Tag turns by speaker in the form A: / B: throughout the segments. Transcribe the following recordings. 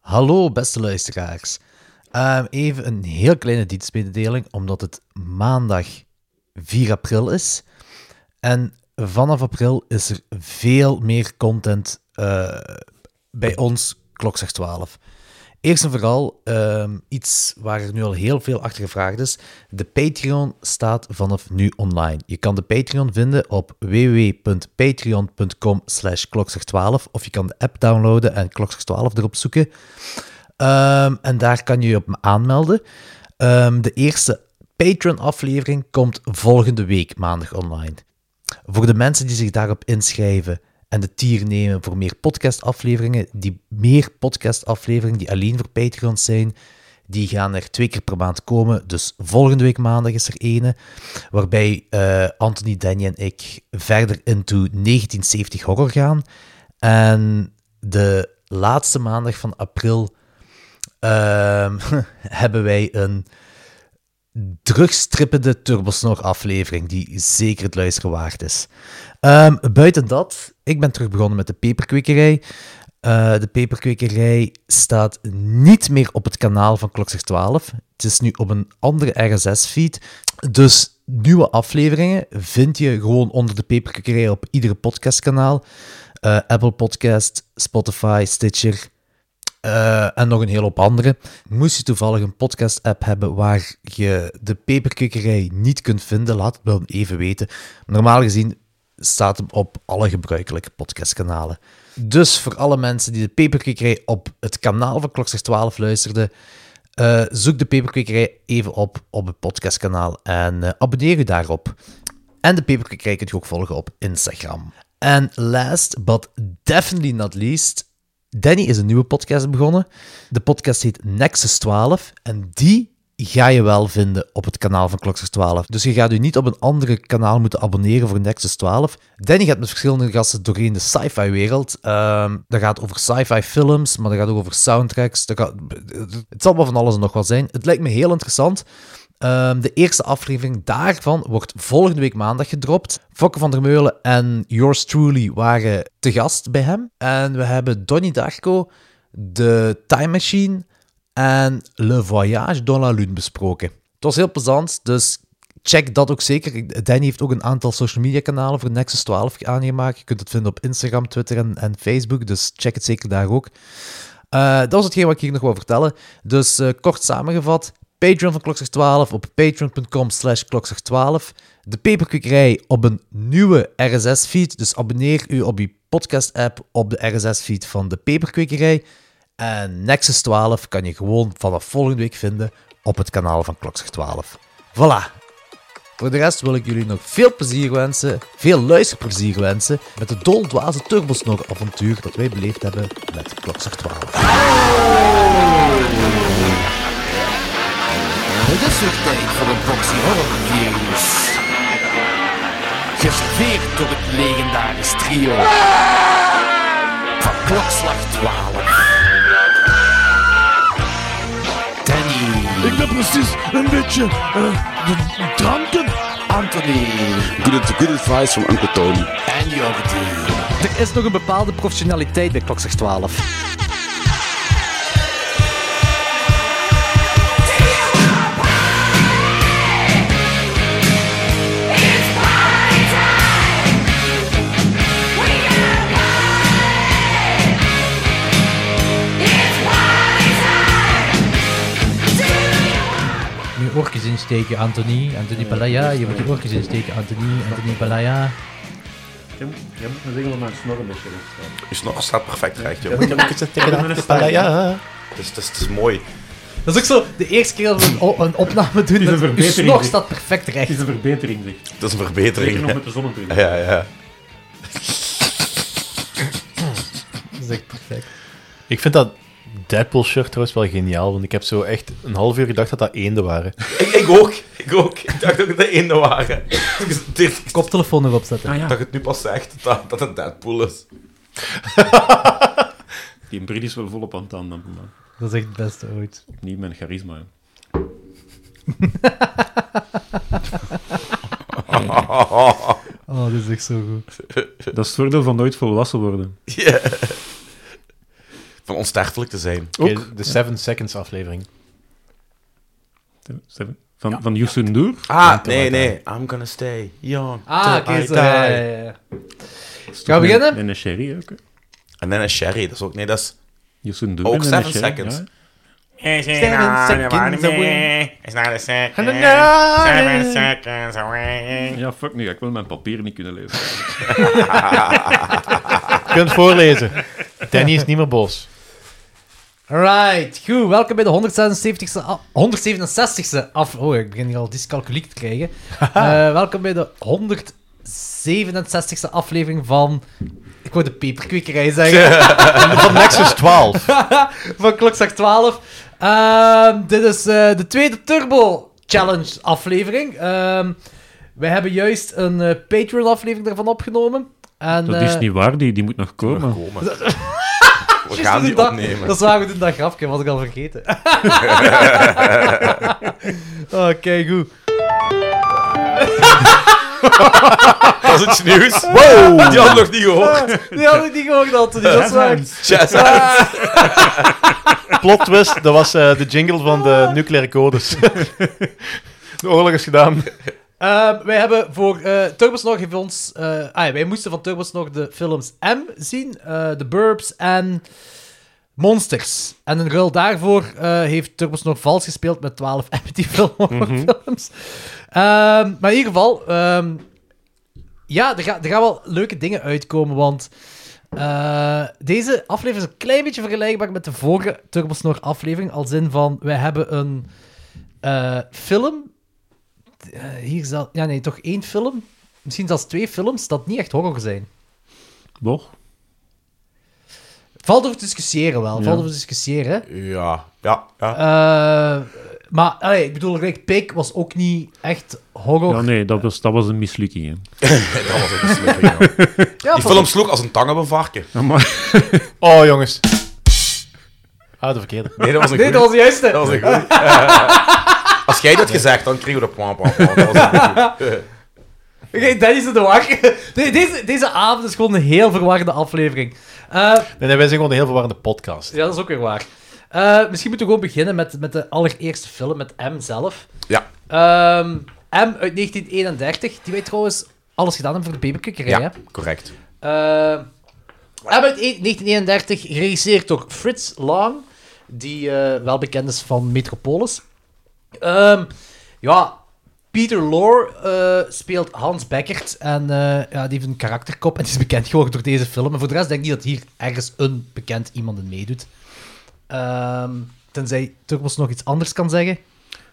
A: Hallo beste luisteraars. Ehm, even een heel kleine dienstmededeling, omdat het maandag 4 april is. En vanaf april is er veel meer content eh, bij ons, klokslag 12. Eerst en vooral ehm, iets waar er nu al heel veel achter gevraagd is. De Patreon staat vanaf nu online. Je kan de Patreon vinden op www.patreon.com slash 12 of je kan de app downloaden en klokslag 12 erop zoeken. Ehm, en daar kan je je op aanmelden. Ehm, de eerste Patreon-aflevering komt volgende week maandag online. Voor de mensen die zich daarop inschrijven en de tier nemen voor meer podcastafleveringen, die meer podcastafleveringen die alleen voor Patreon zijn, die gaan er twee keer per maand komen. Dus volgende week maandag is er ene, waarbij eh, Anthony, Danny en ik verder into 1970 horror gaan. En de laatste maandag van april ehm, hebben wij een drugstrippende Turbosnor aflevering, die zeker het luisteren waard is. Ehm, buiten dat, ik ben terug begonnen met de peperkwekerij. Eh, de peperkwekerij staat niet meer op het kanaal van Klokzeg 12. Het is nu op een andere RSS-feed. Dus nieuwe afleveringen vind je gewoon onder de peperkwekerij op iedere podcastkanaal. Eh, Apple Podcast, Spotify, Stitcher, eh, en nog een hele hoop andere. Moest je toevallig een podcast-app hebben waar je de peperkwekerij niet kunt vinden, laat het me dan even weten. Normaal gezien staat hem op alle gebruikelijke podcastkanalen. Dus voor alle mensen die de peperkwekerij op het kanaal van Klokster 12 luisterden, eh, zoek de peperkwekerij even op op het podcastkanaal en eh, abonneer je daarop. En de peperkwekerij kunt je ook volgen op Instagram. En last but definitely not least, Danny is een nieuwe podcast begonnen. De podcast heet Nexus 12 en die ga je wel vinden op het kanaal van Kloksters 12. Dus je gaat u niet op een andere kanaal moeten abonneren voor Nexus 12. Danny gaat met verschillende gasten doorheen de sci-fi wereld. Ehm dat gaat over sci-fi films, maar dat gaat ook over soundtracks. Dat gaat, het zal wel van alles en nog wat zijn. Het lijkt me heel interessant. Ehm, de eerste aflevering daarvan wordt volgende week maandag gedropt. Fokke van der Meulen en yours truly waren te gast bij hem. En we hebben Donnie Darko, de Time Machine en Le Voyage dans la Lune besproken. Het was heel plezant, dus check dat ook zeker. Danny heeft ook een aantal social media kanalen voor Nexus 12 aangemaakt. Je kunt het vinden op Instagram, Twitter en, en Facebook, dus check het zeker daar ook. Eh, dat was hetgeen wat ik hier nog wil vertellen. Dus eh, kort samengevat, Patreon van Klokzorg 12 op patreon.com slash 12 De Peperkwekerij op een nieuwe RSS-feed. Dus abonneer u op uw podcast-app op de RSS-feed van de Peperkwekerij. En Nexus 12 kan je gewoon vanaf volgende week vinden op het kanaal van Klokzorg 12. Voilà. Voor de rest wil ik jullie nog veel plezier wensen, veel luisterplezier wensen met het doldwaze Turbosnor-avontuur dat wij beleefd hebben met Klokzorg 12.
B: Het is weer tijd voor de boxy horror reviews. Geserveerd door het legendarisch trio van klokslag 12. Danny,
C: Ik ben precies een beetje eh, de dranken.
B: Anthony
D: Good, good advice from Uncle Tony.
B: en Jordi.
A: Er is nog een bepaalde professionaliteit bij Klokzeg 12.
E: Nu oortjes insteken, Anthony. Anthony Palaya. Je moet je oortjes insteken, Anthony. Anthony Palaya.
F: Tim, jij moet me zeggen dat mijn snor een beetje recht staat.
D: Je snor staat perfect recht, joh. Het is, het is, het is mooi.
A: Dat is ook zo de eerste keer dat we een, o- een opname doen.
F: is een
A: dat- uw
F: verbetering,
A: snor
F: zeg.
A: staat perfect
F: Het is
A: recht.
F: een verbetering, zeg.
D: Het is een
F: Zeker
D: verbetering.
F: nog
D: hè.
F: met de zonnebril.
D: Ja, ja.
E: Dat is echt perfect.
G: Ik vind dat Deadpool shirt trouwens wel geniaal, want ik heb zo echt een half uur gedacht dat dat eenden waren.
D: Ik, ik ook. Ik ook. Ik dacht ook dat het eenden waren. Ik dacht- ik
E: Koptelefoon erop zetten.
F: Ah ja,
D: dacht het nu pas zegt dat, dat het Deadpool is.
F: die bril is wel volop aan het aandampen, man.
E: Dat is echt het beste ooit.
F: Opnieuw mijn charisma. hè.
E: Oh, dit is echt zo goed.
F: Dat is het voordeel van nooit volwassen worden.
D: Ja.
H: van onsterfelijk te zijn.
G: Oké,
F: Ook.
G: de 7 Seconds aflevering.
F: Van, van Yusun Noor.
H: Ah, nee, nee. I'm gonna stay young.
A: Ah,
H: till
A: oké.
H: I
A: zo,
H: die.
G: eh,
A: ja, ja, ja. Gaan we beginnen?
F: En een sherry ook. hè.
H: En dan een Sherry. Dat is ook... Nee, dat is
F: Yusun Noor.
H: ook
F: en een
H: 7
F: sherry,
H: seconds.
F: ja.
H: Seven seconds away. It's not a second. Seven seconds away.
F: Ja, fuck nu. ga Ik wil mijn papier niet kunnen lezen.
G: Je eh, kunt voorlezen. Danny is niet meer boos.
A: Right, goed. Welkom bij de 177 e 167ste af... Oh, ik begin hier al dyscalculiek te krijgen. Eh, welkom bij de 167ste aflevering van... Ik wou de peperkwekerij zeggen.
G: Van Nexus 12.
A: van klokslag 12. Ehm, dit is eh, de tweede Turbo Challenge aflevering. Ehm we hebben juist een eh, Patreon aflevering daarvan opgenomen. En,
F: Dat is
A: eh,
F: niet waar. Die, die moet nog komen.
H: Komen. We
A: Juist
H: gaan
A: toen
H: die
A: ik dat-
H: opnemen.
A: Dat is waar we doen dat grafje, was ik al vergeten. Oké, goed.
H: Dat is iets nieuws. Die had ik nog niet gehoord.
A: Die had ik niet gehoord, Anthony, dat is waar.
H: Jazz
A: Ah.
G: Plot twist, dat was eh, de jingle van de nucleaire codes. de oorlog is gedaan.
A: Ehm, wij hebben voor eh Turbosnog heeft ons... eh, ah ja, wij moesten van Turbosnog de films M zien, eh The Burbs en Monsters. En in ruil daarvoor eh, heeft Turbosnog vals gespeeld met 12 empty film films. Ehm, maar in ieder geval, ehm, ja, er, ga- er gaan wel leuke dingen uitkomen, want eh, deze aflevering is een klein beetje vergelijkbaar met de vorige Turbosnog aflevering, als in van, wij hebben een eh, film eh, hier zal, ja, nee, toch één film, misschien zelfs twee films, dat niet echt horror zijn.
F: Nog?
A: Valt over te discussiëren wel,
F: Ja.
A: valt over te discussiëren. hè.
H: Ja, ja, ja.
A: Eh, maar allee, ik bedoel, like, Pig was ook niet echt horror.
F: Ja, nee. Dat was, dat was een mislukking. hè.
H: Dat was ook een slimme, ja.
A: Ja,
H: Die
A: valt-
H: film sloeg als een tang op een varken.
G: Oh, jongens. Ah, de verkeerde.
H: Nee, dat was een
A: Nee,
H: goeie.
A: dat was de juiste.
H: Dat was een goeie. Eh, Als jij dat gezegd, dan kregen we de pwam, pwam, pwam. Dat was een goeie.
A: Oké, dat is de wacht. Nee, deze, deze avond is gewoon een heel verwarrende aflevering. Eh,
G: Nee, nee, wij zijn gewoon een heel verwarrende podcast.
A: ja, dat is ook weer waar. Eh, misschien moeten we gewoon beginnen met, met de allereerste film, met M zelf.
H: Ja.
A: Ehm, M uit 1931, die wij trouwens alles gedaan hebben voor de babykikker, hè?
H: Ja, correct.
A: Eh, en uit 1931, geregisseerd door Fritz Lang, die eh, wel bekend is van Metropolis. Ehm, ja, Peter Lorre eh, speelt Hans Beckert en eh, ja, die heeft een karakterkop en die is bekend geworden door deze film. En voor de rest denk ik niet dat hier ergens een bekend iemand in meedoet. Ehm, tenzij Turbos nog iets anders kan zeggen.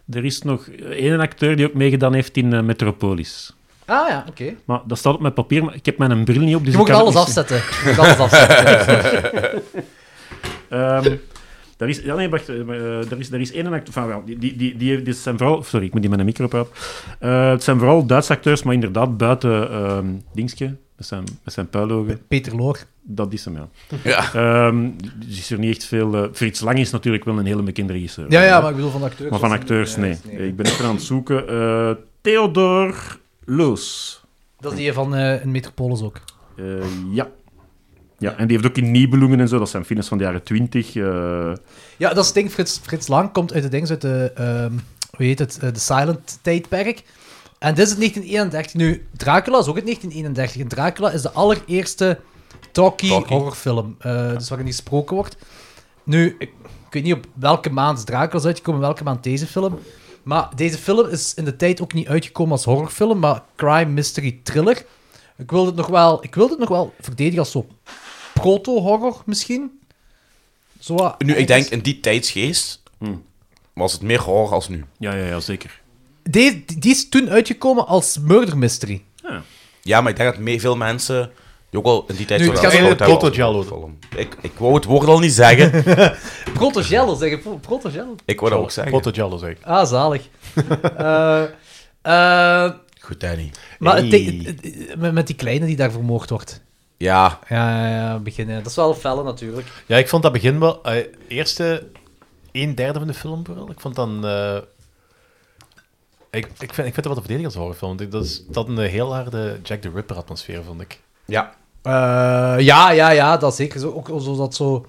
F: Er is nog één acteur die ook meegedaan heeft in eh, Metropolis.
A: Ah ja, oké.
F: Maar dat staat op mijn papier, maar ik heb mijn bril niet op, dus
A: Je
F: ik
A: mocht
F: kan het
A: alles
F: niet zien.
A: afzetten. Je mocht alles afzetten.
F: Ehm, daar is, ja, nee, wacht. eh, maar, eh, er, is, er is één acteur... Van, wel, die, die, die, die, dit zijn vooral... Sorry, ik moet die met een micro praten. Eh, het zijn vooral Duitse acteurs, maar inderdaad buiten ehm Dingske. Met zijn, met zijn puilogen.
A: Peter Lorre.
F: Dat is hem, ja.
H: Ja.
F: Ehm, dus is er niet echt veel... eh, Frits Lang is natuurlijk wel een hele bekende regisseur.
A: Ja, ja, maar ik bedoel van acteurs.
F: Maar van
A: was-
F: acteurs, nee. Ik ben even aan het zoeken. Eh, Theodor Loos.
A: Dat is die van eh, een Metropolis ook.
F: Eh, ja. Ja, en die heeft ook in Nibelungen en zo, dat zijn films van de jaren 20. eh,
A: Ja, dat is het ding. Frits, Frits Lang komt uit de dings uit de, ehm, hoe heet het, eh, de Silent tijdperk. En dit is het 1931. Nu, Dracula is ook het 1931. En Dracula is de allereerste talkie,
H: Talkie.
A: horrorfilm. eh, Dus waarin die gesproken wordt. Nu, ik, ik weet niet op welke maand Dracula is uitgekomen, welke maand deze film. Maar deze film is in de tijd ook niet uitgekomen als horrorfilm, maar crime mystery thriller. Ik wil het nog wel, ik wil het nog wel verdedigen als zo proto-horror misschien. Zo wat
H: Nu, ik denk
A: ergens-
H: in die tijdsgeest was het meer horror als nu.
F: ja, ja, ja, zeker.
A: Die, die is toen uitgekomen als murder mystery.
H: Ja, maar ik denk dat me- veel mensen die ook al in die tijd
A: Nu,
H: zo
A: het
H: wel
A: gaat
H: gescout
G: over
H: hebben
G: Proto-Giallo.
H: als film. Ik, ik wou het woord al niet zeggen.
A: Protogel, zeg ik. pro- Protogel.
H: Ik wou dat ook zeggen.
G: Proto-Giallo, zeg ik.
A: Ah, zalig. Eh, eh,
H: Goed, Danny.
A: maar het ding-
G: Hey.
A: het- het- met- met die kleine die daar vermoord wordt.
H: Ja,
A: Ja, ja, ja, beginnen. Dat is wel felle natuurlijk.
G: Ja, ik vond dat begin wel... eh, eerste een derde van de film vooral. Ik vond dan... eh, ik, ik, vind, ik vind het wat te verdedigen als horrorfilm. want ik- Dat, is, dat een heel harde Jack the Ripper atmosfeer, vond ik.
H: ja.
A: Eh, ja, ja, ja, dat zeker. Zo, ook zo dat zo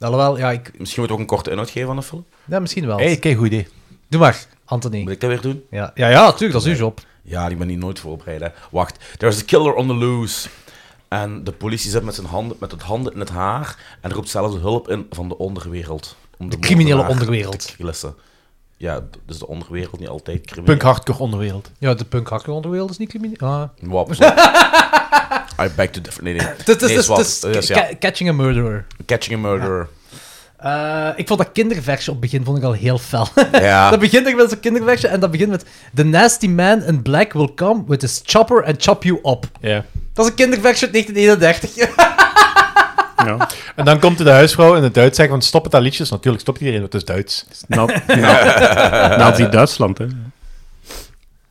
A: Alhoewel, ja, ik,
D: Misschien moet ik ook een korte inhoud geven van de film.
A: ja misschien wel.
G: hey, kijk, goed idee.
A: Doe maar, Anthony.
D: Moet ik dat weer doen?
A: Ja, ja, ja tuurlijk, dat is uw job.
D: Ja, ik ben niet nooit voorbereid. Hè. Wacht, there's a killer on the loose. En de politie zit met zijn handen, met het handen in het haar en roept zelfs hulp in van de onderwereld. Om
A: De criminele
D: moordenaar te
A: onderwereld.
D: krielen. Ja, d- dus de onderwereld niet altijd crimineel.
G: Punk hardcore onderwereld.
A: Ja, de punk hacker onderwereld is niet crimineel. Ah.
D: Wap, zwap. I beg to differ. Nee, nee.
A: Het is- het is-
D: Nee,
A: het
D: zwap.
A: is
D: Dus ja,
A: ca- Catching a Murderer.
D: Catching a murderer.
A: Eh, ik vond dat kinderversje op het begin vond ik al heel fel.
D: Ja.
A: dat begint echt met zo'n kinderversje en dat begint met... The nasty man in black will come with his chopper and chop you up.
G: Ja.
A: Dat is een kinderversje uit 1931.
F: Ja.
G: En dan komt de huisvrouw in het Duits zeggen van stop het dat liedje. Dus natuurlijk stopt iedereen, want het is Duits.
F: Na- na- Nazi-Duitsland, hè.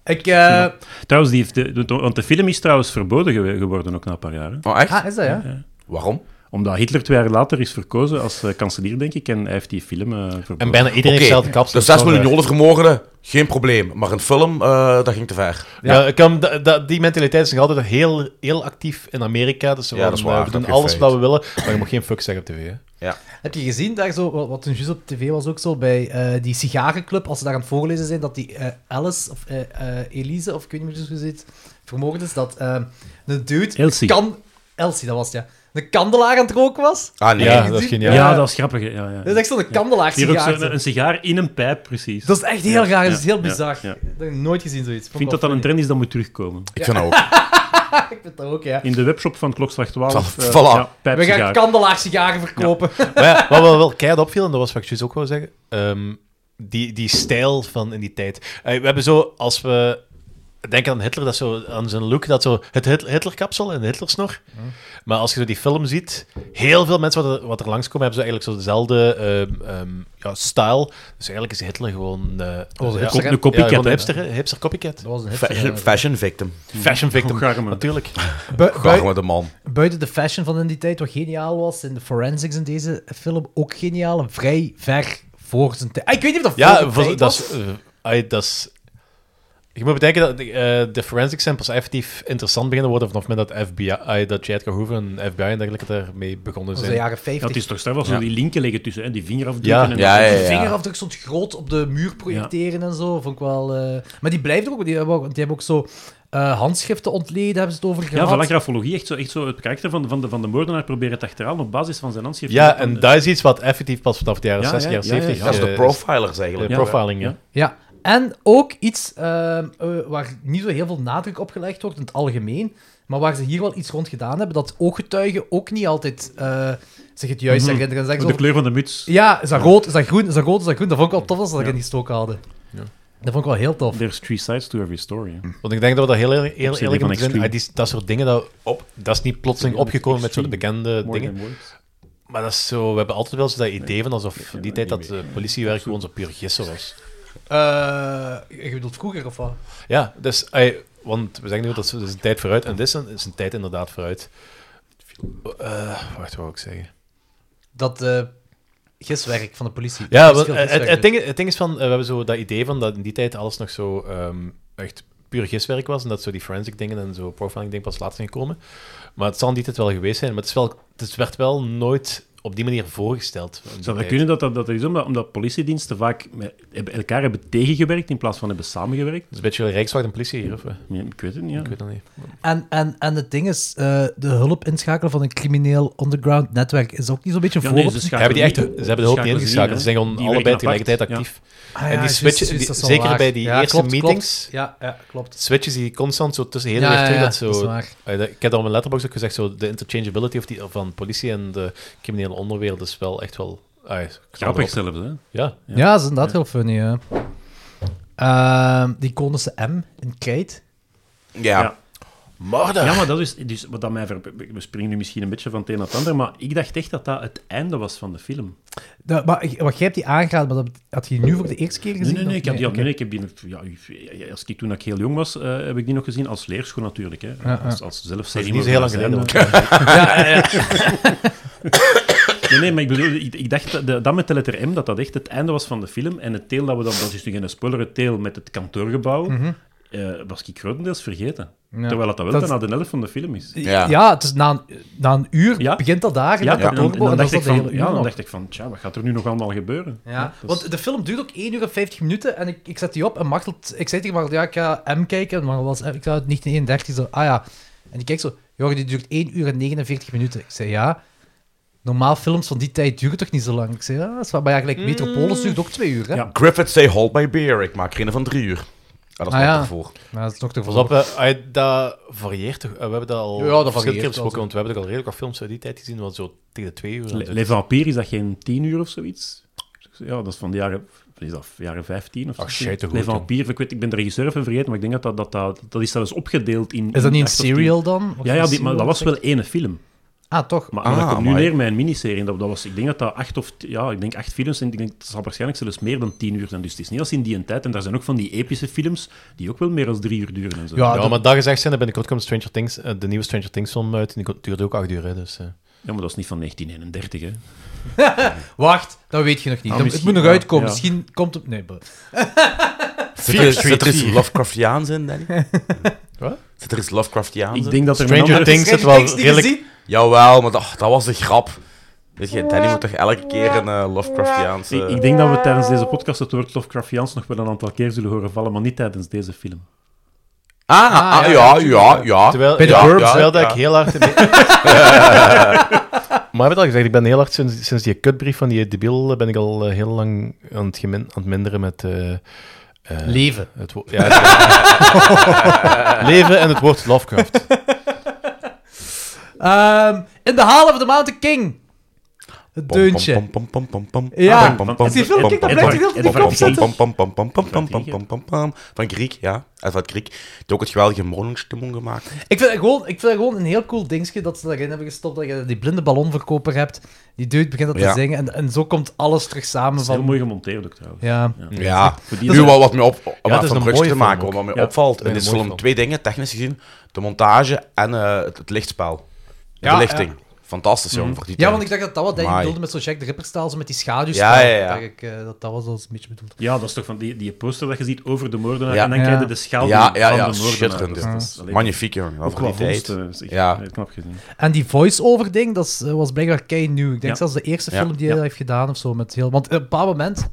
A: ik, eh,
F: Trouwens, die heeft de, de- want de film is trouwens verboden gewe- geworden ook na een paar jaren.
D: Oh, echt?
A: ah, is dat, ja?
D: Waarom?
F: Omdat Hitler twee jaar later is verkozen als eh, kanselier, denk ik, en hij heeft die film eh, verboden.
G: En bijna iedereen
D: Oké, dus
G: heeft dezelfde kapsel.
D: de 6
G: Zo,
D: miljoen
G: eh,
D: dollar vermogende, geen probleem. Maar een film, eh, dat ging te ver.
G: Ja, ik kan, da- da- die mentaliteit is nog altijd heel, heel actief in Amerika. Dus ze
D: Ja, dat is
G: van, eh,
D: waar,
G: we
D: dat
G: doen
D: heb je
G: alles
D: feit.
G: wat we willen, maar je mag geen fuck zeggen op tv. Hè.
A: Heb je gezien daar zo, wat, wat toen juist op tv was ook zo, bij eh, die sigarenclub, als ze daar aan het voorlezen zijn, dat die eh, Alice of eh, eh, Elise, of ik weet niet meer hoe ze heet, vermogen is, dat eh, een dude...
F: Elsie.
A: Kan, Elsie, dat was het, ja. Een kandelaar aan het roken was.
D: Ah, nee.
G: Ja,
A: je
G: dat is
A: ziet-
G: geniaal.
F: ja,
G: Ja.
F: dat is grappig. hè. Ja, ja.
A: Dat is echt zo'n kandelaar
F: Hier ook
A: sigaar.
F: zo, een, een sigaar in een pijp, precies.
A: Dat is echt heel
F: Ja,
A: raar, dat
F: ja,
A: is heel
F: ja,
A: bizar.
F: ja.
A: Dat heb ik nooit gezien, zoiets.
F: Ik vind dat dat een trend is dat moet terugkomen.
D: Ik vind dat ook.
A: Ik vind dat ook, ja.
F: In de webshop van Klokslag 12.
D: Voilà.
F: eh,
A: We
F: pijpsigaar.
A: gaan kandelaar sigaren verkopen.
G: Maar ja, wat wel, wel keihard opviel, en dat was wat ik juist ook wou zeggen, ehm, die, die stijl van in die tijd. Eh, we hebben zo, als we denken aan Hitler, dat zo, aan zijn look, dat zo het Hit- Hitlerkapsel en de Hitlersnor. Maar als je zo die film ziet, heel veel mensen wat er, wat er langskomen, hebben zo eigenlijk zo dezelfde ehm, ehm, ja, stijl. Dus eigenlijk is Hitler gewoon... eh
A: een
G: ja,
A: hipster, hè?
F: Een copycat,
G: ja, gewoon
F: hè.
G: een hipster, hè, hipster copycat.
A: Dat was een hipster,
D: Fashion,
A: ja.
D: fashion victim.
G: Fashion victim,
F: Garme.
G: natuurlijk.
A: Bu- bui-
D: Garme de man.
A: Buiten de fashion van in die tijd, wat geniaal was, en de forensics in deze film ook geniaal en vrij ver voor zijn tijd. Ah, Ik weet niet of dat voor
G: Ja,
A: zijn
G: voor-
A: tijd
G: dat
A: was.
G: is, eh, ai, dat is... Je moet bedenken dat eh, de forensic samples effectief interessant beginnen worden vanaf het moment dat FBI, ai, dat J. E Edgar Hoover en FBI en dergelijke daarmee begonnen
A: Dat was de
G: zijn.
A: jaren
F: Ja, het
A: 50.
F: is toch straf als zo die linken liggen tussen, hè, die vingerafdrukken.
G: Ja.
F: en dat
D: Ja,
F: soort
D: ja,
F: dingen.
D: ja.
A: Vingerafdruk stond groot op de muur projecteren en zo. Vond ik wel, eh, Maar die blijft er ook, die hebben ook, die hebben ook zo eh, handschriften ontleden, hebben ze het over
F: Ja,
A: gehad.
F: voilà, grafologie, echt zo, echt zo het karakter van, van, de, van de moordenaar proberen het achteraan op basis van zijn handschrift.
G: Ja,
F: Van
G: en
F: de-
G: dat is iets wat effectief pas vanaf de jaren
F: Ja,
G: 60,
F: ja,
G: jaren
F: ja, ja,
G: 70...
D: Dat is de
G: eh,
D: profilers
G: de
D: eigenlijk.
G: profiling, ja.
F: Ja.
A: Ja, en ook iets ehm, eh, waar niet zo heel veel nadruk op gelegd wordt in het algemeen, maar waar ze hier wel iets rond gedaan hebben, dat ooggetuigen ook niet altijd eh, zich het
G: Mhm.
A: juist herinneren. Ze zeggen
F: de
A: zo,
F: kleur van de muts.
A: ja, is dat rood, is dat groen, is dat rood, is dat groen? Dat vond ik wel tof als ze dat erin gestoken hadden.
G: Ja.
A: Dat vond ik wel heel tof.
F: There's three sides to every story. hè.
G: Want ik denk dat we dat heel, heel, heel
F: CD
G: eerlijk
F: van
G: moeten zijn.
F: Extreme.
G: Ah, die- dat soort dingen, dat, op, dat is niet plotseling
F: CD van
G: opgekomen met zo'n
F: Extreme.
G: bekende
F: More
G: dingen.
F: than words.
G: Maar dat is zo, we hebben altijd wel zo dat idee van alsof die tijd dat eh, politiewerk gewoon zo puur gissen was.
A: Eh, je bedoelt vroeger of wat?
G: Ja, dus, ey, want we zeggen nu dat ze- dat is een tijd vooruit en dit is een, is een tijd inderdaad vooruit. Eh, wacht, wat wil ik zeggen?
A: Dat eh giswerk van de politie.
G: Ja,
A: Dat
G: want,
A: is
G: eh,
A: veel
G: het,
A: giswerk.
G: het, ding, het ding is van, eh, we hebben zo dat idee van dat in die tijd alles nog zo ehm, echt puur giswerk was en dat zo die forensic dingen en zo profiling dingen pas later zijn gekomen. Maar het zal in die tijd wel geweest zijn, maar het, is wel, het werd wel nooit op die manier voorgesteld. in
F: Zou
G: die
F: dat
G: tijd.
F: kunnen dat dat, dat is omdat, omdat politiediensten vaak met, hebben- elkaar hebben tegengewerkt in plaats van hebben samengewerkt?
G: Het is een beetje Rijkswacht en politie hier, of? eh,
F: Ja, ik weet het niet. Ja.
G: Ik weet dat niet.
A: En, en, en het ding is, eh, de hulp inschakelen van een crimineel underground netwerk is ook niet zo'n beetje een
F: Ja, nee,
A: voorbeeld.
F: ze,
G: Hebben die echt, ze
F: schakelen niet-
G: hebben de hulp
F: schakelen
G: niet
F: ze
G: ingeschakeld,
F: hè.
G: ze zijn gewoon
F: Die
G: allebei
F: werken apart.
G: tegelijkertijd
F: Ja.
G: actief.
A: Ah, ja,
G: en die
A: juist,
G: switchen,
A: juist,
G: die-
A: dat is wel
G: zeker
A: waar.
G: bij die
A: Ja,
G: eerste
A: klopt, klopt.
G: meetings,
A: Ja, ja, klopt.
G: switches die constant zo tussen heen en
A: Ja,
G: weer terug.
A: ja,
G: dat zo,
A: dat is waar.
G: Eh, dat- ik heb daar op mijn letterbox ook gezegd, zo, de interchangeability of die, van politie en de criminele onderwereld is wel echt wel... ah, ik zal
F: Grappig
G: erop-
F: zelfs, hè?
G: Ja.
A: Ja, dat is inderdaad heel funny, ja. Ehm, die konische M in Kate.
D: Ja.
F: Ja.
G: Morda!
F: Ja, maar dat is dus wat dat mij ver... We springen nu misschien een beetje van het een naar het ander, maar ik dacht echt dat dat het einde was van de film.
A: Dat- maar, wat jij hebt die aangeraden, maar dat had je die nu voor de eerste keer
F: Nee,
A: gezien?
F: nee, nee, ik heb die, al-
A: oké.
F: nee, nee, ik heb die nog- ja, ik- als ik toen ik heel jong was, eh, heb ik die nog gezien als leerschool natuurlijk. Hè. Als, als zelf
G: Dat is niet zo heel lang geleden. want-
F: Nee, nee, maar ik bedoel, ik, ik dacht dat, de- dat met de letter M, dat dat echt het einde was van de film. En het deel dat we dan, dat is nu geen spoiler, het deel met het kantoorgebouw, eh, was ik grotendeels vergeten.
A: Mhm. Ja.
F: Terwijl dat wel
A: Dat-
F: bijna de helft van de film is.
A: Ja,
D: Ja.
A: het is na, een, na een uur
F: Ja.
A: begint dat daar.
F: Ja,
A: met dat
F: en, en
A: dorp,
F: dan,
A: en
F: dacht
A: dat
F: ik
A: is dat de
F: van,
A: hele
F: ja,
A: uur
F: dan
A: nog.
F: dacht ik van, tja, wat gaat er nu nog allemaal gebeuren?
A: Ja,
F: dat is-
A: want de film duurt ook 1 uur en 50 minuten en ik, ik zet die op en Martelt, ik zei tegen Martel, ja, ik ga M kijken, maar was, ik zou het 1931, zo, ah ja. En die kijkt zo, joh, die duurt 1 uur en 49 minuten. Ik zei, ja, normaal films van die tijd duren toch niet zo lang? Ik zei, ja, dat is waar, maar ja, gelijk Metropolis duurt ook 2 uur, hè?
F: Ja.
D: Griffith zei, hold my beer. Ik maak er een van drie uur. Ah, dat is
A: Ah, ja.
D: nog ervoor.
A: Maar dat is nog te
G: Pas op, eh, ah, dat varieert toch? eh, we hebben dat al
A: Ja, dat
G: verschillende
A: varieert
G: keer
A: wel,
G: besproken,
A: zo.
G: want we hebben toch al redelijk wat films uit die tijd gezien, wat zo tegen de twee uur. aan
F: Le-
G: zit.
F: Les Vampires, is dat geen tien uur of zoiets? Ja, dat is van de jaren, is dat jaren 15 of zo.
G: Ach, shit, hoe
F: Les
G: goed,
F: Vampires, ik, weet, ik ben de regisseur even vergeten, maar ik denk dat dat, dat, dat, dat is zelfs opgedeeld in...
A: Is dat niet een
F: acht of tien.
A: serial dan? Of
F: Ja,
A: een
F: ja die, maar dat
A: serial
F: was
A: effect?
F: wel ene film.
A: Ah, toch?
F: Maar, maar dat
D: Ah,
F: komt nu
D: amai.
F: neer met een miniserie. En dat, dat was, ik denk dat dat acht of... t- Ja, ik denk acht films. En ik denk, dat zal waarschijnlijk zelfs meer dan tien uur zijn. Dus het is niet als in die tijd. En daar zijn ook van die epische films die ook wel meer dan drie uur duren en zo.
A: Ja,
G: ja,
A: dat-
G: maar dat gezegd zijn, binnenkort komt Stranger Things, eh, de nieuwe Stranger Things film uit, en die duurde ook acht uur, hè, dus... eh.
F: Ja, maar dat is niet van 1931, hè.
A: Wacht, dat weet je nog niet.
F: Ah,
A: Dan- het
F: misschien-
A: moet nog
F: ja,
A: uitkomen,
F: ja.
A: misschien komt het... Nee, bo-
D: Zit er, zit er iets Lovecraftiaans in, Danny?
G: Wat?
D: Zit er iets Lovecraftiaans
F: Ik
D: in?
F: denk dat er een
G: Stranger
F: andere-
G: Things zit wel redelijk...
D: Jawel, maar dat, dat was een grap. Weet je, Danny moet toch elke keer een eh, Lovecraftiaanse...
F: Ik, ik denk dat we tijdens deze podcast het woord Lovecraftiaans nog wel een aantal keer zullen horen vallen, maar niet tijdens deze film.
D: Ah, ah,
A: Ah, ja,
D: ja, ja, ja.
G: Terwijl,
A: Bij de
G: ja,
A: Burbs,
G: ja, terwijl dat
D: ja.
G: ik heel hard... maar we hebben het al gezegd, ik ben heel hard sinds, sinds die kutbrief van die debiel eh, ben ik al eh, heel lang aan het, gemin, aan het minderen met... eh, eh,
A: Leven.
G: het wo- ja, het- Leven en het woord Lovecraft.
A: Ehm, in de Hall of the Mountain King. Het deuntje. Ja, is die film, kijk, dat blijft hij heel die kop zitten.
D: Van Griek, ja. Uit wat Griek. Die ook het geweldige morgenstimmung gemaakt.
A: Ik vind, het gewoon, ik vind het gewoon een heel cool dingetje dat ze daarin hebben gestopt. Dat je die blinde ballonverkoper hebt. Die dude begint dat
D: Ja.
A: te zingen. En, en zo komt alles terug samen.
F: Dat is heel
A: Van,
F: mooi gemonteerd ook trouwens.
A: ja.
D: Ja.
F: Voor die-
D: Nu wel wat meer op, om
G: is
D: even
G: een
D: een
G: mooie
D: brugje te
G: film
D: maken,
G: ook.
D: wat mij
F: Ja.
D: opvalt. In
G: een
D: deze
G: mooie
D: film
G: film.
D: twee dingen, technisch gezien. De montage en eh, het, het lichtspel. De
A: Ja,
D: verlichting. Fantastisch, jongen, voor die
A: ja,
D: tijd.
A: want ik dacht dat dat wat hij
D: Amai.
A: bedoelde met zo'n Jack de Ripper-staal. Zo met die schaduw.
D: Ja, ja, ja.
A: Dat, ik, eh, dat dat was als een beetje bedoeld.
F: Ja, dat is toch van die, die poster dat je ziet over de moordenaar
D: Ja.
F: en dan
A: Ja.
F: krijg je de schaal
D: Ja, ja,
F: van de
D: ja.
F: moordenaar.
D: Schitterend.
F: Dus dat is alleen-
D: Magnifiek, jongen.
F: Ook
D: Voor
F: qua
D: die
F: vondst,
D: tijd.
F: eh, is echt
D: Ja.
F: heel knap gezien.
A: En die voice-over ding, dat is, eh, was blijkbaar kei nieuw. Ik denk
F: Ja.
A: zelfs de eerste
D: Ja.
A: film die
F: Ja.
A: hij heeft gedaan of zo. Met heel, want op een bepaald moment.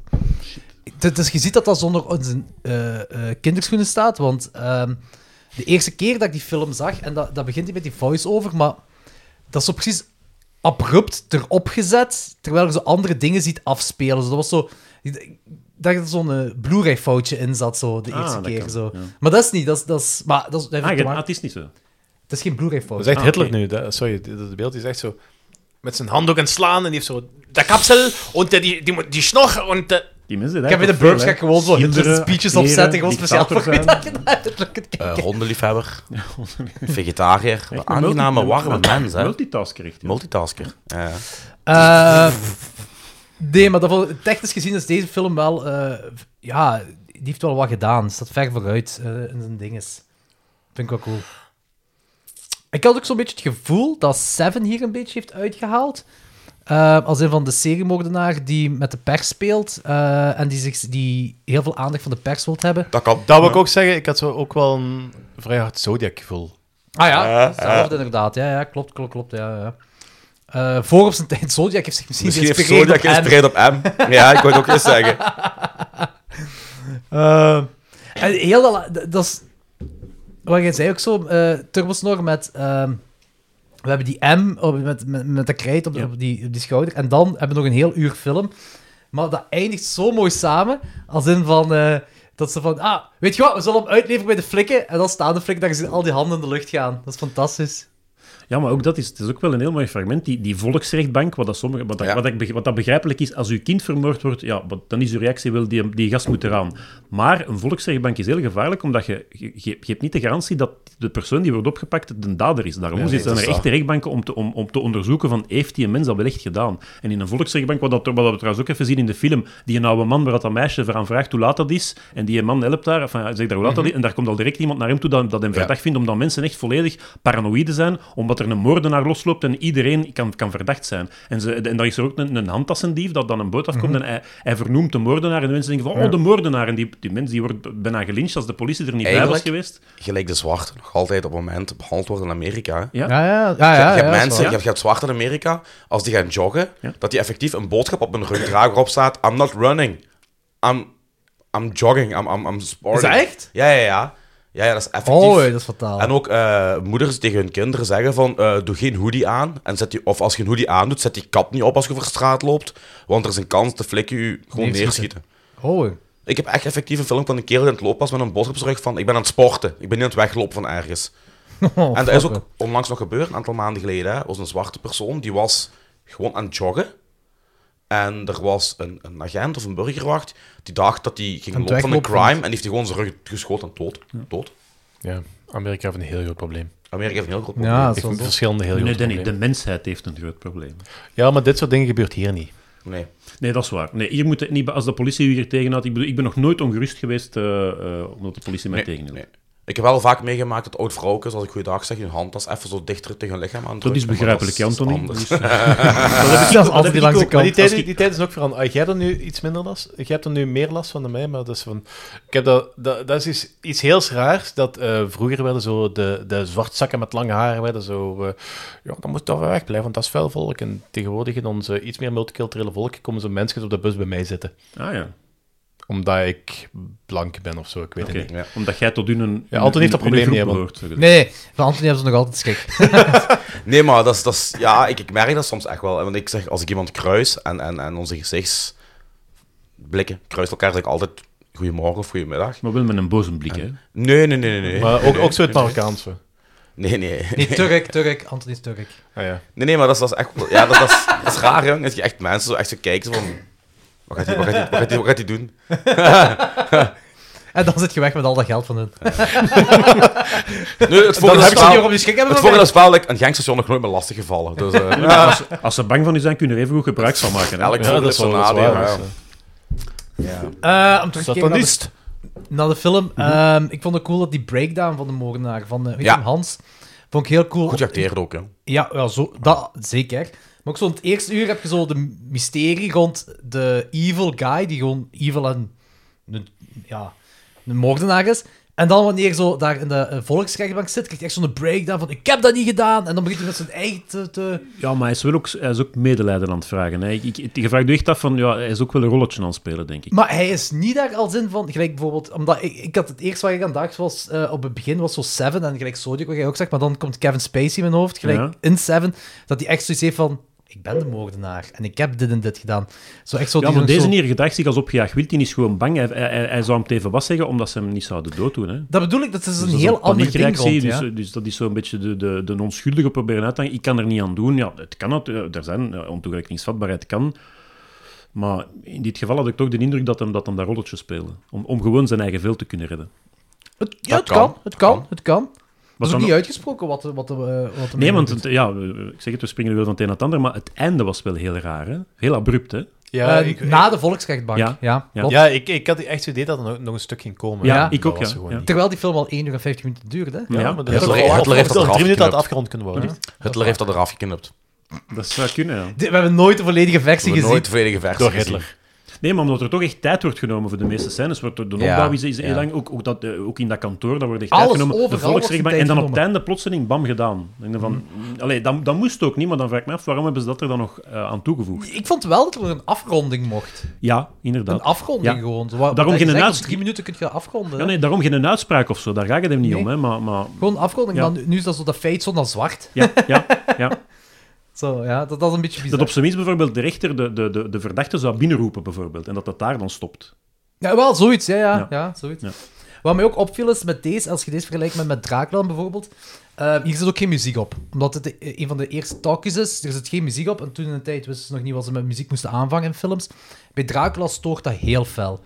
A: Het is, je ziet dat dat zonder onze, eh, eh, kinderschoenen staat. Want ehm, de eerste keer dat ik die film zag, en dat, dat begint hij met die voice-over, maar dat is zo precies abrupt erop gezet. Terwijl je zo andere dingen ziet afspelen. Dus dat was zo. Ik dacht dat er zo'n eh, Blu-ray-foutje in zat, zo, de
F: Ah,
A: eerste
F: dat
A: keer.
F: kan,
A: Zo.
F: ja.
A: Maar dat is niet. Dat is, dat is, maar dat is, dat heeft
F: Ah,
A: te
F: je- ah,
A: maken-
F: het is niet zo.
A: het is geen Blu-ray-fout.
G: Dat is echt
F: Ah,
G: Hitler
F: oké.
G: nu. Dat, sorry, dat dat beeld is echt zo... Met zijn handdoek aan het slaan en die heeft zo... De kapsel, en die, die, die, die snor, en... de-
F: Die mensen
A: Ik heb in de Burbs ga ik gewoon zo Hitler speeches opzetten, gewoon speciaal voor wie dat
F: middag.
A: je naar Hitler kunt kijken.
D: Eh, hondenliefhebber. Vegetariër. Een aangename, warme mens, hè.
F: Multitasker, echt. ja.
D: Multitasker. Ja, ja.
A: Eh, nee, maar dat, vond- technisch gezien is deze film wel... eh, ja, die heeft wel wat gedaan. Staat ver vooruit eh, in zijn dinges. Vind ik wel cool. Ik had ook zo'n beetje het gevoel dat Seven hier een beetje heeft uitgehaald. Eh, als een van de seriemoordenaar die met de pers speelt eh, en die, zich, die heel veel aandacht van de pers wilt hebben.
D: Dat kan.
G: Dat wil ik ook zeggen, ik had zo ook wel een vrij hard Zodiac-gevoel.
A: Ah ja, hetzelfde inderdaad. Ja, ja, klopt, klopt, klopt. Ja, ja. Eh, voor op zijn tijd, Zodiac heeft zich misschien,
D: Misschien heeft
A: geïnspireerd
D: Zodiac
A: op Anne.
D: geïnspireerd op M. Ja, ik wou het ook eens zeggen.
A: Eh, En heel dat, la- d- dat is... Wat jij zei ook zo, eh Turbosnor met... ehm, we hebben die M op, met, met, met de krijt op,
F: Ja.
A: op, die, op die schouder. En dan hebben we nog een heel uur film. Maar dat eindigt zo mooi samen. Als in van... eh, dat ze van... Ah, weet je wat? We zullen hem uitleveren bij de flikken. En dan staan de flikken. Dan zien al die handen in de lucht gaan. Dat is fantastisch.
F: Ja, maar ook dat is, het is ook wel een heel mooi fragment. Die, die volksrechtbank, wat dat, sommige, wat, dat,
D: Ja.
F: wat, dat, wat dat begrijpelijk is, als uw kind vermoord wordt, ja, wat- dan is uw reactie wel, die, die gast moet eraan. Maar een volksrechtbank is heel gevaarlijk, omdat je, je, je hebt niet de garantie dat de persoon die wordt opgepakt de dader is. Daarom zitten
D: dat
F: er
D: is
F: echte rechtbanken om te, om, om te onderzoeken van, heeft die mens dat wel echt gedaan? En in een volksrechtbank, wat, dat, wat we trouwens ook even zien in de film, die een oude man waar dat dat meisje eraan vraagt hoe laat dat is, en die man helpt daar,
D: Mhm.
F: enfin, hij zegt daar hoe laat dat is, en daar komt al direct iemand naar hem toe dat, dat hem verdacht vindt, omdat mensen echt volledig paranoïde zijn, omdat dat er een moordenaar losloopt en iedereen kan, kan verdacht zijn. En, ze, en dan is er ook een, een handtassendief dat dan een boot afkomt
D: Mhm.
F: en hij, hij vernoemt de moordenaar. En de mensen denken van, oh, de moordenaar. En die, die mens die wordt bijna gelinched als de politie er niet bij was
D: Eigenlijk-
F: geweest.
D: Gelijk de zwart nog altijd op het moment behandeld wordt in Amerika. hè.
A: Ja,
F: Ja.
A: ja, ja. ja,
D: Je hebt- je
A: ja,
D: hebt
A: dat is
D: mensen,
A: waar.
D: je hebt, je hebt zwarten in Amerika, als die gaan joggen,
F: Ja.
D: dat die effectief een boodschap op hun rugdraag erop staat, I'm not running, I'm, I'm jogging, I'm, I'm, I'm sporting.
A: Is dat echt?
D: Ja, ja, ja. Ja, ja, dat is effectief.
A: Oh, dat is fataal.
D: En ook eh, moeders tegen hun kinderen zeggen van, eh, doe geen hoodie aan. En zet die, of als je een hoodie aandoet, zet die kap niet op als je over straat loopt. Want er is een kans dat de flikken je gewoon
A: Neerschieten.
D: neerschieten.
A: Oh,
D: Ik heb echt effectief een film van een kerel die aan het lopen was met een boodschap op zijn rug van, ik ben aan het sporten. Ik ben niet aan het weglopen van ergens.
A: Oh,
D: en dat is
A: fuck,
D: ook onlangs nog gebeurd, een aantal maanden geleden. Hè, was een zwarte persoon, die was gewoon aan het joggen. En er was een, een agent of een burgerwacht, die dacht dat hij ging
A: Aan het
D: lopen van een
A: weglopen van-
D: crime. En die heeft die gewoon zijn rug geschoten en dood. dood.
G: Ja, Amerika heeft een heel groot probleem.
D: Amerika heeft een heel groot probleem.
A: Ja, dat is
G: Ik
A: wel
G: vind
A: zo.
G: verschillende heel
F: Nee,
G: grote
F: Danny, de
G: problemen.
F: mensheid heeft een groot probleem.
G: Ja, maar dit soort dingen gebeurt hier niet.
D: Nee.
F: Nee, dat is waar. Nee, hier moet het niet, als de politie u hier tegenhoudt... Ik bedoel, ik ben nog nooit ongerust geweest eh, eh, omdat de politie mij
D: Nee,
F: tegenhield.
D: nee. Ik heb wel vaak meegemaakt dat oud vrouwtjes, als ik goeiedag zeg, hun handtas even zo dichter tegen hun lichaam aan
F: Dat is begrijpelijk,
D: dat is
F: Anthony.
D: anders.
F: Dus, eh,
D: Ah.
A: Dat is altijd die langs
F: ik
A: de
F: ook,
G: Maar
A: kant.
G: die
F: Als
G: tijd,
F: je-
G: die tijd is ook veranderd. Ah, jij hebt er nu iets minder last. Jij hebt er nu meer last van dan mij, maar dat is van... Ik heb dat... Dat, dat is iets, iets heel raars, dat eh, vroeger werden zo de, de zwartzakken met lange haren werden zo... eh, ja, dan moet toch wel wegblijven, want dat is vuil volk. En tegenwoordig in ons eh, iets meer multiculturele volk komen zo mensen op de bus bij mij zitten.
F: Ah ja,
G: Omdat ik blank ben of zo, ik weet
F: oké.
G: het niet.
D: Ja.
F: Omdat jij tot hun een...
G: Ja, Anton heeft
F: een- eh,
G: dat probleem
F: een groep
G: niet, man.
F: behoort, zo gezegd.
A: Nee, van Anthony hebben ze nog altijd schrik.
D: Nee, maar dat is, dat is, ja, ik, ik merk dat soms echt wel. Want ik zeg, als ik iemand kruis en, en, en onze gezichtsblikken kruisen elkaar, zeg ik altijd goedemorgen of goedemiddag.
F: Maar wel met een boze blik, hè.
D: Nee, nee, nee, nee. nee.
G: Maar ook, ook zo het Marokkaanse.
D: Nee, nee.
A: Nee, Turk, Turk, Anthony is Turk.
G: Ah, ja.
D: Nee, nee, maar dat is, dat is echt... Ja, dat, dat, is, dat is raar, jong. Dat je echt mensen zo echt zo kijkt, zo van... Wat gaat hij wat gaat die- wat gaat die- wat gaat die doen?
A: En dan zit je weg met al dat geld van hun.
D: Nee, het
A: Dan
D: volgende
A: heb ik ze
D: spel...
A: hier op je schrik hebben
D: Het
A: van mij.
D: volgende is wel, like, een gangstation nog nooit meer lastig gevallen. Dus, eh,
F: Als, ze- als ze bang van u zijn, kunnen er even goed gebruik van maken. Hè?
D: Elk
G: Ja, dat
D: voordeel
G: is
D: is een
G: wel dus, dat is
D: nadeel.
G: waar,
D: ja.
G: dat is,
A: Eh, om terug te keren naar de,
G: Satanist.
A: naar de film. Ehm, ik vond het cool dat die breakdown van de moordenaar, van eh, weet je
D: Mhm. Ja.
A: hem, Hans, vond ik heel cool.
D: Goed geacteerd ook, hè.
A: Ja, ja zo, dat zeker. Maar ook zo in het eerste uur heb je zo de mysterie rond de evil guy, die gewoon evil en een, ja, een moordenaar is. En dan wanneer je zo daar in de eh, volksrechtbank zit, krijg je echt zo'n breakdown van ik heb dat niet gedaan. En dan begint hij met zijn eigen te... te-
F: Ja, maar hij is, wel ook, hij is ook medelijden aan het vragen. Hè. Ik, ik, je vraagt je echt af van... Ja, hij is ook wel een rolletje aan het spelen, denk ik.
A: Maar hij is niet daar als in van, gelijk bijvoorbeeld... Omdat ik, ik had het eerst waar ik aan dacht was, eh, op het begin was zo Seven en gelijk Zodiac, wat jij ook zegt. Maar dan komt Kevin Spacey in mijn hoofd, gelijk
F: Ja.
A: in Seven, dat hij echt zoiets heeft van... Ik ben de moordenaar en ik heb dit en dit gedaan. Zo echt zo
F: Ja,
A: die
F: maar
A: nog zo-
F: deze hier gedacht zich als opgejaagd wild. Die is gewoon bang. Hij, hij, hij- hij zou hem tegen was zeggen, omdat ze hem niet zouden dooddoen. Hè.
A: Dat bedoel ik, dat is een
F: Dus dat is
A: heel ander ding
F: paniekreactie,
A: rond,
F: dus,
A: ja.
F: dus dat is zo'n beetje de, de, de onschuldige proberen uit te hangen. Ik kan er niet aan doen. Ja, het kan het. Er zijn eh, ontoerekeningsvatbaarheid kan. Maar in dit geval had ik toch de indruk dat hem, dat hem dat rolletje speelde. Om, om gewoon zijn eigen veel te kunnen redden.
A: Het, ja, het
D: kan,
A: kan, het kan,
D: kan.
A: het kan. Dat is
F: Wat
A: ook
F: dan
A: niet
F: ook-
A: uitgesproken wat, de- wat, de, eh, wat de
F: Nee,
A: mening
F: want
A: is.
F: het, ja, ik zeg het, we springen wel van het een naar het ander, maar het einde was wel heel raar, hè? Heel abrupt, hè?
G: Ja,
A: Eh,
G: ik,
A: na de volksrechtbank, ja.
F: Ja, ja.
A: klopt.
G: ja ik, ik had echt het idee dat er nog, nog een stuk ging komen.
F: Ja,
G: Maar
F: ik
G: dat
F: ook,
G: was
F: ja,
G: er gewoon
F: ja.
G: niet.
A: Terwijl die film al 1 uur en 50 minuten duurde. hè.
G: Ja,
F: Ja,
G: maar
F: dat
G: dat had
D: Hitler-
G: al-
D: Hitler heeft
G: al-
D: dat
G: al
D: eraf
G: drie minuten aan
D: geknipt.
G: het afgerond kunnen worden.
D: Hitler heeft dat eraf geknipt.
F: Dat zou kunnen, ja.
A: Dit- We hebben nooit de volledige versie
D: We hebben
A: gezien.
D: nooit de volledige versie
G: Door
D: gezien.
G: Hitler.
F: Nee, maar omdat er toch echt tijd wordt genomen voor de meeste scènes. Wordt er, de
D: Ja,
F: opbouw is, is heel
D: ja.
F: lang, ook, ook, dat, eh, ook in dat kantoor, daar wordt echt
A: Alles,
F: tijd genomen.
A: overal
F: de
A: wordt
F: volksrechtbank.
A: de tijd
F: En dan op het
A: genomen. Mm.
F: einde plotseling, bam, gedaan. Ik denk van, allee, dat, dat moest ook niet, maar dan vraag ik me af, waarom hebben ze dat er dan nog eh, aan toegevoegd?
A: Ik vond wel dat er een afronding mocht.
F: Ja,
A: Een
F: inderdaad.
A: afronding
F: Ja.
A: gewoon. Zo,
F: Daarom geen
A: naast...
F: uitspraak.
A: drie minuten kun je dat afronden.
F: Ja,
A: hè.
F: nee, daarom geen uitspraak of zo, daar gaat het hem niet
A: Nee.
F: om, hè. Maar, maar
A: Gewoon afronding,
F: Ja.
A: dan, nu is dat zo dat feit zo naar zwart.
F: ja, ja, ja.
A: Zo, ja, dat, dat is een beetje bizar.
F: Dat op zijn minst bijvoorbeeld de rechter de, de, de, de verdachte zou binnenroepen, bijvoorbeeld. En dat dat daar dan stopt.
A: Ja, wel, zoiets. Ja, ja, ja.
F: Ja.
A: zoiets.
F: Ja.
A: Wat mij ook opviel is met deze, als je deze vergelijkt met, met Draakland bijvoorbeeld, eh, hier zit ook geen muziek op. Omdat het de- een van de eerste talkies is, er zit geen muziek op. En toen in de tijd wisten ze nog niet wat ze met muziek moesten aanvangen in films. Bij Dracula stoort dat heel fel.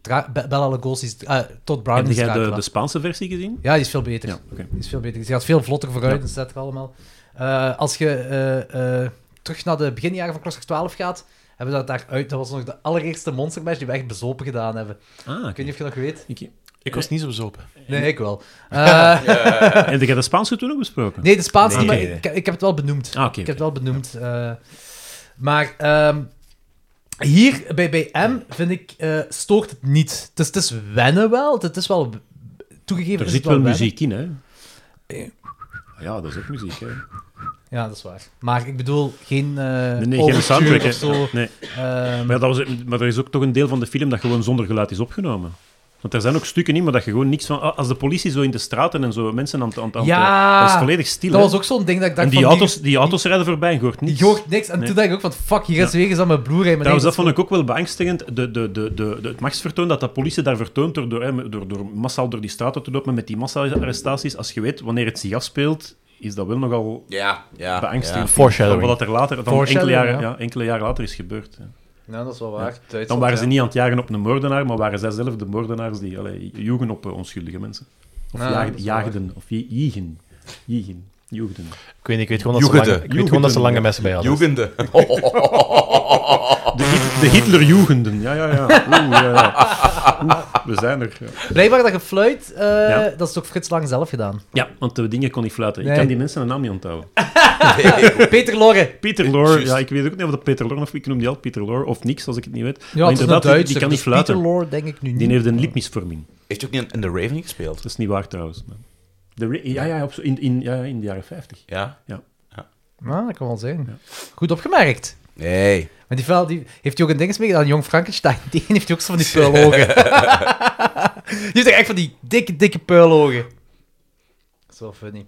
A: Dra Be- Bela Lugosi's, eh, Todd
F: Heb
A: Browning is
F: jij de,
A: Dracula.
F: de Spaanse versie gezien?
A: Ja, die is veel beter.
F: Ja, oké.
A: Die is veel beter. Die gaat veel vlotter vooruit, et cetera, allemaal. Eh, als je eh, eh, terug naar de beginjaren van Crosshair 12 gaat, hebben we dat daaruit. Dat was nog de allereerste Monster Mash die we echt bezopen gedaan hebben.
F: Ah,
A: Ik weet niet of je dat nog weet.
F: Ik-
G: Ik was niet zo bezopen.
A: Nee, ik wel. Eh,
F: En heb je de Spaanse toen ook besproken?
A: nee, de Spaanse
G: Nee.
A: niet, maar
G: Oké.
A: ik, ik heb het wel benoemd.
F: Ah, oké.
A: Ik heb het wel benoemd. eh, maar ehm, hier bij, bij M vind ik, eh, stoort het niet. Het is, het is wennen wel. Het is wel toegegeven.
F: Er
A: is
F: zit
A: het
F: wel
A: wennen.
F: muziek in, hè?
A: Eh.
F: Ja, dat is ook muziek, hè?
A: Ja, dat is waar. Maar ik bedoel, geen. eh
F: Nee, nee geen soundtrack.
A: overture of
F: hè.
A: zo.
F: Nee.
A: Ehm,
F: Maar, ja, dat was, maar er is ook toch een deel van de film dat gewoon zonder geluid is opgenomen. Want er zijn ook stukken in, maar dat je gewoon niks van... ah, Als de politie zo in de straten en zo mensen aan het... aan het-
A: Ja.
F: Dat is volledig stil,
A: dat
F: hè.
A: was ook zo'n ding dat ik dacht.
F: En die
A: van,
F: auto's, die auto's rijden voorbij en je hoort
A: Die,
F: niks.
A: die hoort niks. En
F: Nee.
A: toen dacht ik ook van, fuck, hier is weer eens aan mijn Blu-ray. Maar
F: Trouwens,
A: nee,
F: dat vond ik ook wel beangstigend. De, de, de, de, de- het machtsvertoon dat de politie daar vertoont door, door, hè, door, door massaal door die straten te lopen met die massa-arrestaties. Als je weet wanneer het zich afspeelt, is dat wel nogal
D: Ja, ja.
F: beangstigend.
D: ja.
G: Foreshadowing.
F: Wat er later, dan enkele
A: Foreshadowing,
F: jaren,
A: ja.
F: ja, enkele jaren later is gebeurd. hè.
A: Ja, dat is wel waar.
F: Dan waren ze niet aan het jagen op een moordenaar, maar waren zij zelf de moordenaars die allee, joegen op eh, onschuldige mensen. Of
A: Ah,
F: jaag-
A: dat is
F: jaagden, of je- jiegen. Jiegen. Joegden.
G: Ik weet, niet, ik weet gewoon dat ze,
D: Joegende.
G: lange, ik weet gewoon dat ze lange messen bij hadden.
D: Jugende. Oh.
F: De, Hit- de Hitler-joegenden. Ja, ja, ja. Oeh, ja, ja. Oeh, we zijn er. Ja.
A: Blijkbaar dat je fluit, eh,
F: Ja.
A: dat is toch Frits Lang zelf gedaan.
F: Ja, want de dingen kon ik fluiten.
A: Nee. Eh,
F: Ik kan die mensen een naam niet onthouden.
A: Peter Lorre.
F: Peter Lore,
D: Juist.
F: ja, ik weet ook niet of dat Peter Lore of ik noem die al Peter Lore of niks als ik het niet weet.
A: Ja,
F: maar
A: het is een
F: inderdaad, die, die
A: Duitser.
F: kan niet
A: dus
F: fluiten.
A: Peter Lorre denk ik nu niet.
F: Die heeft een lipmisvorming.
D: Heeft ook niet in- in The Raven gespeeld?
F: Dat is niet waar trouwens. maar- De Ra- ja, ja, op zo- in, in, ja, ja, in de jaren 50.
D: Ja.
A: Nou, dat kan wel zijn. Goed opgemerkt.
D: Nee.
A: Maar die vuil, die, heeft hij ook een ding mee gedaan? Jong Frankenstein, die heeft hij ook zo van die puilogen. die heeft toch echt van die dikke, dikke puilogen. Dat is wel funny.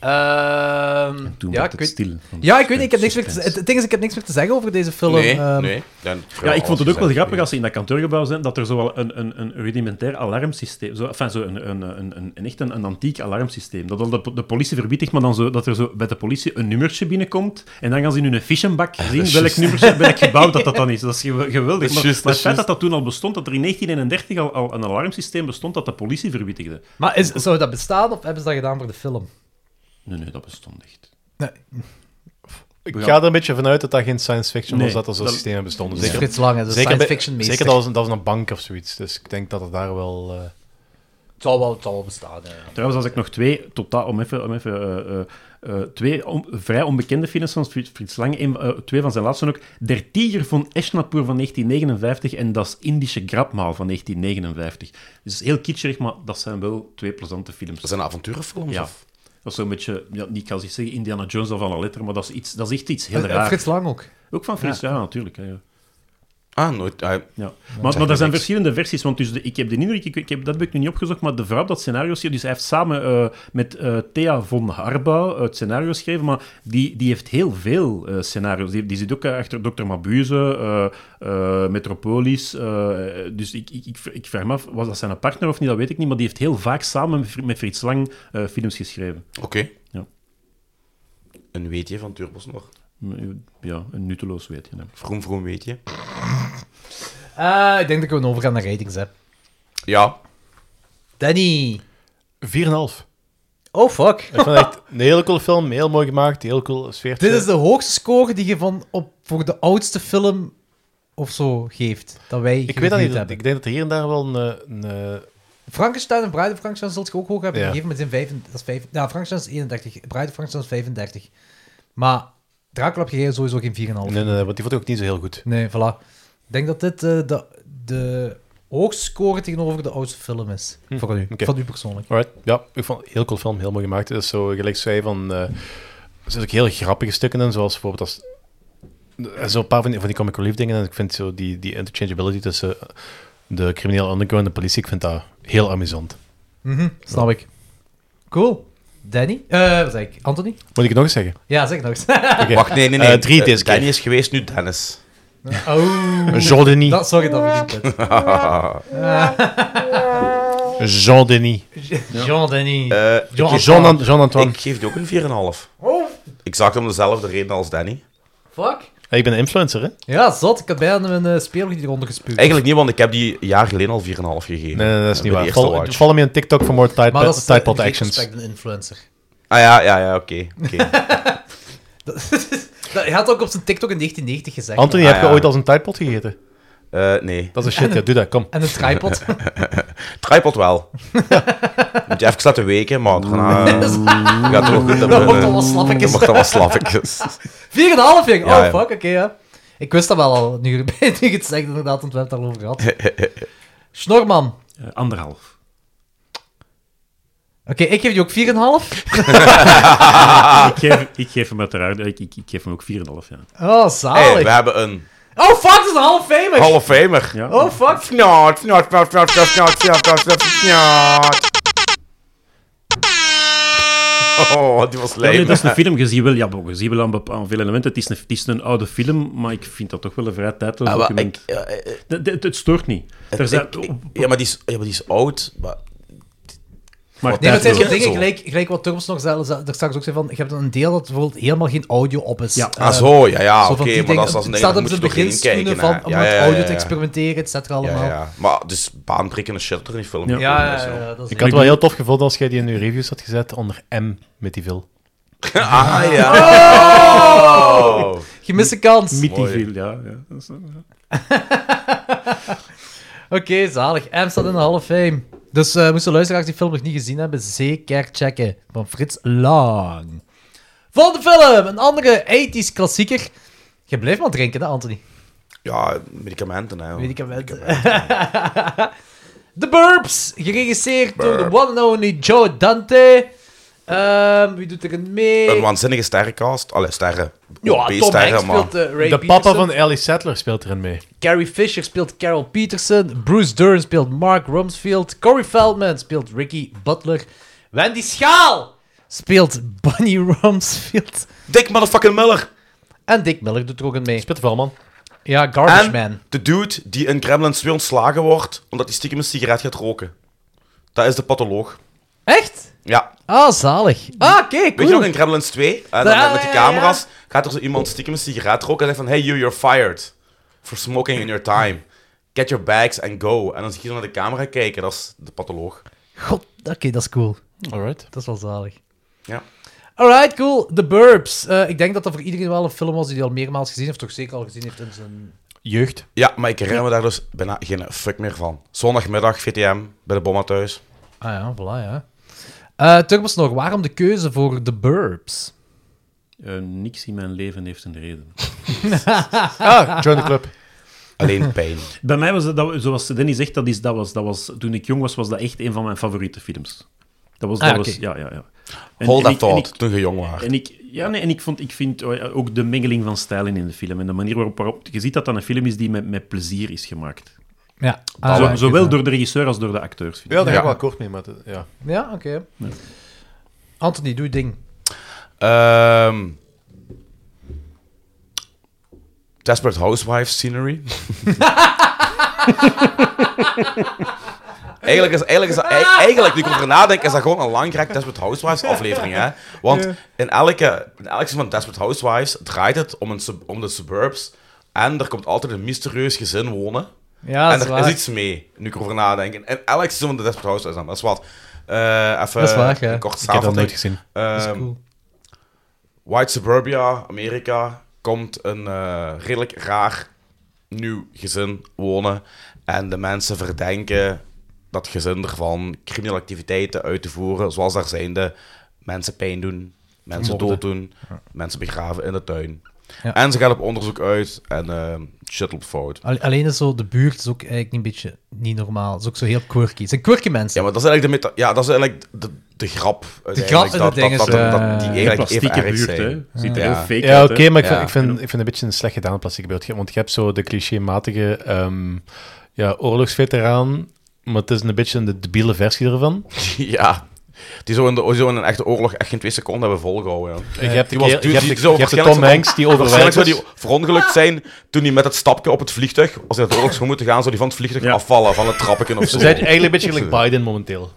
A: Ehm,
F: Toen
A: ja,
F: werd
A: ik
F: het
A: weet,
F: stil. van
A: ja, ik weet niet, ik heb niks meer te,
F: suspense.
A: het, het ding is, ik heb niks meer te zeggen over deze film.
D: Nee,
A: Ehm,
D: nee. Dan-
F: Ja, ik vond het ook wel grappig
D: alles gezegd.
F: als ze in dat kantoorgebouw zijn, dat er zowel een, een, een rudimentair alarmsysteem, zo, enfin, zo een, een, een, een, een echt een, een antiek alarmsysteem, dat al de, po- de politie verbiedt, maar dan zo, dat er zo bij de politie een nummertje binnenkomt en dan gaan ze in hun fischenbak zien welk, nummertje, welk gebouw dat, dat dan is. Dat is gew- geweldig.
D: is
F: maar
D: juist,
F: maar
D: dat is
F: het feit dat dat toen al bestond, dat er in 1931 al, al een alarmsysteem bestond dat de politie verbiedigde.
A: Maar is, zou dat bestaan of hebben ze dat gedaan voor de film?
F: Nee, nee, dat bestond echt.
G: Ik ga er een beetje vanuit dat dat geen science fiction was,
F: Nee,
G: dat er zo'n
F: dat-
G: systeem bestonden.
A: Zeker,
G: Zeker,
A: Frits Lang, hè, de
G: zeker,
A: science
G: bij-
A: fiction meester.
G: zeker dat, was een, dat was een bank of zoiets. Dus ik denk dat het daar wel... eh,
A: het, zal wel, het zal wel bestaan. hè.
F: Trouwens, als ik nog twee, totaal, om even, om even eh, eh, eh, twee on- vrij onbekende films van Frits Frits Lang, een- eh, twee van zijn laatste ook, Der Tiger van Eschnapur van 1959 en Das Indische Grabmaal van 1959. Dus heel kitscherig, maar dat zijn wel twee plezante films.
D: Dat zijn avonturenfilms?
F: ja.
D: of-
F: Dat is zo'n beetje, ja, niet kan ik zeggen Indiana Jones of alle letter, maar dat is, iets, dat is echt iets heel
A: Eh, eh,
F: raar.
A: Frits Lang ook.
F: Ook van Frits, ja, natuurlijk. Hè, ja.
D: Ah, nooit. ah,
F: Ja. Maar, maar er zijn verschillende versies, want dus de- ik heb de indruk, ik, ik heb, dat heb ik nu niet opgezocht, maar de vrouw op dat scenario schreef, dus hij heeft samen eh, met eh, Thea von Harbouw het scenario geschreven, maar die, die heeft heel veel eh, scenario's. Die, die zit ook eh, achter Dr. Mabuse, eh, eh, Metropolis, eh, dus ik, ik, ik, ik vraag me af, was dat zijn partner of niet, dat weet ik niet, maar die heeft heel vaak samen met Fr- met Frits Lang eh, films geschreven.
D: Oké.
F: Ja.
D: Een weetje van Turbos nog.
F: eh, Ja, een nutteloos weet je. hè.
D: Vroom, vroom weetje.
A: Eh, ik denk dat we een overgaan naar ratings hebben.
D: Ja.
A: Danny.
G: 4,5.
A: Oh, fuck.
G: Ik vond het echt een hele coole film, heel mooi gemaakt, heel cool sfeertje.
A: Dit is de hoogste score die je van op, voor de oudste film of zo geeft. Dat wij
G: Ik weet dat niet,
A: hebben.
G: ik denk dat er hier en daar wel een... een eh,
A: Frankenstein en Bride of Frankenstein zult je ook hoog hebben
G: Ja.
A: gegeven, maar die zijn vijf, dat is vijf, nou, Frankenstein is 31, Bride of Frankenstein is 35. Maar Dracula heb gegeven sowieso geen 4,5. Nee.
G: nee, nee, nee, want die vond ik ook niet zo heel goed.
A: voilà. Ik denk dat dit eh, de, de hoogste score tegenover de oudste film is. Voor u,
G: Hm, oké.
A: van u persoonlijk.
G: Alright, ja, ik vond het een heel cool film, heel mooi gemaakt. Het is zo, gelijk zei van... eh, er zitten ook heel grappige stukken in, zoals bijvoorbeeld als... Er zijn een paar van die, van die comic relief dingen en ik vind zo die, die interchangeability tussen de criminele underground en de politie, ik vind dat heel amusant.
A: Mhm, snap ik. Cool. Danny? Eh, wat zei ik? Anthony?
G: Moet ik het nog eens zeggen?
A: Ja, zeg nog eens.
G: Oké.
D: Wacht, nee, nee, nee.
G: Eh, drie
D: Eh,
G: deze keer.
D: Danny is geweest, nu Dennis.
A: Oh.
G: Jean Denis.
A: Dat, sorry, dat verdient het.
D: Eh,
G: Jean Denis.
A: Jean Denis.
D: Eh,
A: Jean-
G: Jean, Jean Antoine.
D: ik geef die ook een 4,5.
A: Oh,
D: Exact om dezelfde reden als Danny.
A: fuck.
G: Hey, ik ben een influencer, hè?
A: Ja, zot. Ik had bijna mijn eh speelgoed hieronder gespuugd.
D: Eigenlijk niet, want ik heb die een jaar geleden al 4,5 gegeven.
G: Nee, nee, nee, dat is
D: Eh,
G: niet
D: bij
G: waar.
D: die eerste
G: Follow,
D: watch.
G: follow me on TikTok for more type,
A: Maar dat is
G: type
A: in
G: of
A: geen
G: actions.
A: respect een influencer.
D: Ah ja, ja, ja, oké. oké.
A: Dat, hij had ook op zijn TikTok in 1990 gezegd.
G: Anthony,
D: Ah,
G: heb je
D: ja.
G: ooit als een typepot gegeten?
D: Eh, nee.
G: Dat is shit, ja, doe dat, kom.
A: En een tripod.
D: Tripod wel. Moet je even laten weken, maar daarna... gaat het wel goed.
A: dat wordt
D: eh,
A: al wat
D: dat
A: slappig.
D: wordt dan wat slappig.
A: 4,5 ging.
D: Ja,
A: Oh,
D: ja.
A: fuck, oké, ja. Ik wist dat wel al, nu je nu je het zegt, inderdaad, want we hebben het daarover gehad. Snorman. Oké,
F: Eh, anderhalf.
A: ik geef je ook 4,5.
F: Ik, geef, ik geef hem uiteraard, ik, ik, ik geef hem ook 4,5. Ja.
A: Oh,
D: Hey,
A: zalig.
D: we hebben een
A: Oh, fuck, dat is een half famer.
D: Hall of Famer.
F: Ja.
A: Oh, fuck.
D: Snort, snort, snort, snort, snort, snort, snort, snort, snort, snort. Oh, die was
F: Ja, nee,
D: leuk.
F: dat is een film, je ziet wel, ja, bon, je ziet wel aan, bepa- aan veel elementen. Het is, een, het is een oude film, maar ik vind dat toch wel een vrij tijdloos
D: Ah, maar
F: document.
D: ik- ja, eh, eh,
F: De- de- het, het stoort niet. Er zijn,
D: ik- ik- Ja, maar die is- ja, maar die is oud. maar-
F: maar
A: Nee, maar het zijn
F: tijdloos.
A: zo'n dingen,
D: Zo.
A: gelijk, gelijk wat Turbos nog zei, daar straks ook zei van, je hebt een deel dat bijvoorbeeld helemaal geen audio op is.
F: Ja.
A: Eh,
D: Ah, zo, ja, ja,
A: zo
D: oké.
A: van die dingen.
D: maar dat is, dat is
A: Het
D: een ding,
A: staat
D: daar
A: op
D: moet je
A: zijn
D: toch heen
A: beginschoenen
D: kijken.
A: van,
D: hè.
A: om met audio te experimenteren, et cetera,
D: Ja,
A: allemaal. Ja,
D: ja. Maar dus baanprikkende shit er in die film.
F: Ja.
A: ja, ja, dat is
G: Ik had het
F: Ik
G: wel
F: doe-
G: heel tof gevonden als jij die in je reviews had gezet onder M met die vil.
D: Ah, ja. Oh.
A: Gemiste kans.
F: Mythiviel, ja. ja. Dat is- ja.
A: Oké, zalig. M staat in de Hall of Fame. Dus eh, moesten luisteraars die film nog niet gezien hebben, zeker checken. Van Frits Lang. Volgende film, een andere 80s klassieker. Je blijft maar drinken, hè, Anthony?
D: Ja, medicamenten, hè.
A: Medicamenten. The Burbs, geregisseerd door de one and only Joe Dante. Ehm, wie doet er een mee?
D: Een waanzinnige sterrencast. Allee, sterren.
A: ja, Tom
D: B-sterren,
A: Hanks
D: maar-
A: speelt eh, Ray
G: De papa
A: Peterson.
G: van Ellie Sattler speelt erin mee.
A: Carrie Fisher speelt Carol Peterson. Bruce Dern speelt Mark Rumsfeld. Corey Feldman speelt Ricky Butler. Wendy Schaal speelt Bunny Rumsfeld.
D: Dick motherfucking Miller.
A: En Dick Miller doet er ook een mee.
G: Speelt er wel, man.
A: Ja, Garbage
D: En
A: Man.
D: de dude die in Kremlin 2 ontslagen wordt omdat hij stiekem een sigaret gaat roken. Dat is de patholoog.
A: Echt?
D: Ja.
A: Ah, zalig. Ah, oké,
D: Weet
A: cool.
D: je nog, in Gremlins 2, hè, dan
A: Ja,
D: met die
A: Ah, ja, ja.
D: camera's, gaat er zo iemand stiekem een sigaret roken en zegt van, hey you, you're fired. For smoking in your time. Get your bags and go. En dan zie je zo naar de camera kijken, dat is de patholoog.
A: God, oké, dat is cool.
G: Alright.
A: Dat is wel zalig.
D: Ja.
A: Alright, cool. The Burbs. Eh, ik denk dat dat voor iedereen wel een film was die hij al meermaals gezien heeft, toch zeker al gezien heeft in zijn...
G: Jeugd.
D: Ja, maar ik herinner me daar dus bijna geen fuck meer van. Zondagmiddag, VTM, bij de bomma thuis.
A: Ah ja, voilà, ja. Eh Turbos nog, waarom de keuze voor The Burbs?
F: Eh, niks in mijn leven heeft een reden.
G: Ah, join the club.
D: Alleen pijn.
F: Bij mij was dat- dat, zoals Denny zegt, dat, is, dat, was, dat was, toen ik jong was, was dat echt een van mijn favoriete films. Dat was,
A: Ah,
F: dat
A: oké.
F: was ja, ja, ja. En-
D: Hold
F: en
D: that
F: ik- en ik-
D: thought, toen je jong was.
F: En ik, ja, nee, en ik, vond, ik vind oh ja, ook de mengeling van stijlen in de film en de manier waarop, waarop je ziet dat dat een film is die met, met plezier is gemaakt.
A: Ah, Ja.
F: Zo- zowel door de regisseur als door de acteurs. Vind ik.
G: Ja, daar ga ik
D: Ja.
G: wel kort mee, maar dat- ja.
A: Ja, oké. Anthony, doe je ding.
D: Ehm Desperate Housewives scenery. eigenlijk, is, eigenlijk, is dat, ei- eigenlijk, nu ik erover nadenk, is dat gewoon een langgerekt Desperate Housewives aflevering. Hè? Want in elke, in elk seizoen van Desperate Housewives draait het om, een sub- om de suburbs. En er komt altijd een mysterieus gezin wonen.
A: Ja,
D: en
A: dat is
D: er
A: waar.
D: is iets mee, nu ik erover nadenk. En elk seizoen van de Desperate Housewives, dan, dat is wat. Eh, even
A: Dat is waar, ja.
D: een kort
G: Ik heb dat
D: samenvatting.
G: nooit gezien.
A: Dat is
D: Ehm,
A: cool.
D: White Suburbia, Amerika, komt een eh, redelijk raar nieuw gezin wonen. En de mensen verdenken dat gezin ervan criminele activiteiten uit te voeren, zoals daar zijnde mensen pijn doen, mensen
G: Moorden.
D: dood doen, mensen begraven in de tuin.
A: Ja.
D: En ze gaan op onderzoek uit en eh, shit loopt fout.
A: Al- Alleen is zo, de buurt is ook eigenlijk een beetje niet normaal. Het is ook zo heel quirky. Het zijn quirky mensen.
D: Ja, maar dat is eigenlijk de, meta- ja, dat is eigenlijk de, de grap. uiteindelijk,
A: grap en
D: dat,
A: het ding
D: dat,
A: is,
D: dat,
A: eh,
D: dat
A: de
D: die
F: Een
D: eigenlijk even
F: plastieke
D: erg
F: buurt,
D: zijn.
F: hè. Ziet er
D: Ja.
F: heel fake
G: Ja,
F: uit,
G: oké,
F: hè.
G: maar ik,
D: Ja.
G: vind, ik, vind, ik vind een beetje een slecht gedaan plastic beeld. Want je hebt zo de clichématige ehm ja, oorlogsveteraan, maar het is een beetje een debiele versie ervan.
D: Ja. Die zo in, de, zo in een echte oorlog echt geen twee seconden hebben volgehouden. joh.
G: je hebt de,
D: Eh, die was
G: keer-
D: duur,
G: je
D: die
G: hebt de,
D: zou
G: je hebt de
D: waarschijnlijk
G: Tom
D: zo-
G: Hanks die
D: Waarschijnlijk zou die
G: overwerkt
D: verongelukt zijn toen hij met het stapje op het vliegtuig, als hij naar de oorlog zou moeten gaan, zou die van het vliegtuig
F: Ja.
D: afvallen, van het trappetje of
G: Ze
D: zo.
G: zijn eigenlijk een beetje gelijk Biden momenteel.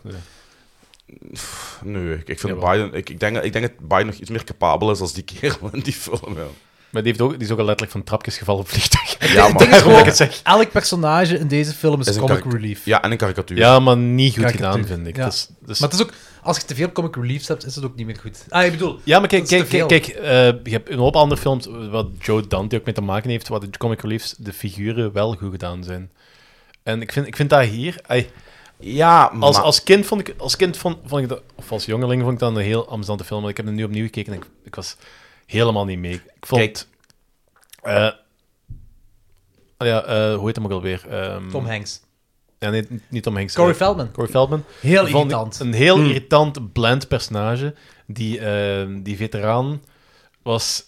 D: Nee, ik, ik vind
G: Jawel.
D: Biden... Ik, ik, denk, ik denk dat Biden nog iets meer capabel is als die kerel in die film, joh.
G: Maar die, heeft ook, die is ook al letterlijk van trapjes gevallen op vliegtuig.
D: Ja,
A: Het ding is
D: maar...
G: Daarom dat ik
A: gewoon,
G: het zeg.
A: elk personage in deze film is,
D: Is een
A: comic
D: karak-
A: relief.
D: Ja, en een karikatuur.
G: Ja, maar niet goed
A: Kijk,
G: gedaan,
A: natuurlijk.
G: vind ik.
A: Ja.
G: Dat is, dat is-
A: Maar het is ook, als je te veel comic reliefs hebt, is het ook niet meer goed. Ah, ik bedoel,
G: Ja, maar kijk,
A: Dat
G: kijk,
A: is te
G: kijk, kijk, eh, je hebt een hoop andere films wat Joe Dante ook mee te maken heeft, waar de comic reliefs, de figuren wel goed gedaan zijn. En ik vind, ik vind dat hier... ai,
D: Ja, maar...
G: als, als kind, vond ik, als kind vond, vond ik dat, of als jongeling vond ik dat een heel amusante film, maar ik heb hem nu opnieuw gekeken en ik, ik was helemaal niet mee. Ik vond...
D: Kijk.
G: eh, ah ja, eh, hoe heet hem ook alweer? Ehm,
A: Tom Hanks.
G: Ja, nee, niet Tom Hanks.
A: Corey
G: eh,
A: Feldman.
G: Corey Feldman.
A: Heel
G: Vond ik
A: irritant.
G: Een heel irritant, bland personage. Die, eh, die veteraan was...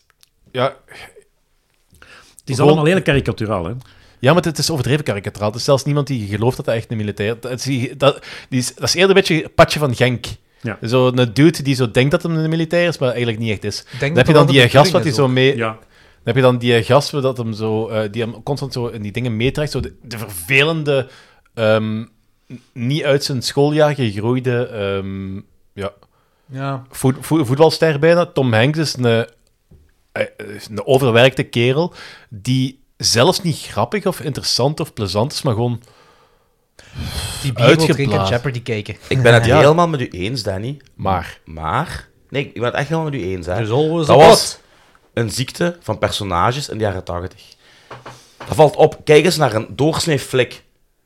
G: Ja,
F: Het is
G: Gewoon-
F: allemaal heel karikaturaal, hè?
G: ja, maar het is overdreven karikaturaal. Het is zelfs niemand die gelooft dat hij echt een militair... Dat is, dat, die is, dat is eerder een beetje het padje van Genk.
F: Ja.
G: Zo'n dude die zo denkt dat hij een militair is, maar eigenlijk niet echt is.
A: Denk
G: Dan
A: dat
G: heb je
A: dat
G: dan
A: de
G: die gast wat
A: bedoeling
G: hij
A: is
G: zo
A: ook.
G: mee...
F: Ja.
G: Dan heb je dan die gast wat dat hem zo, eh, die hem constant zo in die dingen meetrekt. Zo de, de vervelende, ehm, n- niet uit zijn schooljaar gegroeide ehm, ja,
A: Ja.
G: voet, voet- voetbalster bijna. Tom Hanks is een, eh, is een overwerkte kerel die zelfs niet grappig of interessant of plezant is, maar gewoon...
A: Die bier wil drinken en
G: Uitgeblazen.
A: Jeopardy kijken.
D: Ik ben het
G: Ja.
D: helemaal met u eens, Danny.
G: Maar...
D: Maar... Nee, ik ben het echt helemaal met u eens, hè.
A: always
D: Dat was een ziekte van personages in de jaren 80. Dat valt op. Kijk eens naar een doorsnee flik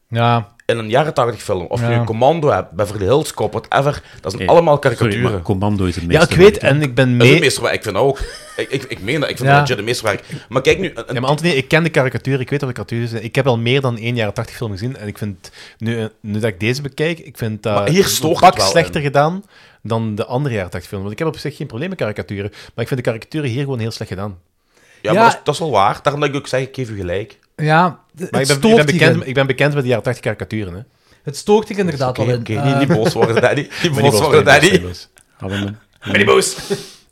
A: Ja.
D: in een jaren 80 film. Of je
A: Ja.
D: een commando hebt, Beverly Hills Cop, whatever. Dat zijn
F: Nee,
D: allemaal
F: Sorry, maar
D: karikaturen.
F: Commando is het
G: Ja,
F: meeste.
G: ik weet, en ik ben
D: Dat is
G: mee...
D: een meesterwerk. Ik vind dat ook. Ik, ik, ik meen dat. Ik vind
A: Ja.
D: dat legit een meesterwerk. Maar kijk nu... een- een-
G: Ja, maar Anthony, ik ken de karikatuur, ik weet wat de karikatuur is. Ik heb al meer dan één jaren 80 film gezien. En ik vind, nu, nu dat ik deze bekijk, ik vind dat
D: Maar hier stoort
G: een pak
D: het wel
G: slechter
D: in.
G: gedaan dan de andere jaren 80 film. Want ik heb op zich geen probleem met karikaturen. Maar ik vind de karikaturen hier gewoon heel slecht gedaan.
D: ja,
A: Ja.
D: maar dat is, dat is wel waar. Daarom dat ik ook zeg, ik geef u gelijk.
A: Ja, d- het,
G: Maar ik ben, ik, ben
A: stoort hierin.
G: bekend, ik ben bekend met de jaren 80 karikaturen. Hè.
A: het stoort hier inderdaad
D: Oké,
A: wel in.
D: oké,
A: Eh,
D: niet, niet boos worden, Danny. Niet
G: Maar die
D: boos
G: was
D: worden,
G: wel heel
D: Danny.
G: boos.
F: Ademen.
D: Ben niet boos.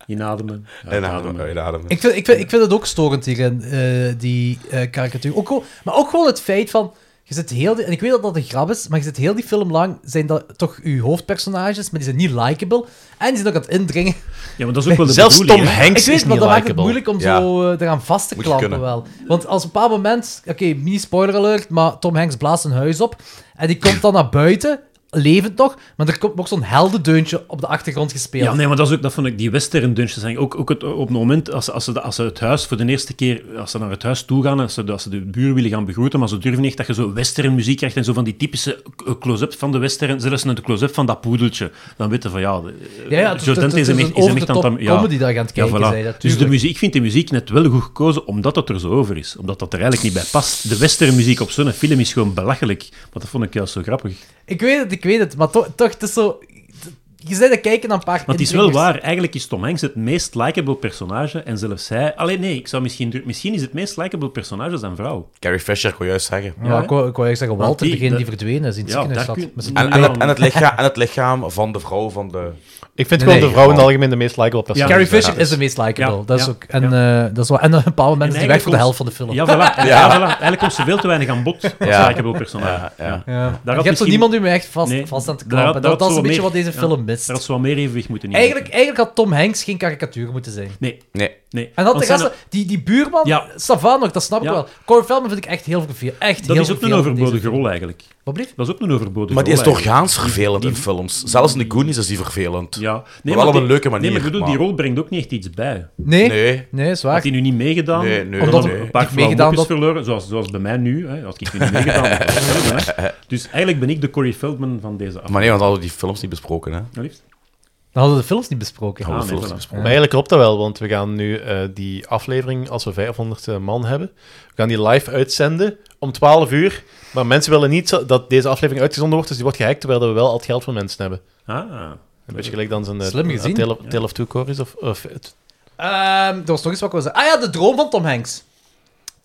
F: Inademen. Ja,
D: Inademen, inademen.
A: ik, vind, ik, vind, ik vind het ook storend hierin, eh, die eh karikatuur. Ook, gewoon- maar ook gewoon het feit van... Je zit heel die- en ik weet dat dat een grap is, maar je zit heel die film lang... Zijn dat toch uw hoofdpersonages, maar die zijn niet likable. En die zijn ook aan het indringen.
F: Ja, maar dat is ook wel de
G: Zelfs Tom
F: bedoeling, hè?
G: Hanks
A: ik weet,
G: is
A: het, maar
G: niet
A: dat maakt het
G: likable.
A: moeilijk om
D: Ja.
A: zo eh, eraan vast te
D: Moet je
A: klampen
D: kunnen.
A: wel. Want als op een bepaald moment... Oké, mini-spoiler alert, maar Tom Hanks blaast een huis op. En die komt dan naar buiten, levend nog. Maar er komt ook zo'n heldendeuntje op de achtergrond gespeeld.
F: Ja, nee, maar dat, is ook, dat vond ik die western dungeons. eigenlijk Ook, ook het, op het moment als, ze- als, ze, de- als ze het huis voor de eerste keer, als ze naar het huis toe gaan, als ze, de- als ze de buren willen gaan begroeten, maar ze durven niet echt dat je zo western muziek krijgt en zo van die typische k- eh, close-up van de western, zelfs een close-up van dat poedeltje. Dan weten van ja, de-
A: Ja, ja,
F: Joe
A: het, het, het
F: Dante
A: is
F: hem
A: een
F: echt- hem
A: over
F: echt
A: de
F: aan het
A: top
F: am- ja.
A: comedy dat je aan het
F: Ja,
A: kijken
F: voilà.
A: zei, dat
F: dus de muziek, ik vind de muziek net wel goed gekozen omdat dat er zo over is. Omdat dat er eigenlijk niet bij past. De western muziek op zo'n film is gewoon belachelijk. Maar dat vond ik juist zo grappig.
A: Ik weet het, ik weet het, maar toch, toch het is zo... Je zei dat kijken naar een paar
F: Maar het is wel
A: indringers.
F: waar, eigenlijk is Tom Hanks het meest likable personage. En zelfs zij. Alleen nee, ik zou misschien. dur- Misschien is het meest likable personage zijn vrouw.
D: Carrie Fisher, ik wil juist zeggen.
A: Ja, ik wou, ik wou echt zeggen,
F: Want
A: Walter,
F: die-
A: degene die
F: dat-
A: verdwenen is in het
F: Ja,
A: ziekenhuis
F: daar
A: zat.
F: kun-
A: met zijn-
D: En, en, het, en, het lichaam, en het lichaam van de vrouw van de...
G: Ik
A: Nee,
G: vind gewoon de
A: nee,
G: vrouw in het
D: gewoon.
G: algemeen de meest likable
F: Ja.
G: personage.
A: Carrie Fisher
D: ja.
A: is de meest likable,
F: Ja,
A: dat is
F: ja,
A: ook... En, eh, dat is wel, en op een bepaald moment is die weg voor de helft van de
F: eigenlijk
A: film.
F: Ja, voilà. En-
D: Ja.
F: ja, voilà. Eigenlijk komt ze veel te weinig aan bod als
D: Ja.
F: likable personage.
D: Ja, ja.
A: Ja.
F: had
A: Je hebt zo
F: misschien-
A: niemand die me echt vast,
F: Nee,
A: vast aan het
F: daar had-
A: klappen.
F: daar
A: Dat,
F: had
A: dat is
F: zo
A: een beetje
F: meer-
A: wat deze
F: ja,
A: film mist.
F: Daar had ze wat meer evenwicht moeten nemen.
A: Eigenlijk, eigenlijk had Tom Hanks geen karikatuur moeten zijn.
F: Nee,
D: Nee.
F: nee.
A: En dat de
F: Want zijn
A: gasten, die, die buurman,
F: Ja.
A: Savan nog, dat snap ik
F: Ja.
A: wel. Corey Feldman vind ik echt heel veel. Echt
F: dat
A: heel
F: is ook een
A: vervelend in deze
F: overbodige
A: film.
F: rol eigenlijk.
A: Wat blieft?
F: Dat is ook een overbodige
D: Maar die is
F: rol eigenlijk.
D: doorgaans vervelend in films. Zelfs in de Goonies is die vervelend.
F: Ja.
D: wel op
F: die-
D: een leuke
F: Nee,
D: manier,
F: maar ik bedoel, die
D: maar-
F: rol brengt ook niet echt iets bij.
A: Nee, nee,
D: Nee.
A: is
F: Had
A: waar.
F: hij nu niet meegedaan?
D: Nee, nee,
F: omdat
D: nee.
F: een paar
A: Niet
F: flauwe
A: meegedaan,
F: mopjes
A: dat-
F: verloren, zoals, zoals bij mij nu. Hè, had ik nu niet meegedaan. had ik het verloren, hè. Dus eigenlijk ben ik de Corey Feldman van deze aflevering.
D: Maar nee, want we hadden die films niet besproken, hè.
F: Nou, liefst.
A: Dan hadden we de films niet besproken.
F: Ah,
D: Hadden
F: nee,
D: we films
F: voilà.
D: niet besproken.
G: Maar eigenlijk klopt dat wel, want we gaan nu eh, die aflevering, als we 500 man hebben, we gaan die live uitzenden om 12 uur. Maar mensen willen niet zo- dat deze aflevering uitgezonden wordt, dus die wordt gehackt, terwijl we wel al het geld van mensen hebben.
F: Ah,
G: Een beetje gelijk dan zijn eh,
A: Slim gezien.
G: Tale of, Tale of Two Cories. Of, of, het-
A: Ehm, er was nog iets wat ik wil zeggen. Ah ja, de droom van Tom Hanks.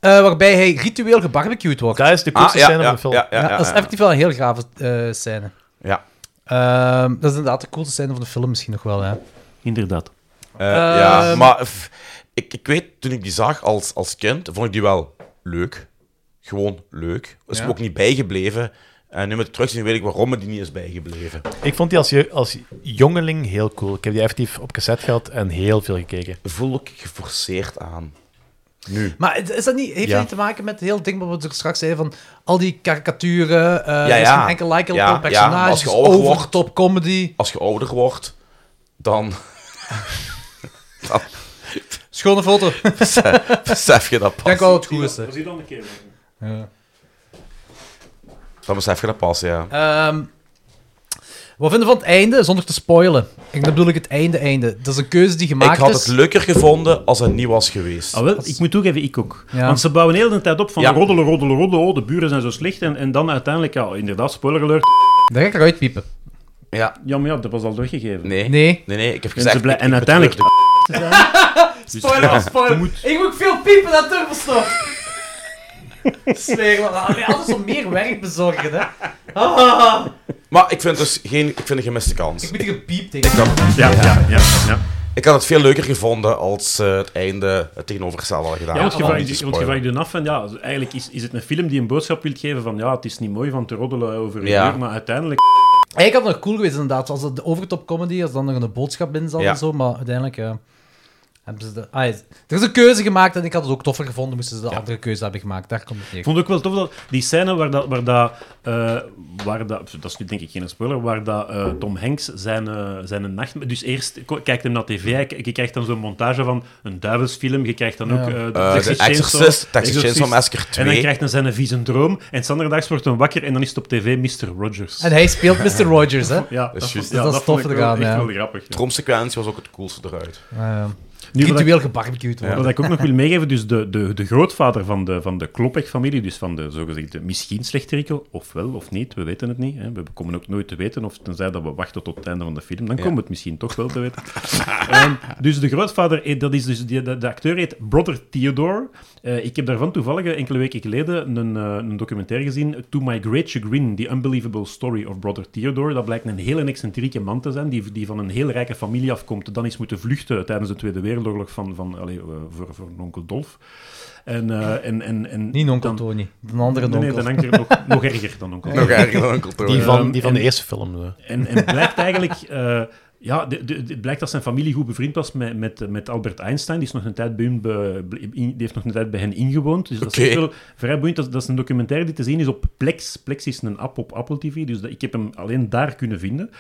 A: Eh, waarbij hij ritueel gebarbecued wordt.
G: dat is de
D: Ah,
G: coolste
D: ja,
G: scène van
D: ja,
G: de film.
D: ja, ja,
A: Ja,
D: ja,
A: dat is
D: ja.
A: effectief wel een heel gave eh, scène.
D: Ja.
A: Ehm, dat is inderdaad de coolste scène van de film misschien nog wel. Hè.
F: inderdaad.
D: Eh, ja,
A: Ehm.
D: maar f- ik, ik weet, toen ik die zag als, als kind, vond ik die wel leuk. Gewoon leuk. Is
A: Ja.
D: me ook niet bijgebleven. En nu met het terugzien weet ik waarom me die niet is bijgebleven.
G: Ik vond die als, je- als jongeling heel cool. Ik heb die effectief op cassette gehad en heel veel gekeken.
D: Voel ik geforceerd aan. Nu.
A: Maar is is dat niet, heeft dat niet te maken met het hele ding wat we er straks zeiden van al die karikaturen, eh ja,
D: ja.
A: enkel like
D: Ja,
A: ja,
D: ja, als
A: personages,
D: je ouder wordt-
A: over top comedy,
D: Als je ouder wordt, dan
A: schone foto. Ik
D: besef je dat pas.
A: denk wel dat het goed is. hè.
F: zie je dan een keer.
D: Dan besef je dat pas, ja.
A: Ehm, wat vinden we van het einde, zonder te spoilen? Ik bedoel ik het einde, einde. Dat is een keuze die gemaakt
D: Ik had het
A: is.
D: leuker gevonden als het niet was geweest.
F: Ah, wel, ik moet toegeven, ik ook.
A: Ja.
F: Want ze bouwen heel de tijd op van
D: Ja.
F: roddelen, roddelen, roddelen, oh, de buren zijn zo slecht. En, en dan uiteindelijk, ja, inderdaad, spoiler alert.
A: Daar ga ik eruit piepen.
D: Ja,
F: Ja, maar ja, dat was al weggegeven.
D: nee. Nee,
A: Nee.
D: nee, ik heb
F: En,
D: gezegd...
F: ze blij-
D: ik-
F: en
D: ik
F: uiteindelijk...
D: betreur
F: Dus-
A: Spoiler, spoiler. Ik moet veel piepen naar Turbostof. Smeer, altijd zo meer werk bezorgen, hè. Ah,
D: de- Maar ik vind dus geen, ik vind een gemiste kans.
A: ik moet hier piep tegen.
F: Ja, ja, ja. ja.
D: Ik had het veel leuker gevonden als eh, het einde het tegenovergestelde had gedaan.
F: Ja, want je
D: Om
F: vraagt
D: niet te
F: je- want je
D: spoilen.
F: vraagt je dan af van ja, eigenlijk is, is het een film die een boodschap wil geven van ja, het is niet mooi van te roddelen over een
D: Ja.
F: deur, maar uiteindelijk.
A: Ik had het nog cool geweest, inderdaad. Als het de overtop comedy, als dan nog een boodschap in zat
D: Ja.
A: en zo. Maar uiteindelijk eh, hebben ze de... Ah, ja, er is een keuze gemaakt en ik had het ook toffer gevonden moesten ze de andere keuze hebben gemaakt. Daar komt het
F: Ik
A: neer.
F: vond ook wel tof dat die scène waar dat, waar dat, eh, waar dat dat is nu denk ik geen spoiler, waar dat eh, Tom Hanks zijn, eh, zijn nacht, dus eerst ko- kijkt hem naar tv, hij k- je krijgt dan zo'n montage van een duivelsfilm, je krijgt dan ook eh,
D: Eh, de
F: Texas Chainsaw-
D: Exorcist, Texas Chainsaw Massacre
F: en dan
D: 2.
F: krijgt hij zijn vieze droom, en zanderdags wordt hij wakker en dan is het op tv Mr. Rogers.
A: En hij speelt Mr. Rogers, hè.
F: ja,
D: is juist.
F: vond-
A: Dat is
F: dat
A: tof
F: vond ik wel
A: eraan,
F: echt
A: ja.
F: wel grappig. ja.
D: De tromsequentie was ook het coolste eruit.
A: Uh,
F: Nu dat ik-
A: ritueel gebarbecued worden.
F: Wat ik ook nog wil meegeven, dus de, de, de grootvader van de, van de Klopek-familie, dus van de zogezegde misschien slechterikel, of wel of niet, we weten het niet. Hè. We komen ook nooit te weten, of tenzij dat we wachten tot het einde van de film, dan komen we het misschien toch wel te weten. Ehm, dus de grootvader, eh, dat is dus, die, de, de acteur heet Brother Theodore. Eh, ik heb daarvan toevallig eh, enkele weken geleden een, eh, een documentaire gezien, To My Great Chagrin, The Unbelievable Story of Brother Theodore. Dat blijkt een hele excentrieke man te zijn, die, die van een heel rijke familie afkomt, dan is moeten vluchten tijdens de Tweede Wereldoorlog van, van, allee, eh, voor, voor een onkel Dolf. En, eh, en, en, en
A: Niet onkel
F: dan-
A: Tony, een andere
F: Nee,
A: onkel.
F: nee, dan hangt er nog, nog erger dan onkel
D: Nog erger dan Uncle Tony.
G: Die
F: Ehm,
G: van, die van
F: en-
G: de eerste film. eh.
F: en, en blijkt eigenlijk... eh, ja, de- de- de- het blijkt dat zijn familie goed bevriend was met, met, met Albert Einstein. Die, is nog een tijd bij hun be- be- in- die heeft nog een tijd bij hen ingewoond. Dus dat is
D: Oké.
F: echt wel vrij boeiend. Dat, is- dat is een documentaire die te zien is op Plex. Plex is een app op Apple TV. Dus dat, ik heb hem alleen daar kunnen vinden.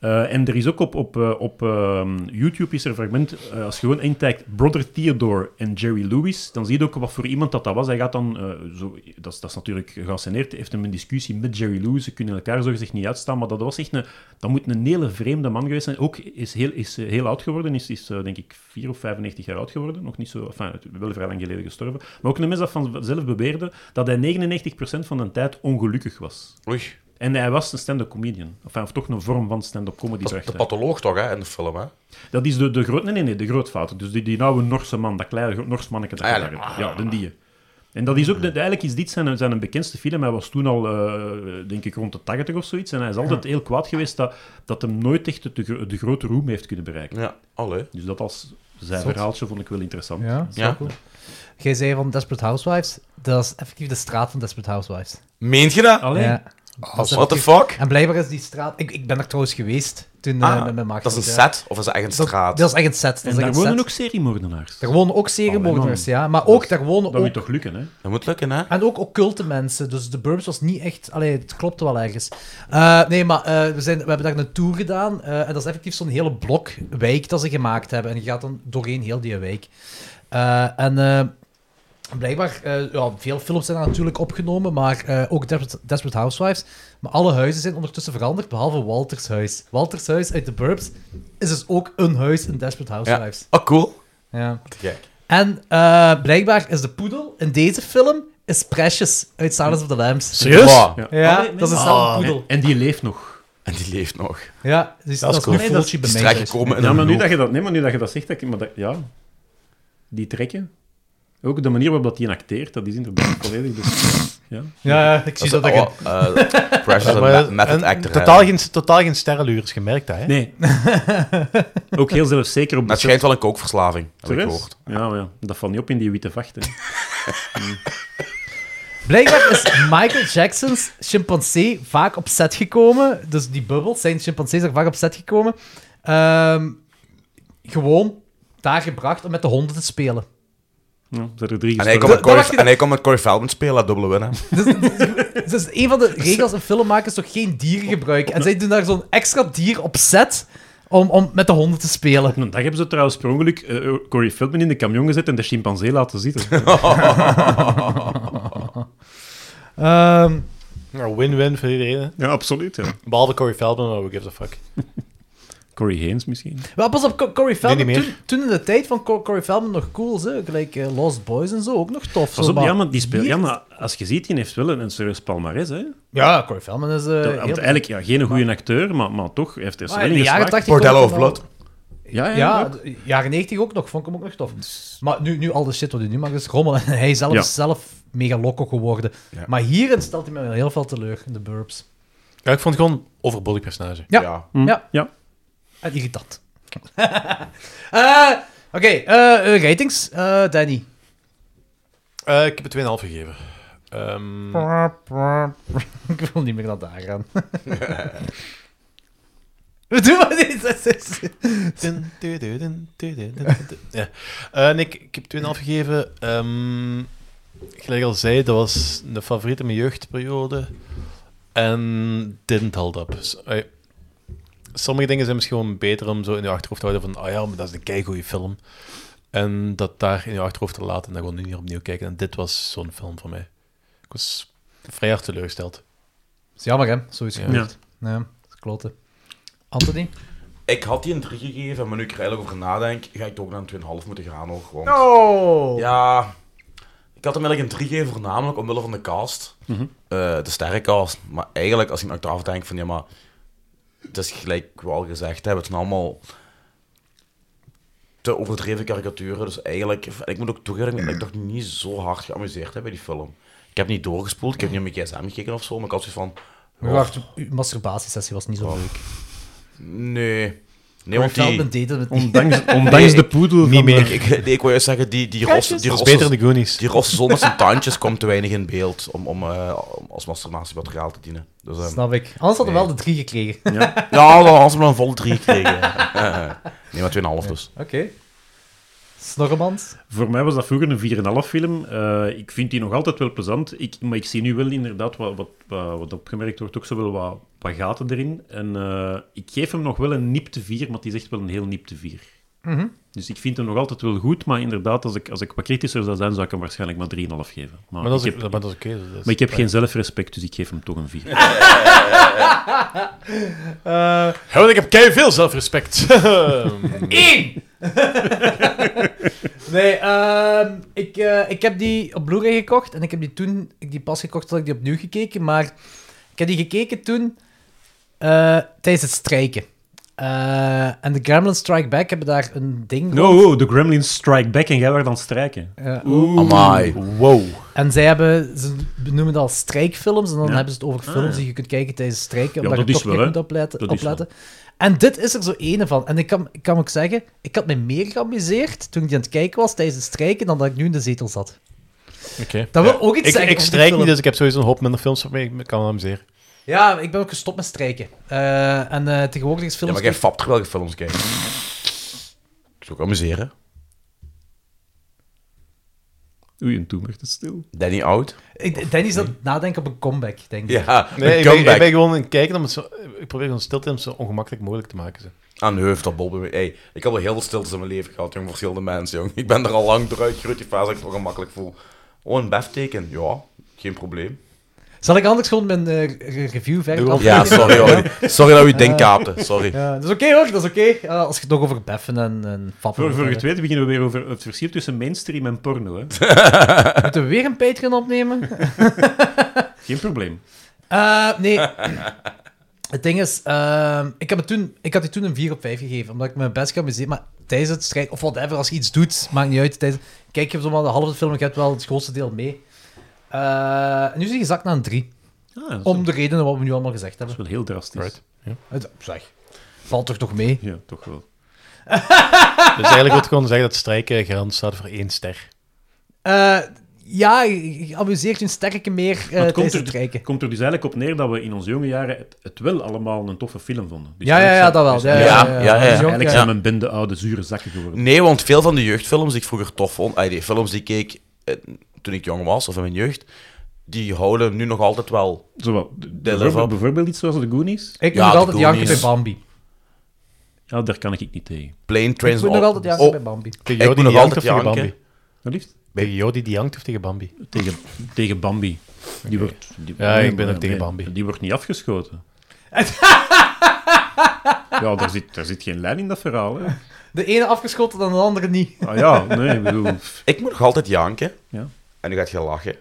F: Eh, en er is ook op, op, eh, op ehm, YouTube is er een fragment, eh, als je gewoon intypt Brother Theodore en Jerry Lewis, dan zie je ook wat voor iemand dat, dat was. Hij gaat dan, eh, zo, dat, is- dat is natuurlijk gerasseneerd, heeft hem een discussie met Jerry Lewis, ze kunnen elkaar zogezegd niet uitstaan, maar dat was echt een, dat moet een hele vreemde man geweest zijn. Ook is heel, is eh, heel oud geworden, is, is eh, denk ik 4 of 95 jaar oud geworden, nog niet zo, enfin, het- wel vrij lang geleden gestorven. Maar ook een mens dat vanzelf beweerde dat hij 99% van de tijd ongelukkig was.
D: Oei.
F: En hij was een stand-up comedian. Enfin, of toch een vorm van stand-up comedy.
D: Dat
F: bracht
D: is de
F: hij.
D: patholoog toch, hè, in de film, hè?
F: Dat is de, de groot... Nee, nee, nee, de grootvader. Dus die, die nauwe Norse man, dat kleine gro- Norse manneke dat je
D: Ah, ja,
F: daar hebt. Ja, de die. En dat is ook... De, eigenlijk is dit zijn, zijn een bekendste film. Hij was toen al, eh, denk ik, rond de 80 of zoiets. En hij is altijd heel kwaad geweest dat, dat hem nooit echt de, gro- de grote roem heeft kunnen bereiken.
D: Ja, allee.
F: Dus dat als zijn verhaaltje vond ik wel interessant.
A: Ja,
D: Ja.
A: Jij zei van Desperate Housewives, dat is effectief de straat van Desperate Housewives.
D: Meent je dat?
F: Alleen,
A: Ja.
F: Oh,
A: Dat is
D: What the
A: effectief-
D: fuck?
A: En blijkbaar is die straat... Ik, ik ben er trouwens geweest toen eh,
D: Ah,
A: met mijn maag.
D: dat is een
A: ja.
D: set, of is dat echt een
A: Dat,
D: straat?
A: dat is echt een set. Dat
F: en
A: is echt een
F: daar wonen
A: set.
F: ook seriemoordenaars.
A: Daar wonen ook seriemoordenaars, ja. Maar ook, daar wonen
F: Dat
A: ook...
F: moet toch lukken, hè?
D: Dat moet lukken, hè?
A: En ook occulte mensen. Dus de Burbs was niet echt... Allee, het klopte wel ergens. Eh, nee, maar eh, we, zijn, we hebben daar een tour gedaan. eh, en dat is effectief zo'n hele blok wijk dat ze gemaakt hebben. En je gaat dan doorheen heel die wijk. Eh, en... eh, Blijkbaar, eh, ja, veel films zijn daar natuurlijk opgenomen, maar eh, ook Desperate, Desperate Housewives. Maar alle huizen zijn ondertussen veranderd, behalve Walters huis. Walters huis uit de Burbs is dus ook een huis in Desperate
D: Ja.
A: Housewives.
D: Oh, cool.
A: Ja.
D: Te gek.
A: En eh, blijkbaar is de poedel in deze film is Precious uit Silence of the Lambs.
G: Serieus?
D: Wow.
F: Ja.
A: Ja,
F: Allee,
A: dat is
F: nee.
A: een oh,
F: en,
A: poedel.
F: en die leeft nog.
D: En die leeft nog.
A: Ja, dus dat, is een
G: cool.
A: voeltje
D: Die is
A: bij mij. dus. thuis.
D: terechtgekomen in
F: Ja,
D: een
F: maar nu
D: loop.
F: dat je dat, nee, maar nu dat je dat zegt, dat ik, maar dat, ja, die trekken. Ook de manier waarop dat hij acteert, dat is inderdaad volledig. Dus, ja.
A: Ja, ja, ik zie dat,
D: Dat is-
A: ik...
D: oh, eh, Precious
G: Maar-
D: een ma- method
G: en
D: actor. hè.
G: totaal, geen, totaal geen sterrenluurders gemerkt, dat, hè?
F: Nee. Ook heel zelfzeker op de
D: Dat schijnt wel een kookverslaving, heb ik
F: Serieus?
D: gehoord.
F: Ja, maar ja, dat valt niet op in die witte vachten.
A: Blijkbaar is Michael Jackson's chimpansee vaak op set gekomen. Dus die bubbels zijn chimpansees er vaak op set gekomen. Ehm, gewoon daar gebracht om met de honden te spelen.
F: Ja, er zijn er drie
D: En hij
F: gespeeld.
D: kon
A: Dat-
D: met Corey,
A: dat mag je-
D: en hij kon met Corey Feldman spelen, dat dubbele winnen.
A: Dus dat is een van de regels in filmmakers toch geen dieren gebruiken. En zij doen daar zo'n extra dier op set om, om met de honden te spelen.
F: Op een dag hebben ze trouwens per ongeluk eh, Corey Feldman in de camion gezet en de chimpansee laten zitten.
A: Ehm,
G: Nou, Win-win voor iedereen. hè.
F: ja, absoluut. Ja.
G: Behalve Corey Feldman, maar who gives a fuck.
F: Corey Haynes misschien.
A: wel, pas op, Co- Corey Feldman,
G: niet meer.
A: toen, toen in de tijd van Co- Corey Feldman nog cool, hè? gelijk eh, Lost Boys en zo, ook nog tof.
F: Pas
A: zo,
F: op,
A: maar-
F: ja, maar die speelt. Ja, maar als je ziet, die heeft wel een, een serieus palmarès. Hè?
A: Ja, Corey Feldman is... eh,
F: Dat-
A: heel-
F: want eigenlijk ja, geen goede acteur, maar, maar toch heeft hij er
A: maar
F: wel
A: in
F: in
A: de jaren
F: geslaagd.
A: 80...
D: Bordello
A: kon
D: of
A: ik hem al-
D: Blood.
F: Ja, ja,
A: Ja,
F: ook.
A: de- jaren 90 ook nog, vond ik hem ook nog tof. Maar nu, nu al de shit wat hij nu maakt is rommel. En hij zelf
F: Ja.
A: is zelf mega loco geworden.
D: Ja.
A: Maar hierin stelt hij me wel heel veel teleur, in de burps.
G: Ja, ik vond het gewoon een overbodig personage.
A: Ja.
F: Hm,
A: Ja.
F: ja.
A: En Ah, irritant. Eh, Oké, eh, eh, ratings. Eh, Danny.
G: Eh, ik heb het 2,5 gegeven. Ehm,
A: ik wil niet meer naar daar gaan. We doen maar niet. Dat is-
G: dun, dun, dun, dun, dun, dun, dun, dun. ja. Eh, nee, ik, ik heb 2,5 gegeven. Ehm, gelijk al zei, dat was de favoriete in mijn jeugdperiode. En didn't hold up. S- eh, sommige dingen zijn misschien gewoon beter om zo in je achterhoofd te houden van, ah ja, maar dat is een keigoeie film. En dat daar in je achterhoofd te laten en dan gewoon niet meer opnieuw kijken. En dit was zo'n film voor mij. Ik was vrij hard teleurgesteld.
A: is jammer, hè? Zoiets
G: Ja.
A: gebeurd. Ja, dat is kloten. Anthony?
D: Ik had die een 3 gegeven, maar nu ik er eigenlijk over nadenk, ga ik toch naar een 2,5 moeten gaan hoor. Gewoon.
A: Oh!
D: Ja, ik had hem eigenlijk een 3 gegeven, voornamelijk omwille van de cast. Eh, de sterrencast. Maar eigenlijk, als ik nou achteraf denk van ja, maar het is gelijk wel gezegd hebben, het zijn allemaal te overdreven karikaturen. Dus eigenlijk, ik moet ook toegeven dat ik toch niet zo hard geamuseerd heb bij die film. Ik heb niet doorgespoeld, ik heb niet op mijn gsm gekeken of zo, maar ik had zoiets van...
A: Maar wacht, uw masturbatiesessie was niet zo leuk.
D: Nee.
A: Corey
D: Nee, want die...
A: Feldman deed dat met
F: Ondanks, ondanks de poedel van de-
D: Ik, ik, nee, ik wil juist zeggen, die, die rosse... Die
G: Dat is beter in
D: rosse,
G: de Goonies.
D: die rosse zon met zijn tandjes komt te weinig in beeld om, om, eh, om als masturbatiemateriaal te dienen. Dus, ehm,
A: Snap ik. Anders hadden we wel de drie gekregen. Oké.
D: ja, dan hadden ze maar een volle drie gekregen. Eh, nee, maar 2,5 dus.
A: Snorremans?
F: Voor mij was dat vroeger een 4,5 film. Eh, ik vind die nog altijd wel plezant. Ik, maar ik zie nu wel inderdaad, wat, wat, wat, wat opgemerkt wordt, ook zo wel wat, wat gaten erin. En eh, ik geef hem nog wel een nipte 4, maar die is echt wel een heel nipte 4.
G: Mhm.
F: Dus ik vind hem nog altijd wel goed, maar inderdaad, als ik, als ik wat kritischer zou zijn, zou ik hem waarschijnlijk maar 3,5 geven. Maar,
G: Maar dat
F: ik
G: is,
F: heb,
G: maar dat is oké. dus dat is-
F: maar ik heb geen zelfrespect, dus ik geef hem toch een 4.
G: Ja, want ik heb keihard veel zelfrespect.
A: Eén! nee, ehm, ik, eh, ik heb die op Blu-ray gekocht. En ik heb die toen, ik die pas gekocht, had ik die opnieuw gekeken. Maar ik heb die gekeken toen eh, tijdens het strijken. Eh, en de Gremlin Strike Back hebben daar een ding eh,
F: No, oh, de Gremlins strike back en jij werd aan het strijken.
A: Ja.
D: Amai.
F: Wow.
A: En zij hebben, ze benoemen het al strijkfilms, en dan
F: Ja.
A: hebben ze het over films
F: Ah, ja.
A: die je kunt kijken tijdens strijken,
F: Ja,
A: omdat je
F: dat is
A: toch
F: wel,
A: wel,
F: hè.
A: moet opletten.
F: Dat is
A: opletten. En dit is er zo ene van. En ik kan, ik kan ook zeggen, ik had me meer geamuseerd toen ik die aan het kijken was tijdens het strijken, dan dat ik nu in de zetel zat.
G: Oké.
A: Dat wil ook iets
G: ik,
A: zeggen over
G: Ik
A: die
G: strijk
A: film.
G: niet, dus ik heb sowieso een hoop minder films op mee. Ik kan hem zeer.
A: Ja, ik ben ook gestopt met strijken. Eh, en eh, tegenwoordig is
D: Ja,
A: films...
D: maar jij fapt terwijl je films kijkt. Ik zou ook amuseren.
F: Oei, en toen werd het stil.
D: Danny Oud.
A: Ik- Danny is aan het nadenken op een comeback, denk ik.
D: Ja,
G: Nee,
D: een
G: ik ben, ik
D: comeback.
G: ben gewoon aan het kijken om het zo... Ik probeer gewoon stilte om het zo ongemakkelijk mogelijk te maken. Zo.
D: Aan de heuvel, dat Bob. Hey, ik heb al heel veel stiltes in mijn leven gehad, jong. Verschillende mensen, jong. Ik ben er al lang door uitgegroeid, die fase dat ik het gemakkelijk voel. Oh, een befteken. Ja, geen probleem.
A: Zal ik anders gewoon mijn eh, re- review verder
G: Doe
A: af?
D: Ja, sorry, hoor. Sorry dat we je ding kaapte. Sorry.
A: Ja, dat is oké hoor, dat is oké. Eh, als je het nog over beffen en, en fappen...
F: Voor, voor
A: hebt,
F: het weten beginnen we weer over het verschil tussen mainstream en porno. Hè.
A: Moeten we weer een Patreon opnemen?
F: Geen probleem.
A: Eh, nee. het ding is, ehm, ik, heb het toen, ik had die toen een 4 op 5 gegeven, omdat ik mijn best geamuseerd Maar tijdens het strijd, of whatever, als je iets doet, maakt niet uit. Tijdens, kijk je zomaar de halve film, je hebt wel het grootste deel mee. Eh, en nu is hij gezakt naar een 3.
F: Ah, dat is
A: Om de redenen wat we nu allemaal gezegd hebben.
F: wel heel drastisch.
G: Right.
A: Het, zeg, valt toch nog mee?
F: Ja, toch wel.
A: Eh,
G: Dus eigenlijk wil ik gewoon zeggen dat strijken garant staat voor één ster.
A: Eh, ja, je je amuseert je een sterke meer eh,
F: Maar het
A: tijdens
F: komt
A: het kijken.
F: komt er dus eigenlijk op neer dat we in onze jonge jaren het, het wel allemaal een toffe film vonden. Dus
A: Ja, ja, ja,
F: eigenlijk
A: dat wel.
F: zijn-
A: Ja,
F: dus
A: ja, Mm. ja.
D: ja, ja.
A: Dat is jong,
F: Eigenlijk
A: ja.
F: zijn we een bende oude, zure zakken geworden.
D: Nee, want veel van de jeugdfilms die ik vroeger tof vond, ay, die films die ik keek eh, toen ik jong was of in mijn jeugd, die houden nu nog altijd wel.
F: Zowel,
D: level.
F: bijvoorbeeld, bijvoorbeeld iets zoals de Goonies.
A: Ik
D: Ja,
A: moet nog
D: de
A: altijd janken bij
D: Goonies.
A: Bambi.
F: Ja, daar kan ik niet tegen.
D: Plane
A: Ik
D: Trains
A: moet nog altijd janken
D: oh,
A: bij Bambi.
G: Tegen
D: Ik
G: Jody
D: moet nog
G: die jankt
D: altijd
G: of tegen
D: janken.
G: Bambi?
F: Maar liefst
G: Tegen Jody die jankt of tegen Bambi?
F: tegen, tegen Bambi. Die wordt, die-
G: Ja, ik ben
F: maar-
G: ook tegen
F: nee,
G: Bambi.
F: Die wordt niet afgeschoten. ja, daar zit, daar zit geen lijn in dat verhaal. Hè.
A: De ene afgeschoten, dan de andere niet.
F: Ah, ja, nee, ik bedoel... pff,
D: Ik moet nog altijd janken.
F: Ja.
D: En nu gaat je lachen.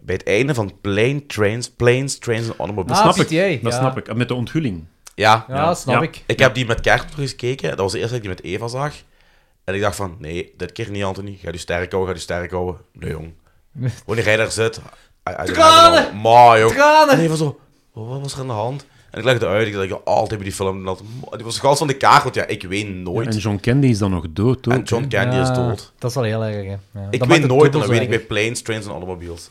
D: Bij het einde van Plane Trains, Planes, Trains en Automobiles.
A: Ah,
F: snap
A: PTA,
F: ik, dat
A: ja.
F: snap ik. En Met de onthulling.
D: Ja,
A: Ja,
F: Ja.
A: snap
F: Ja.
A: ik.
D: ik heb die met kerst gekeken. Dat was de eerste keer dat ik die met Eva zag. En ik dacht van, nee, dit keer niet, Anthony. Ga je sterk houden, ga je sterk houden. Nee, jong. Wanneer jij daar zit... I- I don't
A: Tranen!
D: know. Maar, jong.
A: Tranen!
D: En Eva zo, "Oh, wat was er aan de hand? En ik legde uit, ik dacht, ja, altijd bij die film. Dat, die was gans van de kaart, want ja, ik weet nooit.
F: En John Candy is dan nog dood, ook,
D: en John
F: hè.
D: Candy is
A: Ja,
D: dood.
A: Dat is wel heel erg, hè. Ja, dat maakt
D: Ik weet
A: het
D: nooit, en
A: dubbel
D: dan
A: zo
D: weet ik bij
A: erg.
D: Planes, Trains en Automobiles.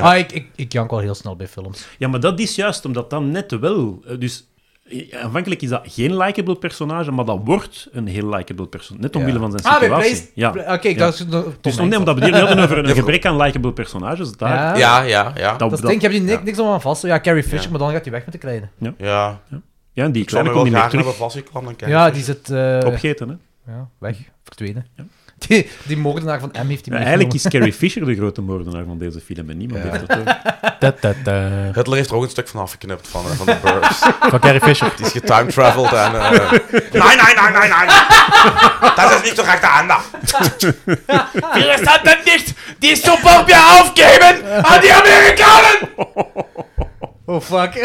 A: Ah, ik, ik, ik jank wel heel snel bij films.
F: Ja, maar dat is juist omdat dan net wel. eh, Dus eh, aanvankelijk is dat geen likable personage, maar dat wordt een heel likable personage. Net omwille van zijn
A: Ah, bij
F: situatie.
A: Blaze...
F: ja.
A: Bla- Oké, ik
F: Ja.
A: dacht... Tom
F: Dus
A: Hanks.
F: nee, omdat we hier hadden over een gebrek aan likable personages. Daar,
A: Ja.
D: Ja, ja, ja.
F: dat,
A: Dat
F: dat-
A: ding, je hebt hier niks, niks om aan vast. te- Ja, Carrie Fisher, maar dan gaat hij weg met de kleine.
D: Ja,
F: ja, die
D: ik zou
F: kleine kon niet
D: me wel
F: meer
D: graag
F: terug
D: hebben vastgeklampt aan Candy.
A: Ja, die zit eh,
F: opgeten. Hè?
A: ja, weg, verdwenen. Die, die moordenaar van M heeft hij
F: Ja, eigenlijk is Carrie Fisher de grote moordenaar van deze film en niemand weet dat. hoor.
G: Da, da, da.
D: Hitler heeft er ook een stuk van afgeknipt van, eh, van de Burbs.
G: Van Carrie Fisher.
D: Die is getimetraveled en... eh, Nee, nee, nee, nee, nee. Dat is niet de rechte aandacht. Wie is dat dan niet? Die Superbia afgeven aan die Amerikanen!
A: Oh, fuck.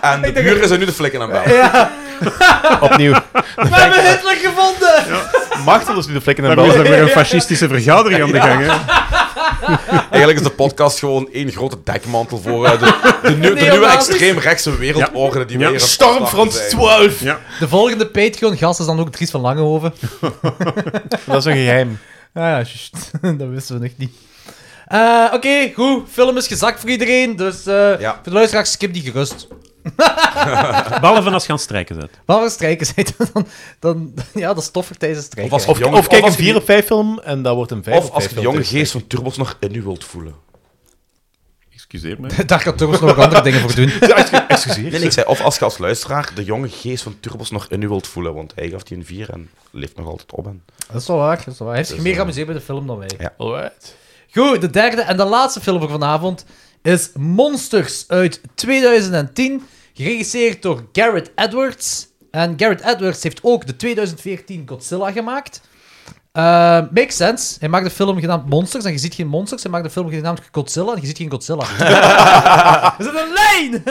D: En de buren zijn nu de flikken aan bellen.
G: Opnieuw.
A: We hebben Hitler gevonden!
G: Machtel is nu de vlekken aan
F: Daarom is er
G: Bambi.
F: weer een fascistische vergadering aan de gang. Hè?
D: Eigenlijk is de podcast gewoon één grote dekmantel voor eh, de, de, nu- de nieuwe
A: Neonazis.
D: extreemrechtse wereldorde die
F: Ja.
D: weer...
G: Storm Frans 12.
A: De volgende Patreon-gast is dan ook Dries van Langenhoven.
G: Dat is een geheim.
A: Ah ja, juist. dat wisten we nog niet. Eh, Oké, goed. Film is gezakt voor iedereen, dus eh,
D: Ja.
A: voor de luisteraars, skip die gerust.
F: Behalve als je aan het strijken bent.
A: Maar als strijken zijn, dan, dan... Ja, dat is toffer tijdens het strijken.
D: Of als
G: Of,
D: Jong-
G: of kijk
D: of
G: een
D: als je-
G: 4 op 5 film en dat wordt een 5
D: Of
G: op dus- 5
D: als je de jonge geest van Turbos nog in u wilt voelen.
F: Excuseer me.
A: Daar kan Turbos nog andere dingen voor doen.
G: Excuseer.
D: Nee, nee, ik zei, of als je als luisteraar de jonge geest van Turbos nog in u wilt voelen, want hij gaf die een 4 en leeft nog altijd op. En...
A: Dat is wel waar, dat is wel waar. Hij heeft zich
D: Dus,
A: meer
D: eh,
A: geamuseerd bij de film dan wij.
G: Alright.
A: Goed, de derde en de laatste film voor vanavond is Monsters uit 2010, geregisseerd door Garrett Edwards. En Garrett Edwards heeft ook de 2014 Godzilla gemaakt. Eh, makes sense. Hij maakt de film genaamd Monsters en je ziet geen monsters. Hij maakt de film genaamd Godzilla en je ziet geen Godzilla. Er zit een lijn!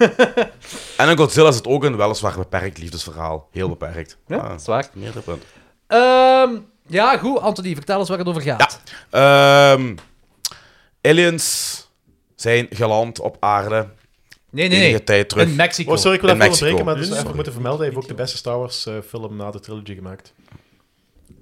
D: En in Godzilla zit ook een weliswaar beperkt liefdesverhaal. Heel beperkt.
A: Ja,
D: Ah,
A: dat is waar.
D: meerdere punten.
A: Ehm, ja, goed. Anthony, vertel eens waar het over gaat.
D: Ehm, aliens zijn geland op aarde
A: Nee, nee,
D: enige
A: nee.
D: tijd terug.
A: In Mexico.
G: Oh, sorry, ik wil
D: In
G: even
D: Mexico.
G: onderbreken, maar dus even moeten vermelden, hij heeft ook de beste Star Wars eh, film na de trilogy gemaakt.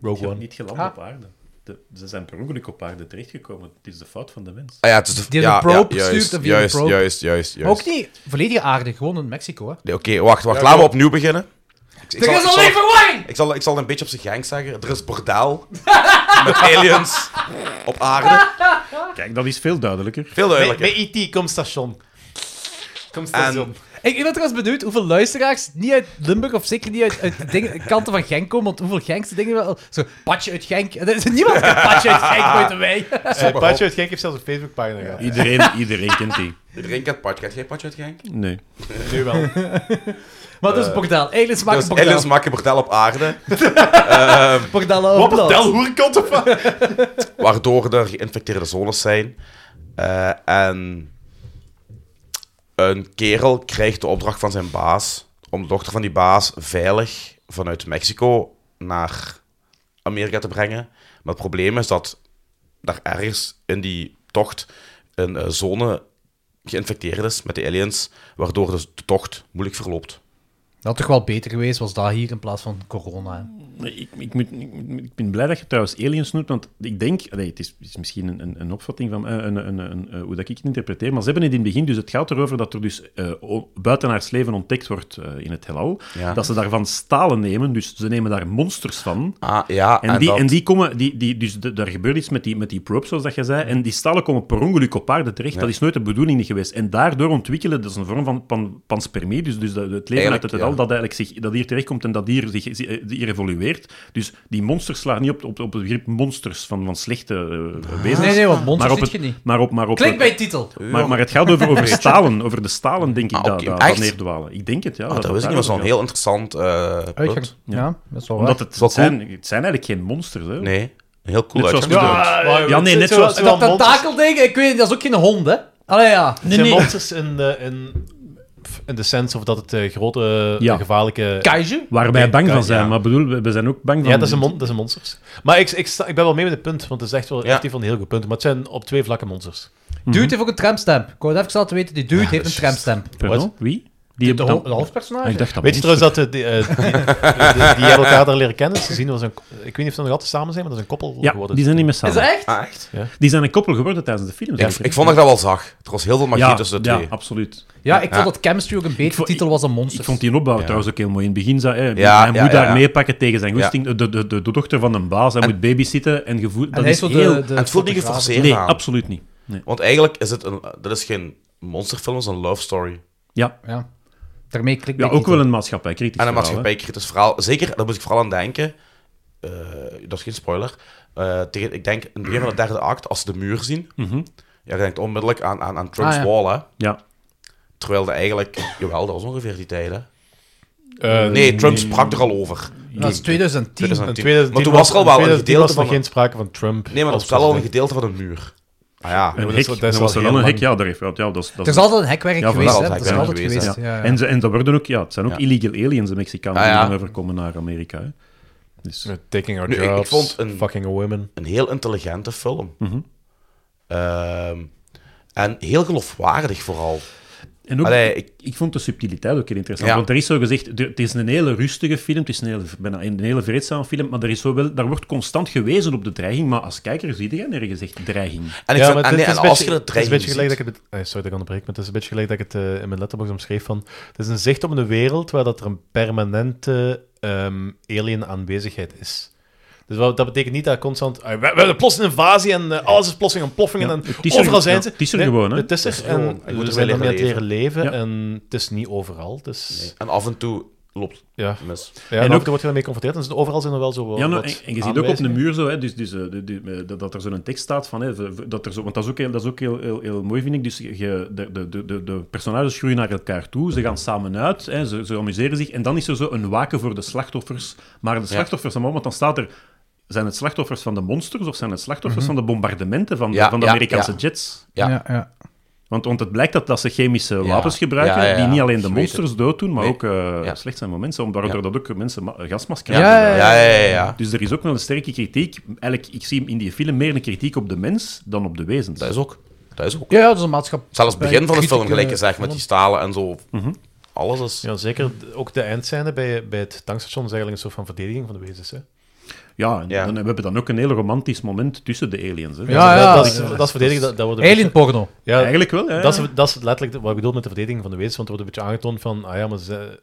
G: Rogue One.
F: Niet geland
A: Ah.
F: op aarde. De- ze zijn per ongeluk op aarde terechtgekomen. Het is de fout van de mens.
D: Ah ja, het is de,
A: Die
D: ja,
A: hebben een probe
D: ja,
A: gestuurd
D: juist,
A: en via de
D: juist,
A: probe.
D: juist, juist,
A: Maar
D: juist.
A: ook niet volledig aardig, gewoon in Mexico. Hè.
D: Nee, Oké, wacht, wacht. Laten we opnieuw beginnen. Ik, ik, zal, ik, zal,
A: verwarring!
D: ik, zal, ik zal een beetje op zijn gang zeggen. Er is bordel met aliens op aarde.
F: Ah. Kijk, dat is veel duidelijker.
D: Veel
G: Bij
D: duidelijker.
G: bij E.T. komt station. Komt
D: En-
G: station.
A: Ik, ik ben trouwens benieuwd hoeveel luisteraars niet uit Limburg of zeker niet uit, uit dingen- kanten van Genk komen. Want hoeveel Genkse dingen wel. Zo, patje uit Genk. Er is niemand met patje uit Genk buiten wij.
G: Eh, Patje uit Genk heeft zelfs een Facebookpagina gehad.
F: Iedereen, iedereen kent die.
D: Iedereen kent Patje. Kent jij Patje uit Genk?
F: Nee.
G: Nu wel.
A: Maar dat is Bordel. Aliens maken
D: Dus
A: Bordel.
D: aliens maken bordel op aarde.
A: Bordel op blad.
G: hoerenkant of wat?
D: waardoor er geïnfecteerde zones zijn. Eh, en een kerel krijgt de opdracht van zijn baas om de dochter van die baas veilig vanuit Mexico naar Amerika te brengen. Maar het probleem is dat daar ergens in die tocht een eh, zone geïnfecteerd is met de aliens, waardoor dus de tocht moeilijk verloopt.
A: had toch wel beter geweest, was dat hier in plaats van corona. hè.
F: Ik, ik, moet, ik, moet- ik ben blij dat je trouwens aliens noemt, want ik denk... allee, het, is, het is misschien een, een, een opvatting van eh, een, een, een, eh, hoe dat ik het interpreteer, maar ze hebben het in het begin, dus het gaat erover dat er dus eh, o- buitenaards leven ontdekt wordt eh, in het heelal.
D: Ja.
F: Dat ze daarvan stalen nemen, dus ze nemen daar monsters van.
D: Ah, ja,
F: En, die,
D: dat-
F: en die komen, die, die, dus de- daar gebeurt iets met die, met die probes, zoals dat je zei. En die stallen komen per ongeluk op paarden terecht. Dat is nooit de bedoeling geweest. En daardoor ontwikkelen, dat is een vorm van pan, panspermie. Dus, dus dat, het leven
D: Eigenlijk,
F: uit het heelal
D: ja.
F: dat, eigenlijk zich, dat hier terechtkomt en dat hier, zich, zich- eh, hier evolueert. Dus die monsters slaan niet op, op, op het begrip monsters van, van slechte eh,
D: Ah.
F: wezens.
A: Nee, nee, want monsters
F: maar op
A: ziet
F: het,
A: je niet.
F: Maar op, maar op,
A: Klinkt bij je titel.
F: maar, maar het gaat over, over stalen, over de stalen, denk ik,
D: Ah,
F: dat,
D: oké,
F: dat,
D: echt?
F: dat neerdwalen. Ik denk het, ja.
D: Ah, dat
F: het
D: wist ik niet, was wel
F: daarover
D: een heel interessant
F: Ah,
D: eh
A: Uitgang.
D: punt.
A: Ja. dat is wel waar.
F: gaat. Omdat het,
D: Wel
F: het,
D: cool.
F: zijn, het zijn eigenlijk geen monsters, hè.
D: Nee, een heel cool
F: Net zoals
D: uitgangspunt.
F: Ja,
G: Maar-
F: ja, nee,
G: het-
F: net
G: het- het-
F: zoals-
G: het-
A: Dat
G: het- het-
A: tentakelding, ik weet dat is ook geen hond, hè? Allee, ja.
G: Het zijn monsters in de, in, in de sense of dat het eh, grote,
F: Ja.
G: gevaarlijke...
A: Kaiju?
F: Waar wij
G: Nee,
F: bang
G: kan-
F: van zijn,
G: ja.
F: maar bedoel, we, we zijn ook bang van...
G: Ja, dat zijn, mon dat zijn monsters. Maar ik, ik, sta- ik ben wel mee met het punt, want het is echt wel
D: Ja.
G: effectief een heel goed punt. Maar het zijn op twee vlakken monsters.
F: Mhm.
A: Dude heeft ook een tramstamp. Ik wou het even laten weten, die dude heeft een tramstamp.
F: Pardon?
G: Wat?
F: Wie?
A: De,
F: Die hebben
A: ho-
F: dan-
A: de hoofdpersonage.
F: Ah, ik dacht dat
G: Weet je
F: monsters-
G: trouwens dat eh, die, eh, die, die, die hebben elkaar daar leren kennen? Ze zien, was een, ik weet niet of ze nog altijd samen zijn, maar dat is een koppel
F: Ja,
G: geworden.
F: die zijn niet meer
A: Is
F: samen.
A: dat echt?
D: Ah, echt?
F: Die zijn een koppel geworden tijdens de film.
D: Ik, ik vond dat ik dat wel zag. Er was heel veel magie
F: ja,
D: tussen de
F: ja,
D: twee.
F: absoluut.
A: Ja, ik
D: Ja.
A: vond dat chemistry ook een betere
F: vond-
A: titel was dan
F: Ik
A: Monsters.
F: vond die opbouw trouwens ook heel mooi. In het begin, zei, hè,
D: Ja,
F: hij
D: ja,
F: moet
D: ja,
F: daar
D: ja.
F: meepakken tegen zijn goesting. De, de, de, de dochter van een baas, hij moet babysitten en gevoel.
A: en
F: Dat
A: hij
F: is
A: is zo
F: heel...
A: de, de
D: en het voelt niet
A: fotograaf.
D: geforceerd
F: nee,
D: aan.
F: absoluut niet. Nee.
D: Want eigenlijk is het een... Dat is geen monsterfilm, dat is een love story.
F: Ja.
A: Ja. Daarmee klikt
F: ja,
A: die
F: ook
A: titel.
F: wel een maatschappijkritisch
D: En een
F: verhaal, hè.
D: maatschappijkritisch dus verhaal. Zeker, daar moet ik vooral aan denken. eh, dat is geen spoiler. Eh, tegen, ik denk in het begin van de derde act, als ze de muur zien, ja, je denkt onmiddellijk aan, aan, aan Trump's
A: Ah, ja.
D: wall, hè.
F: Mhm. Ja.
D: Terwijl dat eigenlijk... Jawel, dat was ongeveer die tijden.
G: Eh,
D: Nee, Trump sprak er al over.
A: Dat is 2010.
D: 2010.
G: In 2010
D: Maar toen was er al
G: in
D: wel een
G: 2010
D: gedeelte
G: was er
D: van...
G: geen sprake van Trump.
D: Nee, maar er
G: als
D: was wel al een
G: president.
D: gedeelte van een muur. Ah ja.
F: Een
G: dat
F: hek.
G: is wel- dat
F: Dan
G: is wel
F: was er
G: heel
F: dan een hek.
G: lang.
F: Ja, daar heeft- ja, dat is... dat
A: Er is
F: is-
A: altijd een hekwerk
F: Ja,
A: geweest,
F: vooral
A: hè? Dat is
D: hekwerk
A: altijd
D: geweest,
A: geweest.
F: Ja.
A: ja, ja.
F: En, ze, en dat worden ook, ja, het zijn ook
D: Ja.
F: illegal aliens, de Mexicanen,
D: Ah, ja.
F: die dan overkomen naar Amerika. Hè. Dus,
G: Taking our
D: Nu, ik- ik
G: jobs,
D: vond een-
G: fucking a woman.
D: een heel intelligente film.
G: Mhm.
D: Ehm, en heel geloofwaardig vooral.
F: En ook,
D: Allee,
F: ik,
D: ik-
F: ik vond de subtiliteit ook heel interessant.
D: Ja.
F: Want er is zo gezegd, er- het is een hele rustige film, het is een hele, bijna een hele vreedzame film, maar er is zo wel, daar wordt constant gewezen op de dreiging, maar als kijker zie je nergens echt dreiging.
D: En, ik
G: ja,
D: vind, en,
G: maar het
D: nee,
G: is
D: en
G: een
D: als
G: beetje-
D: je het
G: het is een
D: dreiging
G: beetje gelijk dat
D: ziet-
G: ik het... eh, sorry dat ik onderbreek, maar het is een beetje gelijk dat ik het eh, in mijn letterbox omschreef van... Het is een zicht op een wereld waar dat er een permanente ehm, alien aanwezigheid is. Dus wat, dat betekent niet dat constant... eh, we, we hebben plots een invasie en eh, alles is plotseling aan ploffingen
F: Ja,
G: en
F: het is er-
G: overal zijn
F: ja,
G: ze.
F: het is er
G: Nee,
F: gewoon, hè.
G: Het is
D: Het
G: er
D: is gewoon. Ik
G: en
D: moet
G: we
D: ermee
G: zijn ermee aan het
D: leren
G: leren leven
F: Ja.
G: en het is niet overal. Dus
D: En af en toe loopt
G: ja,
D: het mis.
G: ja
F: En
G: en
F: ook-
G: ook wordt je daarmee geconfronteerd. En dus overal zijn er wel zo wel
F: Ja, nou, en,
G: wat
F: en je ziet ook op de
G: aanwijzingen.
F: muur zo, hè, dus, dus, eh, de- de- eh, dat, dat er zo'n tekst staat van, hè, v- v- dat er zo, want dat is ook heel, dat is ook heel, heel, heel mooi, vind ik. Dus je- je, de, de, de- de, de personages groeien naar elkaar toe, ze gaan samen uit, hè, ze, ze amuseren zich, en dan is er zo een waken voor de slachtoffers. Maar de slachtoffers, allemaal, want dan staat er, zijn het slachtoffers van de monsters of zijn het slachtoffers van de bombardementen van de,
D: Ja,
F: van de
D: ja,
F: Amerikaanse
D: ja.
F: jets?
D: Ja.
A: Ja, ja.
F: Want, want het blijkt dat, dat ze chemische wapens
D: Ja,
F: gebruiken,
D: ja, ja,
F: die
D: ja,
F: niet alleen de
D: ik weet
F: monsters dood doen, maar
D: Nee.
F: ook eh,
D: Ja.
F: slecht zijn voor mensen, omdat- waardoor dat ook mensen ma- gasmaskers
A: Ja, ja,
F: gebruiken.
D: Ja, ja, ja. ja.
F: Dus er is ook wel een sterke kritiek. Eigenlijk, ik zie in die film meer een kritiek op de mens dan op de wezens.
D: Dat is ook. Dat is ook.
A: Ja, ja, dat is een maatschappij.
D: Zelfs het begin van de film,
A: Kritieke-
D: gelijk gezegd, met die stalen en zo. Alles is...
G: Mhm. Ja, zeker. Ook de eindscène bij, bij het tankstation is eigenlijk een soort van verdediging van de wezens. Hè?
F: Ja, en
D: Ja.
F: Dan, we hebben dan ook een heel romantisch moment tussen de aliens. Hè.
A: Ja, ja.
G: Ah, dat, is, dat is verdedigen, dat, dat wordt een
A: Alien porno.
G: beetje- ja,
F: Eigenlijk wel,
D: eh.
F: ja.
G: dat, is, dat is letterlijk wat ik bedoel met de verdediging van de wezens, want er wordt een beetje aangetoond van, ah ja, maar ze,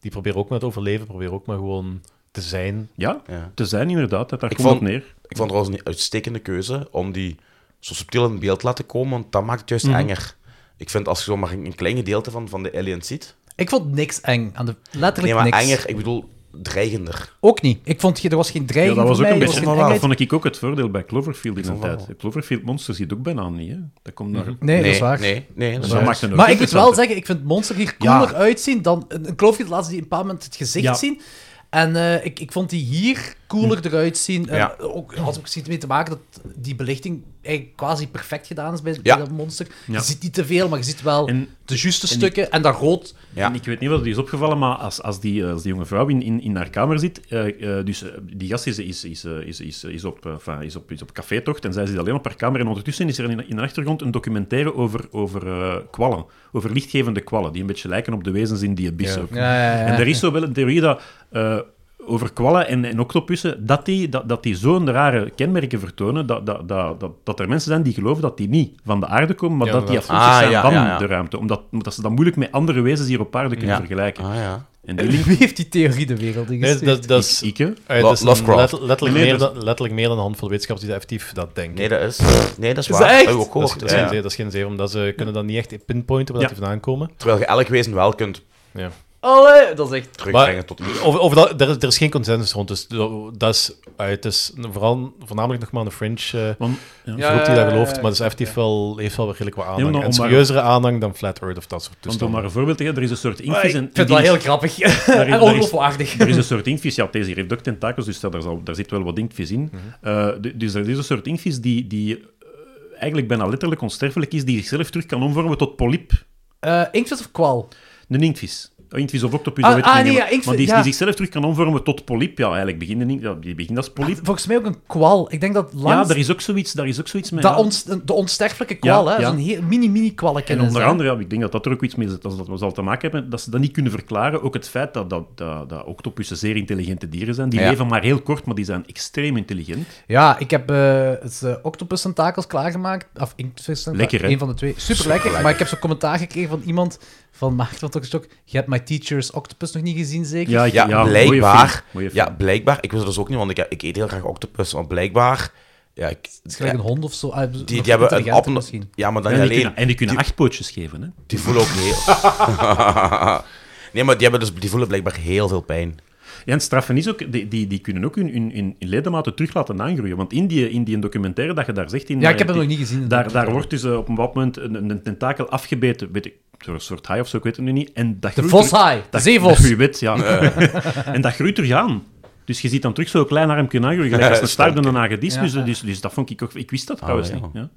G: die proberen ook maar te overleven, proberen ook maar gewoon te zijn.
F: Ja,
D: Ja.
F: te zijn inderdaad. Dat, daar
D: Ik
F: komt
D: vond-
F: het neer.
D: Ik vond trouwens een uitstekende keuze om die zo subtiel in beeld te laten komen, want dat maakt het
G: Mhm.
D: juist enger. Ik vind als je zo maar een een klein gedeelte van, van de aliens ziet...
A: Ik vond niks eng. Aan de,
D: Nee,
A: letterlijk
D: maar
A: niks.
D: enger, ik bedoel dreigender.
A: Ook niet. Ik vond, ge- er was geen
F: Ja,
A: dreiging
F: dat was
A: voor
F: ook
A: mij,
F: een
A: er
F: beetje...
A: was geen
F: Dat
A: engheid.
F: vond ik ook het voordeel bij Cloverfield in zijn
D: vond wel.
F: tijd. Cloverfield Monsters ziet ook bijna niet, hè. Dat komt naar...
A: Nee, dat is waar.
D: Nee, nee, dat is
F: Dus dat
D: waar.
F: maakt het nog
A: Mhm. Maar ik moet wel
F: interessanter.
A: zeggen, ik vind Monster hier
F: Ja.
A: cooler uitzien dan... Een een kloofje laat ze die een paar moment het gezicht
F: Ja.
A: zien. En eh, ik, ik vond die hier cooler
F: Hm.
A: eruit zien. En
D: Ja.
A: ook, had ook iets mee te maken dat die belichting eigenlijk quasi perfect gedaan is bij, bij
D: Ja.
A: dat monster.
F: Ja.
A: Je ziet niet te veel, maar je ziet wel
F: En-
A: de juiste stukken. En dat rood,
D: Ja.
F: En ik weet niet wat het is opgevallen, maar als, als, die, eh, als die jonge vrouw in, in, in haar kamer zit, eh, eh, dus eh, die gast is, is, is, eh, is, is, is, op, eh, enfin, is, op, is op cafétocht en zij zit alleen op haar kamer. En ondertussen is er in, in de achtergrond een documentaire over, over eh, kwallen, over lichtgevende kwallen, die een beetje lijken op de wezens in die abyss ook. En er is zo wel een theorie dat eh, over kwallen en, en octopussen, dat die, dat, dat die zo'n rare kenmerken vertonen, dat, dat, dat, dat, dat er mensen zijn die geloven dat die niet van de aarde komen, maar
G: Ja,
F: dat die
G: inderdaad.
F: afkomstig
D: Ah,
F: zijn
D: ja,
F: van
D: ja, ja.
F: de ruimte. Omdat, omdat ze dat moeilijk met andere wezens hier op aarde kunnen
D: Ja.
F: vergelijken.
D: Ah ja.
F: En die link...
A: wie heeft die theorie de wereld in
G: Nee, dat, dat is,
F: Ikke?
G: eh,
D: Lo-
G: dat is een
D: Lovecraft.
G: letter- letterlijk,
F: Nee,
G: meer
F: dat-
G: dan, letterlijk meer dan een handvol wetenschappers die dat effectief dat denken.
D: Nee, dat is... Nee, dat is
A: Is
D: waar.
A: dat echt?
D: Dat heb ik ook
G: dat,
D: gehoord.
G: is, dat is geen
D: Ja.
G: zee, dat is geen zee, omdat ze kunnen dan niet echt pinpointen waar dat
F: Ja.
G: die vandaan komen.
D: Terwijl je elk wezen wel kunt
A: Allee, dat is echt...
D: terugbrengen tot iets.
G: Over, over dat, er, is- er is geen consensus rond, dus dat dat is, eh, het is vooral, voornamelijk nog maar een French eh,
F: Want, ja.
A: Ja.
G: groep die dat gelooft, maar dat is
A: ja,
G: effectief wel, heeft wel redelijk wat aanhang.
F: maar
G: en
F: om maar-
G: serieuzere aanhang dan Flat Earth of dat soort
F: Want om
G: toestanden.
F: maar een voorbeeld te geven, er is een soort
A: Maar
F: inktvis
A: Ah, ik
F: en-
A: vind
F: en
A: het
F: die
A: wel heel
F: is-
A: grappig.
F: daar is-
A: en ongeloofwaardig.
F: Er is een soort inktvis, ja, deze heeft ook tentakels, dus daar, zal, daar zit wel wat inktvis in.
A: Mhm.
F: Eh, du- dus er is een soort inktvis die, die eh, eigenlijk bijna letterlijk onsterfelijk is, die zichzelf terug kan omvormen tot polyp.
A: Eh Inktvis of kwal?
F: Een inktvis. Een inktvis of octopus,
A: Ah,
F: dat weet ik
A: ah,
F: niet
A: nee,
F: meer,
A: ja, inktvis,
F: maar die,
A: ja.
F: die zichzelf terug kan omvormen tot polyp. Ja, eigenlijk begint een inkt- ja, die begint als polyp.
A: Volgens mij ook een kwal. Ik denk dat
F: Ja,
A: langs...
F: daar is ook zoiets, daar is ook zoiets mee.
A: dat
F: ja.
A: ons- de onsterfelijke kwal,
F: Ja,
A: hè.
F: ja.
A: Zo'n heel- mini-mini kwalken.
F: En onder andere, ja, ik denk dat dat er ook iets mee zit, als dat we zal te maken hebben, dat ze dat niet kunnen verklaren. Ook het feit dat, dat, dat, dat octopussen zeer intelligente dieren zijn. Die
D: Ja.
F: leven maar heel kort, maar die zijn extreem intelligent.
A: Ja, ik heb eh het eh, octopus-tentakels klaargemaakt. Of inktvis
F: Lekker, hè?
A: Een van de twee. Super lekker. Maar ik heb zo'n commentaar gekregen van iemand van Maarten van Tokkestok. Je hebt My Teacher's Octopus nog niet gezien, zeker?
F: ik-
D: Ja,
F: mooie
D: blijkbaar.
F: film, mooie film.
D: Ja, blijkbaar. Ik wist dat dus ook niet, want ik, ik eet heel graag octopus. Maar blijkbaar... Ja, ik,
A: Het is gelijk een hond of zo. Ah, of
D: die, die
A: intelligenter
D: hebben een appen...
A: misschien.
D: Ja, maar dan
F: en,
D: niet
F: die
D: alleen...
F: kunnen, en die kunnen acht pootjes geven. Hè?
D: Die voelen ook heel... nee, maar die, hebben dus, die voelen blijkbaar heel veel pijn.
F: Ja, en het straffen is ook, die, die, die kunnen ook hun, hun, hun ledematen terug laten aangroeien. Want in die, in die documentaire dat je daar zegt... In,
A: Ja, ik heb hem nog niet gezien.
F: Daar, daar wordt dus eh, op een bepaald moment een, een- een tentakel afgebeten, weet ik, door een soort haai of zo, ik weet het nu niet. En dat
A: De
F: groeit er-
A: voshaai. De
F: Dat-
A: zeevos.
F: Je weet, ja. en dat groeit er aan. Dus je ziet dan terug zo'n klein armpje aangroeien. Gelijk als een staart en een hagedis. Dus, dus, dus dat vond ik ook... Ik wist dat trouwens
D: ja.
F: niet. Ja.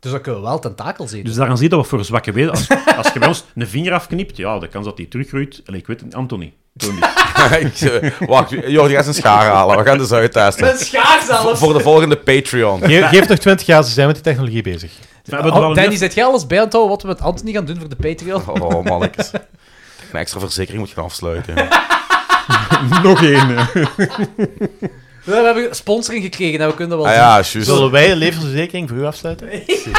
A: Dus dat kunnen we wel tentakels eten.
F: Dus daaraan zie je dat wat voor zwakke wezen... Als, als je bij ons een vinger afknipt, ja, de kans dat die teruggroeit... Allee, ik weet het niet. Anthony. Toon die.
D: Ik zeg, Wacht, Jordi gaat zijn schaar halen. We gaan dus uittesten.
A: Een schaar zelfs.
D: Voor de volgende Patreon.
G: Ge- geef nog 20 jaar, ze zijn met die technologie bezig.
F: We hebben er wel
A: Oh,
F: een
A: Danny,
F: nuf-
A: zet jij alles bij aan het houden wat we met Anthony gaan doen voor de Patreon?
D: Oh, mannetjes. Een extra verzekering moet je gaan afsluiten.
F: Nog één. hè.
A: We hebben sponsoring gekregen, nou, we kunnen dat
D: Ah
A: wel
D: ja, juist.
G: Zullen wij de levensverzekering voor u afsluiten?
A: zien.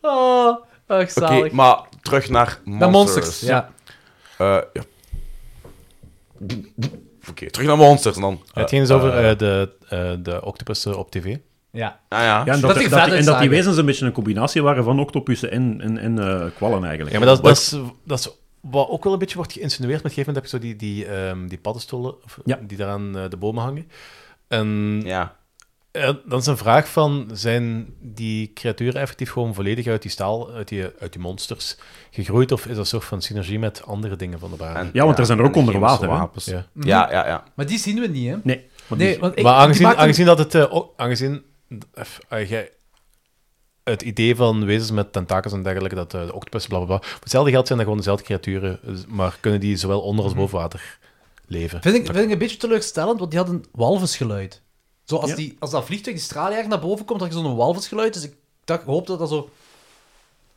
A: Oh, ach,
D: Oké,
A: zalig.
D: maar terug naar
A: De
D: monsters.
A: monsters, ja.
D: Eh, ja. Oké, terug naar monsters dan.
G: het ging dus over eh, de, eh, de octopussen op tv.
A: ja.
D: Ah ja.
F: Ja,
A: Dat
F: en dat,
A: die
F: dat, dat-
A: verder
F: en dat
A: zagen.
F: die wezens een beetje een combinatie waren van octopussen en, en, en eh, kwallen eigenlijk.
G: Ja, maar dat, dat, is, dat is wat ook wel een beetje wordt geïnsinueerd. Met een gegeven moment heb je zo die, die, ehm, die paddenstoelen of,
F: Ja.
G: die daaraan eh, de bomen hangen. En
D: Ja.
G: eh, dan is een vraag van, zijn die creaturen effectief gewoon volledig uit die staal, uit die, uit die monsters gegroeid? Of is dat een soort van synergie met andere dingen van de
D: En-
G: baan?
F: Ja, want er zijn er
D: en
F: ook onder
D: chemische
F: water, hè?
D: wapens.
G: Ja.
A: Mhm.
D: Ja, ja, ja.
A: Maar die zien we niet, hè?
F: Nee. maar die-
A: Nee, want ik,
G: maar
A: die
G: aangezien,
A: maakte-
G: aangezien dat het... eh, ook- aangezien eff, eh, jij- het idee van wezens met tentakels en dergelijke, dat eh, de octopus, bla bla bla. Voor hetzelfde geld zijn dat gewoon dezelfde creaturen, dus- maar kunnen die zowel onder als boven water leven.
A: Mhm. Vind ik, vind ik een beetje teleurstellend, want die had een walvisgeluid. Zo als,
F: Ja.
A: die, als dat vliegtuig die straaljager naar boven komt, had je zo'n walvisgeluid. Dus ik dacht, hoop dat dat zo...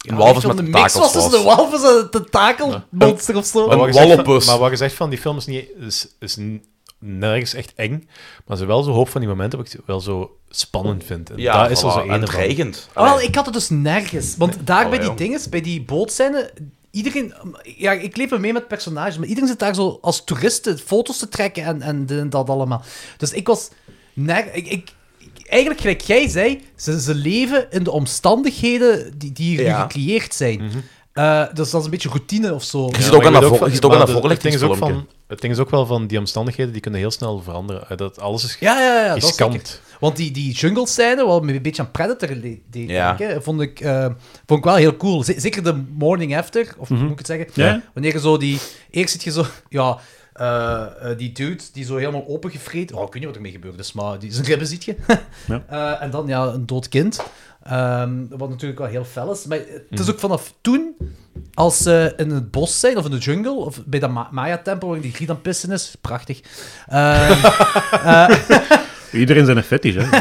D: Een walvis
A: weet je wel,
D: met
A: een
D: tentakels
A: mix was dus tussen een walvis en een tentakelmonster of zo.
G: Maar
D: Een
G: wat, gezegd van,
D: wallopus.
G: maar wat gezegd van die film is, niet, is, is n- nergens echt eng. Maar ze wel zo hoop van die momenten wat ik wel zo spannend vind. En
D: Ja,
G: daar is er
A: dus
D: voilà.
G: zo
D: En
G: één van.
D: dreigend.
A: Ah, wel,
D: Allee.
A: ik had het dus nergens. Want daar bij die
D: jong.
A: dinges, bij die bootscène, iedereen... Ja, ik leef er mee met personages, maar iedereen zit daar zo als toeristen foto's te trekken en, en dit en dat allemaal. Dus ik was... Ner ik, ik, ik- eigenlijk, gelijk jij zei, ze, ze leven in de omstandigheden die, die hier nu
D: Ja. Mhm.
A: gecreëerd zijn. Eh, dus dat is een beetje routine of zo.
D: Je
G: Ja,
D: zit ook
G: maar
D: aan
G: je
D: dat
G: weet
D: voor- je zit ook
G: maar
D: aan dat
G: de- het ding is ook
D: voorlichtingsfilmpje.
G: van- Het ding is ook wel van die omstandigheden die kunnen heel snel veranderen. Eh, Dat alles is,
A: Ja, ja, ja. dat
G: is
A: zeker.
G: kant.
A: Want die, die jungle scène, wat me een beetje aan Predator le- deed
D: Ja.
A: denken, vond ik, eh, vond ik wel heel cool. Z- zeker de morning after, of hoe moet ik het zeggen?
F: Ja.
A: Wanneer je zo die... Eerst zit je zo... Ja, eh, eh, die dude die zo helemaal opengevreten... Oh, ik weet niet wat ermee gebeurd is, maar die, zijn ribben ziet je.
F: Ja.
A: Eh, en dan ja, een dood kind. Ehm, wat natuurlijk wel heel fel is. Maar het is ook vanaf toen, als ze in het bos zijn, of in de jungle, of bij dat Ma- Maya-tempel waar die griet aan het pissen is. Prachtig. Ehm,
F: Iedereen zijn een fetish, hè.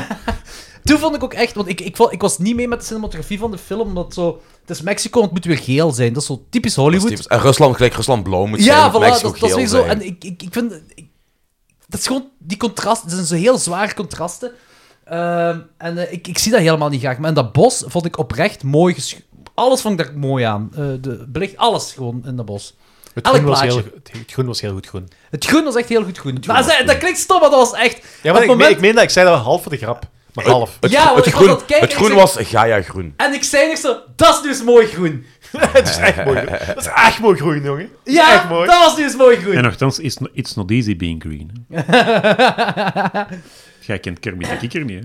A: Toen vond ik ook echt, want ik, ik, val- ik was niet mee met de cinematografie van de film, omdat zo, het is Mexico, het moet weer geel zijn. Dat is zo typisch Hollywood.
D: Steven- En Rusland, gelijk Rusland blauw moet zijn.
A: ja,
D: moet
A: voilà,
D: Mexico
A: dat, dat is
D: geel
A: weer zo.
D: zijn.
A: En ik, ik, ik vind, ik- dat is gewoon, die contrasten, het zijn zo heel zware contrasten. Ehm, en eh, ik, ik zie dat helemaal niet graag. Maar in dat bos vond ik oprecht mooi gesch- Alles vond ik daar mooi aan. Eh, de, belicht alles gewoon in dat bos.
G: Het
A: Elk
G: groen, was heel,
A: plaatje.
G: het groen was heel goed groen.
A: Het groen was echt heel goed groen. Maar zei- dat klinkt stom, maar dat was echt...
G: Ja,
A: het
G: maar ik, meen, ik meen dat ik zei dat half voor de grap. Maar half.
D: Het,
A: Ja,
D: gro-
A: want
D: het
A: ik was
D: groen,
A: aan het kijken
D: het groen
A: en ik
D: was Gaia groen.
A: En ik zei nog zo, dat is dus mooi groen.
G: Het is echt mooi. groen. Dat is echt mooi groen, jongen.
A: Ja,
G: Echt mooi.
A: dat was dus mooi groen.
F: En nogthans, it's, no- it's not easy being green. hè. Jij kent Kermit de Kikker niet, hè.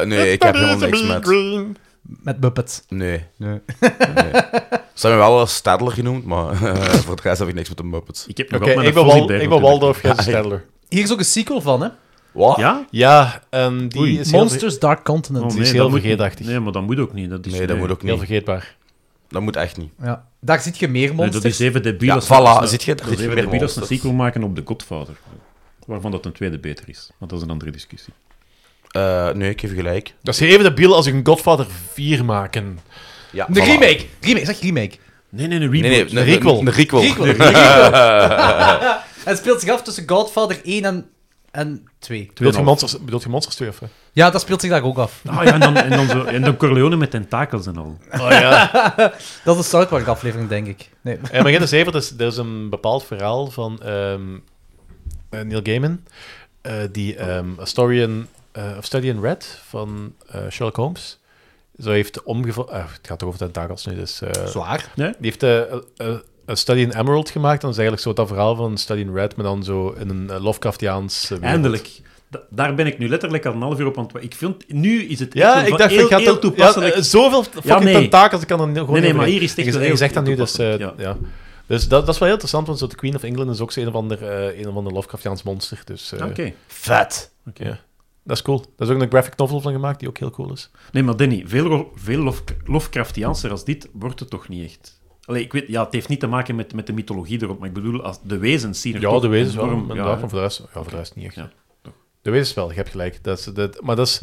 D: Eh, nee, ik heb helemaal niks met.
G: Green.
A: Met Muppets.
D: Nee. nee. Ze hebben me wel als Stadler genoemd, maar eh, voor de rest heb ik niks met de Muppets.
F: Ik heb nog
G: Oké,
F: altijd
G: ik
F: mijn
G: ben,
F: Fozzie
G: Wal-
F: Bear
G: ik ben
F: natuurlijk.
G: Waldorf, jij bent Stedler.
A: Hier is ook een sequel van, hè?
D: Wat?
F: Ja?
G: Ja, en die
F: Oei. Oh,
G: is heel, ver-
A: Monsters Dark Continent.
G: is heel
F: dat moet-
G: vergeetachtig.
F: Nee, maar dat moet ook niet. Dat is,
D: Nee, dat moet ook
G: heel
D: niet.
G: vergeetbaar.
D: Dat moet echt niet.
A: Ja. Daar zit je meer
F: Nee,
A: monsters.
F: dat is even debiel
D: Ja,
F: als...
D: voilà,
F: als-
D: zit je?
F: Dat
D: Daar
F: is
D: zit
F: even debiel
D: je
F: als een
D: monsters.
F: sequel maken op The Godfather. Waarvan dat een tweede beter is. Want dat is een andere discussie.
D: Eh, nee, ik geef je gelijk.
G: Dat is even debiel als ik een Godfather 4 maken.
D: Ja,
A: De
D: voilà.
A: remake. remake. Zeg remake.
F: Nee, nee, een
D: Nee,
F: reboot.
D: nee, een
G: Requel.
D: Een requel.
A: Prequel. het speelt zich af tussen Godfather 1 en, en 2.
G: Bedoelt je Monsters, bedoelt je monsters 2 of? hè?
A: Ja, dat speelt zich daar ook af.
F: Ah ja, en dan, en dan, zo, en dan Corleone met tentakels en al.
G: Oh ja.
A: Dat is een South Park aflevering, denk ik. Nee.
G: Ja, maar Ginder Zever, er is, er is een bepaald verhaal van ehm, eh, Neil Gaiman, eh, die ehm A Story in, eh, of Study in Red van eh, Sherlock Holmes. Zo heeft omgevallen. het gaat toch over tentakels nu, dus. eh,
A: Zwaar.
G: die heeft eh, eh, eh, A Study in Emerald gemaakt. En dat is eigenlijk zo dat verhaal van Study in Red, maar dan zo in een eh, Lovecraftiaans. eh, wereld.
F: Eindelijk. Da- daar ben ik nu letterlijk al een half uur op aan het wa- Ik vind, nu is het
G: Ja,
F: echt
G: ik
F: wel
G: dacht,
F: heel,
G: ik ga
F: heel
G: er-
F: toepasselijk.
G: ja, eh, zoveel fucking
F: Ja, nee.
G: tentakels, ik kan er gewoon
F: nee,
G: niet
F: maar
G: over-
F: hier is het echt
G: Je-
F: wel
G: je
F: heel
G: zegt dat nu, dus... eh, ja.
F: toepasselijk,
G: Dus dat, dat is wel heel interessant, want zo de Queen of England is ook zo een of ander, eh, een of ander Lovecraftiaans monster. Dus, eh,
F: Oké.
G: Vet.
F: Oké.
G: Ja. Dat is cool. Daar is ook een graphic novel van gemaakt, die ook heel cool is.
F: Nee, maar Danny, veel, ro- veel lof,
G: Hm.
F: Lovecraftiaanser als dit wordt het toch niet echt? Allee, ik weet, ja, het heeft niet te maken met, met de mythologie erop, maar ik bedoel, als de wezens zien er
G: Ja,
F: toch
G: de wezens wel,
F: enorm-
G: inderdaad,
F: ja,
G: maar voor de rest, ja, voor de rest niet echt.
F: Ja,
G: De wezens wel, je hebt gelijk. Dat is, dat, maar dat is...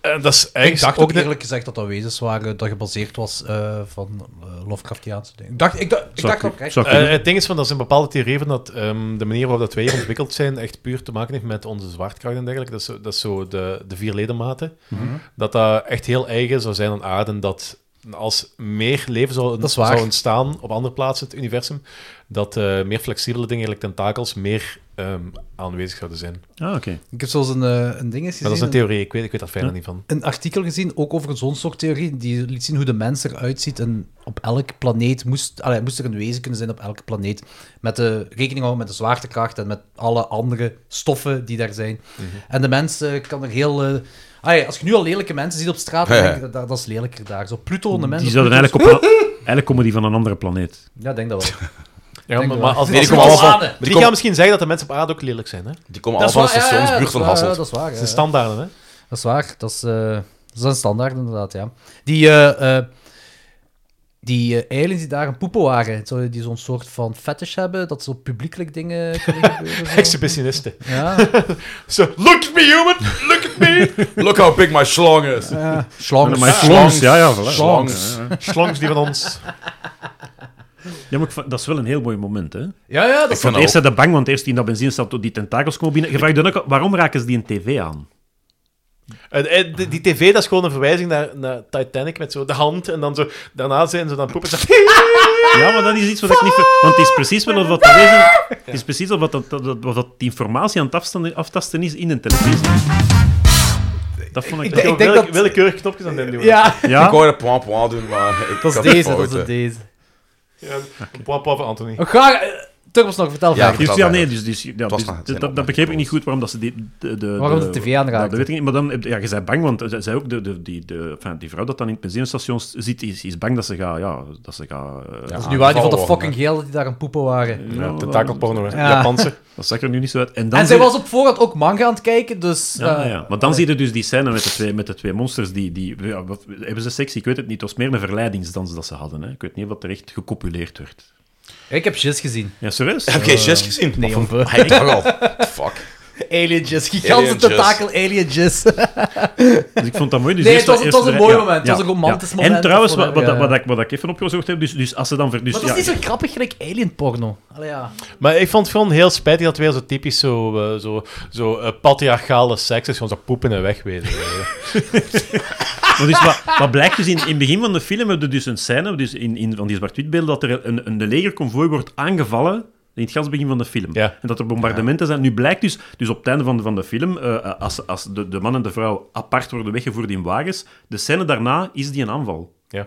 G: eh, dat is
A: Ik
G: eigenlijk
A: dacht
G: ook
A: ook
G: de-
A: eerlijk gezegd dat dat wezens waren dat gebaseerd was eh, van eh, Lovecraftiaanse dingen. Ik dacht, ik dacht, ik
F: Zou
A: dacht
F: ik-
A: ook echt.
F: zou ik
G: Eh,
F: kunnen.
G: het ding is, van, dat is een bepaalde theorie van dat ehm, de manier waarop dat wij hier ontwikkeld zijn echt puur te maken heeft met onze zwaartekracht en dergelijke. Dat is, zo- dat is zo de, de vier ledematen.
A: Mhm.
G: Dat dat echt heel eigen zou zijn aan aarde. en Dat als meer leven zou,
A: Dat is waar.
G: zou ontstaan op andere plaatsen in het universum, dat eh, meer flexibele dingen, like tentakels, meer ehm, aanwezig zouden zijn. Maar
F: Ah, oké.
A: Ik heb zoals een, eh, een ding eens gezien.
G: dat is een theorie, ik weet, ik weet daar verder niet van.
A: een artikel gezien, ook over zo'n soort theorie, die liet zien hoe de mens eruit ziet. En op elk planeet moest, allee, moest er een wezen kunnen zijn op elke planeet. Met de rekening houden met de zwaartekracht en met alle andere stoffen die daar zijn.
D: Mhm.
A: En de mens eh, kan er heel. eh, allee, als je nu al lelijke mensen ziet op straat, dan
D: Ja, ja.
A: denk je, dat, dat is lelijker daar. Zo Pluto en de mensen.
F: Die zouden
A: Pluto
F: eigenlijk op... een- Eigenlijk komen die van een andere planeet.
A: is- Ja, ik denk dat wel.
G: Ja,
A: Denk
G: maar,
A: wel.
G: maar als,
D: Nee, die
G: als,
D: komen
G: als-
D: allemaal
A: van-
G: maar
D: die
G: die
D: komen-
G: gaan misschien zeggen dat de mensen op aarde ook lelijk zijn. Hè? Dat
D: Die komen allemaal van de stationsbuurt van
A: dat is waar, ja,
D: Hasselt.
A: Dat is waar. ja,
G: zijn
A: ja.
G: standaarden, hè?
A: Dat is waar. Dat is, eh, dat is een standaard, inderdaad, ja. Die, eh, eh, die eh, aliens die daar een poepo waren, zo- die zo'n soort van fetish hebben, dat zo publiekelijk dingen kunnen gebeuren. zo.
G: Exhibitionisten.
A: ja,
G: Zo, look at me, human! Look at me!
D: Look how big my schlong is.
A: ja.
F: Maar
A: Slangers.
F: maar
D: Slangs.
F: slangs, ja, ja, voilà.
D: Slangs.
G: Slongs die van ons.
F: Ja, maar ik vond- dat is wel een heel mooi moment, hè.
G: Nou.
A: ja, ja, dat is
D: Ik vind
F: Want eerst
D: ook-
F: zijn ze bang, want eerst in dat benzinestad door die tentakels komen binnen. Je vraagt dan ook, al, waarom raken ze die een tv aan?
G: Eh, eh, die, die tv, dat is gewoon een verwijzing naar, naar Titanic met zo de hand. En dan zo, daarna zijn ze dan poepen. Zo,
F: Ja, maar dat is iets wat ik niet... ver- Want het is precies wel of wat dat wezen... Het is precies of wat, dat, dat, wat dat die informatie aan het afstanden- aftasten is in een televisie. Dat vond ik...
A: denk- ik denk
G: Welke-
A: dat-
G: willekeurig knopjes aan den doen.
A: Ja,
D: Ik
F: ja?
D: wou dat point point doen, maar ik
A: dat is
D: had
A: deze, dat
D: fouten.
A: is deze.
G: Ja, Papa van Anthony.
A: Ga, eh, Turbosnog, vertel
D: Ja,
A: verder.
D: ik
F: Dus
D: zal
F: ja,
D: verder.
F: nee, dus, dus, ja,
D: was
F: dus
D: maar het
F: dat,
D: zijn
F: dat begreep ik niet goed waarom dat ze die, de, de,
A: Waarom de TV aanraakte.
F: Ja, dat weet ik niet, maar dan, heb je- ja, je bent bang, want zij- zij ook de, de, die, de, enfin, die vrouw dat dan in het benzinestation zit, is, is bang dat ze gaat, ja, dat ze gaat... eh,
D: Ja.
A: Dat is nu waar, die van de
D: Vallen worden,
A: fucking geel dat die daar aan poepen waren.
F: ja,
G: Ja,
F: dat-
G: Tentakelporno, hè.
A: Ja.
G: Japanse.
F: Dat zag er nu niet zo uit. En, dan
A: En zij
F: zie-
A: was op voorhand ook manga aan het kijken, dus...
F: Ja,
A: eh,
F: ja. Maar dan zie je dus die scène met de twee, met de twee monsters. Die, die, ja, wat, hebben ze seks? Ik weet het niet. Het was meer een verleidingsdans dat ze hadden. Hè. Ik weet niet wat er echt gecopuleerd werd.
A: Ik heb Jizz gezien.
F: Ja, serieus?
D: Heb jij Jess gezien?
A: Nee,
D: Of-
A: of-
D: Ah, ik dacht al. Fuck.
A: Alien Jizz. Gigantische
D: Alien jizz.
A: tentakel Alien Jizz.
F: Dus ik vond dat mooi. Dus
A: Nee,
F: eerst
A: het was- het
F: dat
A: was
F: eerste
A: een mooi
F: rij-
A: moment. Het was een romantisch
F: En
A: moment.
F: trouwens,
A: Dat vond
F: wat, wat,
A: ik,
F: wat,
A: ja.
F: ik, wat ik even opgezocht heb, dus, dus als ze dan... ver- Dus,
A: Maar dat is
F: ja,
A: niet zo grappig gelijk alien porno. Allee, ja.
G: Maar ik vond het gewoon heel spijtig dat het weer zo typisch zo, eh, zo, zo eh, patriarchale seks is. Gewoon zo poepen en wegwezen.
F: Maar dus wat, wat blijkt dus in, in het begin van de film hebben we dus een scène dus in, in, van die zwart-wit beelden dat er een, een de legerconvooi wordt aangevallen in het ganse begin van de film.
G: Ja.
F: En dat er bombardementen zijn. Nu blijkt dus, dus op het einde van de, van de film, eh, als, als de, de man en de vrouw apart worden weggevoerd in wagens, de scène daarna is die een aanval.
G: Ja.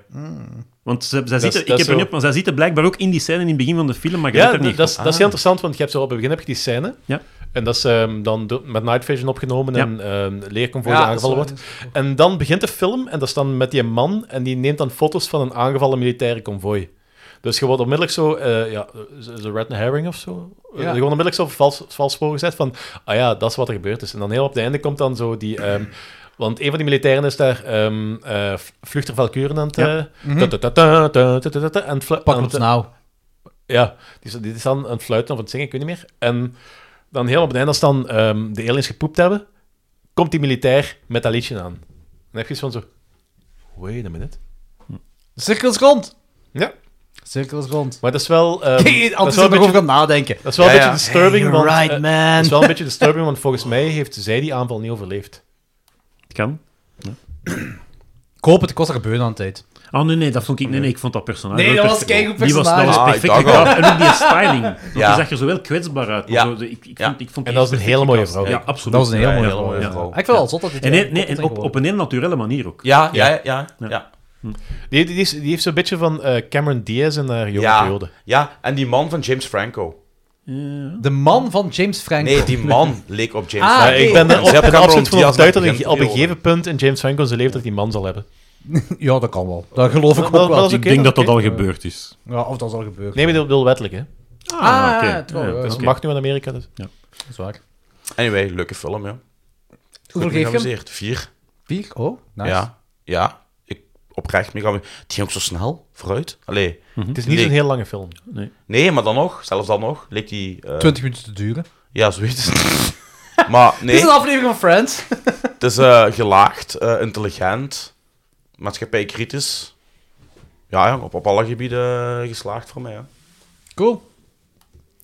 F: Want ze, zij zitten, ik
G: dat
F: heb
G: is
F: er niet
G: zo.
F: op, maar zij zitten blijkbaar ook in die scène in het begin van de film, maar je
G: Ja,
F: let er
G: dat,
F: niet
G: dat is,
F: op.
G: dat is heel interessant, want je hebt zo op het begin heb je die scène.
F: Ja.
G: En dat is ehm, dan do- met Night Vision opgenomen
F: Ja.
G: en ehm leerconvooi
A: Ja,
G: die aangevallen
A: dat
G: wordt. En dan begint de film en dat is dan met die man en die neemt dan foto's van een aangevallen militaire convooi. Dus je wordt onmiddellijk zo, eh ja, is een red herring of zo. Eh,
A: Ja.
G: je wordt onmiddellijk zo vals, vals voorgezet van, ah ja, dat is wat er gebeurd is. En dan heel op het einde komt dan zo die... ehm, want een van die militairen is daar ehm eh, Vluchter Valkuren aan het...
F: Ja.
G: eh, ta-ta-ta-ta, ta-ta-ta-ta, aan het flu-
A: Pak
G: aan
A: ons
G: het-
A: nou.
G: ja, die, die is dan aan het fluiten of aan het zingen, ik weet niet meer. En dan heel op het einde, als dan ehm, de aliens gepoept hebben, komt die militair met dat liedje aan. Dan heb je iets van zo... Wait a minute.
A: Cirkel is rond.
G: Ja.
A: Cirkel is rond.
G: Maar dat is wel... ehm,
A: Hey, anders is
G: dat is wel
A: er
G: een
A: nog
G: beetje,
A: over gaan nadenken.
G: dat is wel een
D: Ja, ja.
G: beetje disturbing,
A: Hey,
G: want...
A: you're
G: eh,
A: right, man.
G: dat is wel een beetje disturbing, want volgens mij heeft zij die aanval niet overleefd.
F: Ah, Het kan.
A: Ik hoop het, ik was er gebeurd aan de tijd.
F: Oh nee, nee, dat vond ik, nee, nee, ik vond dat personage.
A: Nee,
F: wel
A: dat was
F: perfect.
A: keigoed
F: Die was, dat was
D: personage.
F: perfect
D: Ah, ik dacht
F: gedaan. En ook die styling. Want
D: Ja.
F: die zag er zo wel kwetsbaar uit. maar
D: Ja.
F: zo, de- ik, ik
D: Ja.
F: vond, ik vond die
G: En dat is een
F: perfect
G: hele mooie
F: gecast.
G: vrouw.
F: Ja, absoluut.
A: Dat was een heel
D: Ja,
A: mooie
D: hele
A: vrouw.
D: mooie
A: ja.
D: vrouw.
A: Ah, Ik vind het al zot dat dit
F: En, nee, nee,
A: op-
F: en op, op een heel naturele manier ook.
D: Ja, ja, ja. ja,
F: Ja.
D: ja. ja.
G: Die, die, is- die heeft zo'n beetje van eh, Cameron Diaz in haar jonge
D: Ja.
G: periode.
D: Ja, en die man van James Franco.
A: De man van James Franco.
D: Nee, die man leek op James
A: Ah,
G: Ja,
D: Franco.
A: nee.
G: Eh, ik ben er
D: Ze
G: op-
D: hebben
G: er
D: Cameron
G: absoluut van
D: Diaz
G: overtuigd dat
D: met
G: hij op een
D: begin-
G: gegeven punt in James Franco zijn leven dat die man zal hebben.
A: Ja, dat kan wel. Dat geloof ik ook
G: Dat- dat
A: wel.
G: is
F: Ik
G: oké,
F: denk dat
G: dat
F: dat
G: is
F: al
G: oké.
F: gebeurd is.
A: Ja, of dat is al gebeurd.
G: Nee, maar dat wil wettelijk, hè.
A: Ah,
F: oké.
A: ja, trouw, ja,
F: dat is
G: Dat
F: oké.
G: mag nu in Amerika, dus.
A: Dat is waar.
D: Anyway, leuke film, ja.
A: Hoeveel geef je hem?
D: geamuseerd. Vier.
A: Vier? Oh, nice.
D: Ja. Ja. Ik oprecht me Die ging ook zo snel vooruit. Allee.
G: Het is niet
D: Nee.
G: zo'n heel lange film.
D: Nee, maar dan nog. Zelfs dan nog. Leek die... eh,
A: 20 minuten te duren.
D: ja, zoiets. maar
A: Dit
D: nee.
A: is een aflevering van Friends.
D: Het is eh, gelaagd, eh, intelligent, maatschappijkritisch. Ja, ja, op, op alle gebieden eh, geslaagd voor mij. Hè.
A: Cool.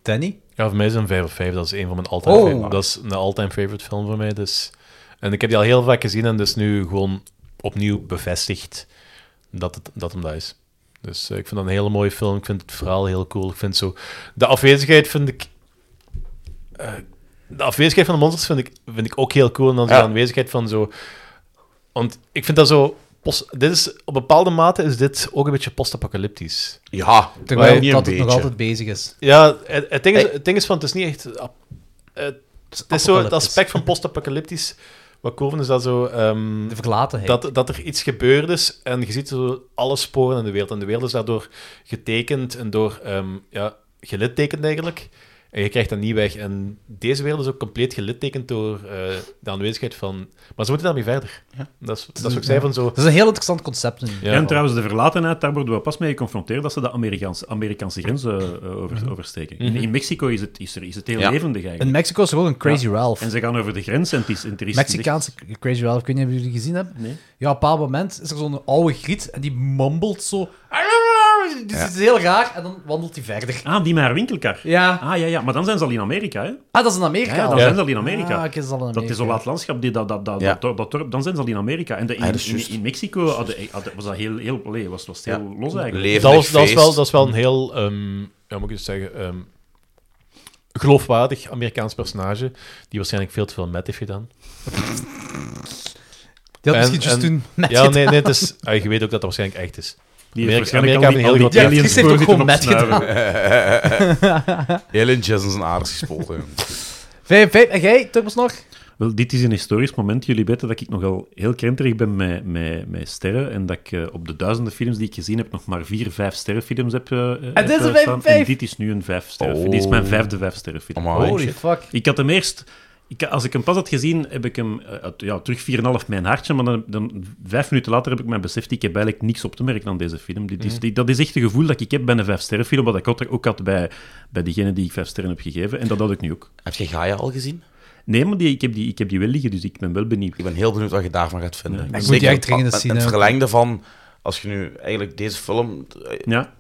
A: Danny?
G: Ja, voor mij is het een 5 of 5. Dat is een van mijn all-time
A: Oh.
G: favorite. Dat is een all-time favorite film voor mij. Dus. En ik heb die al heel vaak gezien en dus nu gewoon opnieuw bevestigd dat het dat hem dat is. Dus eh, ik vind dat een hele mooie film. Ik vind het verhaal heel cool. Ik vind zo... De afwezigheid vind ik... eh, de afwezigheid van de monsters vind ik, vind ik ook heel cool. En dan zo
D: Ja.
G: de aanwezigheid van zo... Want ik vind dat zo... Post, dit is, op bepaalde mate is dit ook een beetje post-apocalyptisch.
D: Ja,
A: Terwijl
D: niet
A: dat
D: een
A: het nog
D: beetje.
A: altijd bezig is.
G: Ja, het, het, ding is,
D: Hey.
G: het ding is van, het is niet echt... ap- Het, het is zo het
A: apocalyptisch.
G: aspect van post-apocalyptisch. Wat cool vind is dat zo... ehm,
A: De verlatenheid.
G: dat, dat er iets gebeurd is en je ziet zo alle sporen in de wereld. En de wereld is daardoor getekend en door... ehm, ja, gelittekend eigenlijk. En je krijgt dat niet weg. En deze wereld is ook compleet gelittekend door eh, de aanwezigheid van... Maar ze moeten daarmee verder. Dat is, dat is wat ik zei van zo...
A: Dat is een heel interessant concept nu.
G: Ja,
F: en trouwens, de verlatenheid, daar worden we pas mee geconfronteerd dat ze de Amerikaanse, Amerikaanse grens eh, eh, over, oversteken. In, in Mexico is het, is er, is het heel
D: Ja.
F: levendig eigenlijk.
A: In Mexico is er ook een Crazy
F: Ja.
A: Ralph.
F: En ze gaan over de grens en het is... En er is
A: Mexicaanse Crazy Ralph, ik weet niet of jullie die gezien hebben.
F: Nee.
A: Ja, op een bepaald moment is er zo'n oude griet en die mumbelt zo. Dus het is heel raar en dan wandelt hij verder.
F: Ah, die met haar winkelkar.
A: Ja,
F: Ah, ja, ja. Maar dan zijn ze al in Amerika, hè?
A: ah, dat is in Amerika.
F: Ja, dan
A: al.
F: zijn ze al in Amerika.
A: Ah, oké, dat is al in
F: Dat
A: Amerika.
F: isolaat landschap, die, dat, dat, dat,
D: Ja.
F: dat, dorp- dat dorp, dan zijn ze al in Amerika. En de, in,
D: Ah, dat is
F: in-
D: juist.
F: in Mexico hadden- hadden- was dat heel, heel allee, was, was het heel
D: Ja.
F: los eigenlijk.
D: Levendig
G: Dat, was, dat, is
D: feest.
G: wel, dat is wel een heel, ehm, ja, moet ik eens zeggen, ehm, geloofwaardig Amerikaans personage, die waarschijnlijk veel te veel met heeft gedaan.
A: Die had
G: En-
A: misschien juist
G: en-
A: toen met
G: ja, nee, nee, het is, ah, je weet ook dat dat waarschijnlijk echt is.
F: Die
G: Amerika-
F: heeft waarschijnlijk
G: Amerika
F: al die,
G: heeft een
F: al
G: heel
F: die
G: groot-
F: aliens
A: Ja, die heeft ook
F: gewoon
A: gewoon
F: zitten
A: met
F: opsnuiven.
D: Alien Jazz in zijn aders gespoten. jongen.
A: Vijf, vijf. En jij, Turbos nog?
F: Wel, dit is een historisch moment. Jullie weten dat ik nogal heel krenterig ben met, met, met sterren en dat ik eh, op de duizenden films die ik gezien heb nog maar vier, vijf sterrenfilms heb eh, eh, heb,
A: dit is een
F: eh, staan.
A: vijf-
F: En dit is nu een vijf sterrenfilm. Dit is mijn vijfde vijf sterrenfilm.
D: Amai.
A: Holy fuck.
F: Ik had hem eerst... Ik, als ik hem pas had gezien, heb ik hem eh, uit- ja, terug 4,5 mijn hartje. Maar dan, dan, vijf minuten later heb ik mij beseft, ik heb eigenlijk niks op te merken aan deze film. Dit is, dit- dat is echt het gevoel dat ik heb bij een vijfsterrenfilm, wat ik ook- ook had bij, bij degene die ik vijf sterren heb gegeven. En dat had ik nu ook.
D: Heb je Gaia al gezien?
F: Nee, maar die, ik, heb die, ik heb die wel liggen, dus ik ben wel benieuwd.
D: Ik ben heel benieuwd wat je daarvan gaat vinden.
F: Ja,
D: Zeker
A: ik moet die echt dringend
D: het-
A: eens zien,
D: Het
A: hè.
D: verlengde van, als je nu eigenlijk deze film... eh,
F: Ja,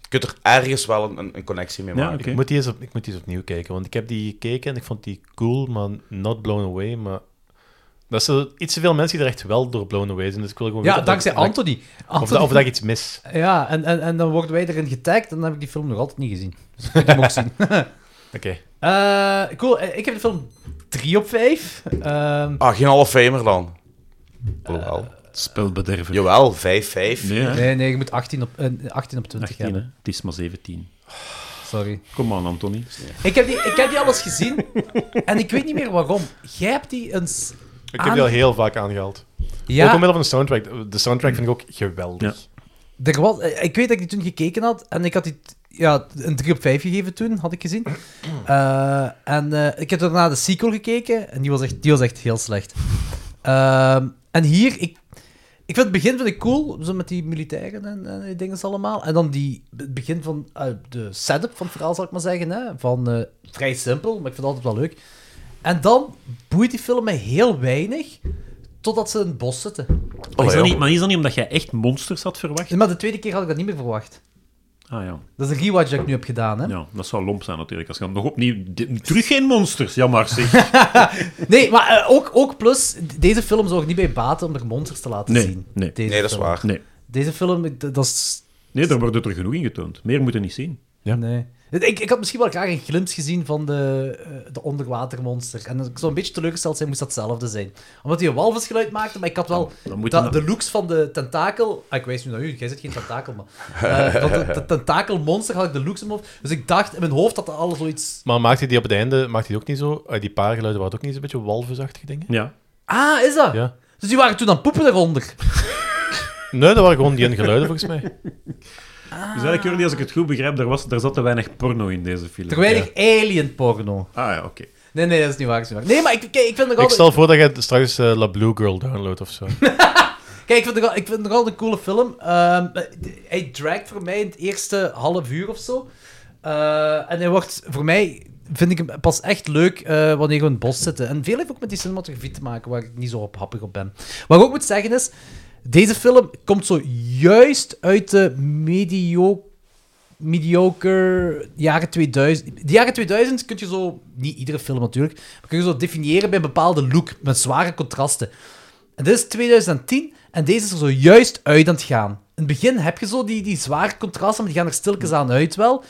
D: Je kunt er ergens wel een- een, een connectie mee
F: Ja,
D: maken.
F: oké.
G: Ik, moet die eens op, ik moet die eens opnieuw kijken, want ik heb die gekeken en ik vond die cool, maar not blown away. Maar dat is zo- iets te veel mensen die er echt wel door blown away zijn. Dus ik wil gewoon
A: Ja,
G: weten of
A: dankzij
G: dat- of
A: Anthony.
G: dat- Of, dat, of dat ik iets mis.
A: Ja, en, en, en dan worden wij erin getagd en dan heb ik die film nog altijd niet gezien. Dus ik moet hem ook zien.
G: Oké.
A: Eh, cool, eh, ik heb de film 3 op 5. Ehm
D: Ah, geen half famer dan. Jawel.
F: Spelbederver.
D: Jawel, 5-5.
F: Nee, hè?
A: nee, nee, je moet 18 op, eh, 18 op 20
F: 18, hè?
A: hebben.
F: Het is maar 17.
A: Sorry.
F: Kom aan, Anthony.
A: Ik heb, die, ik heb die al eens gezien en ik weet niet meer waarom. Jij hebt die eens...
G: Ik heb die al heel vaak aangehaald. Ook
A: Ja,
G: omwille van de soundtrack. De soundtrack vind ik ook geweldig.
A: er was, eh, ik weet dat ik die toen gekeken had en ik had die t- ja, een 3 op 5 gegeven toen, had ik gezien. Eh, en eh, ik heb daarna de sequel gekeken en die was echt, die was echt heel slecht. Ehm, en hier, ik, ik vind het begin vind ik cool, zo met die militairen en, en die dingen allemaal. En dan die, het begin van eh, de setup van het verhaal, zal ik maar zeggen. Hè? Van, eh, vrij simpel, maar ik vind het altijd wel leuk. En dan boeit die film mij heel weinig, totdat ze in het bos zitten.
F: Maar is,
D: joh.
F: dat niet, maar is dat niet omdat jij echt monsters had verwacht?
A: Maar de tweede keer had ik dat niet meer verwacht.
F: Ah ja.
A: Dat is een rewatch dat ik nu heb gedaan, hè?
F: ja, dat zou lomp zijn natuurlijk. Als je dan nog opnieuw... de- terug geen monsters, jammer zeg.
A: Nee, maar eh, ook, ook plus, d- deze film zorgt niet bij baten om er monsters te laten
F: Nee,
A: zien.
F: nee.
A: Deze
D: Nee, dat is
A: film.
D: waar.
F: Nee,
A: Deze film, ik- d- dat is...
F: nee daar wordt er genoeg in getoond. Meer moeten niet zien.
G: Ja.
A: Nee. Ik, ik had misschien wel graag een glimp gezien van de, eh, de onderwatermonster. En als ik zou een beetje teleurgesteld zijn, moest dat hetzelfde zijn. Omdat hij een walvisgeluid maakte, maar ik had wel
F: dan moet
A: dat-
F: je-
A: de looks van de tentakel... Ah, ik wijs nu naar u, jij zit geen tentakel, maar... eh, van de, de tentakelmonster had ik de looks in mijn hoofd. Dus ik dacht, in mijn hoofd had dat alles zoiets...
G: Maar maakte die op het einde maakte die ook niet zo... eh, die paar geluiden waren ook niet zo'n beetje walvisachtige dingen?
F: Ja.
A: Ah, is dat?
G: Ja.
A: Dus die waren toen aan het poepen eronder.
G: Nee, dat waren gewoon die ene geluiden volgens mij.
F: Dus eigenlijk, Jordi, als ik het goed begrijp, daar, was, daar zat te weinig porno in deze film.
A: Er weinig alien porno.
F: Ah ja, oké.
A: Nee, nee, dat is niet waar. dat is niet waar. Nee, maar ik, kijk, ik vind nog
G: Ik
A: altijd...
G: stel voor dat je straks eh, La Blue Girl downloadt of zo.
A: Kijk, ik vind, nog al- ik vind nog altijd een coole film. Ehm, hij draagt voor mij in het eerste half uur of zo. Eh, en hij wordt voor mij... Vind ik hem pas echt leuk eh, wanneer we in het bos zitten. En veel heeft ook met die cinematografie te maken, waar ik niet zo op happig op ben. Wat ik ook moet zeggen is, deze film komt zo juist uit de medio mediocre jaren 2000. De jaren 2000 kun je zo, niet iedere film natuurlijk, maar kun je zo definiëren bij een bepaalde look, met zware contrasten. En dit is 2010 en deze is er zo juist uit aan het gaan. In het begin heb je zo die, die zware contrasten, maar die gaan er stilkens aan uit wel.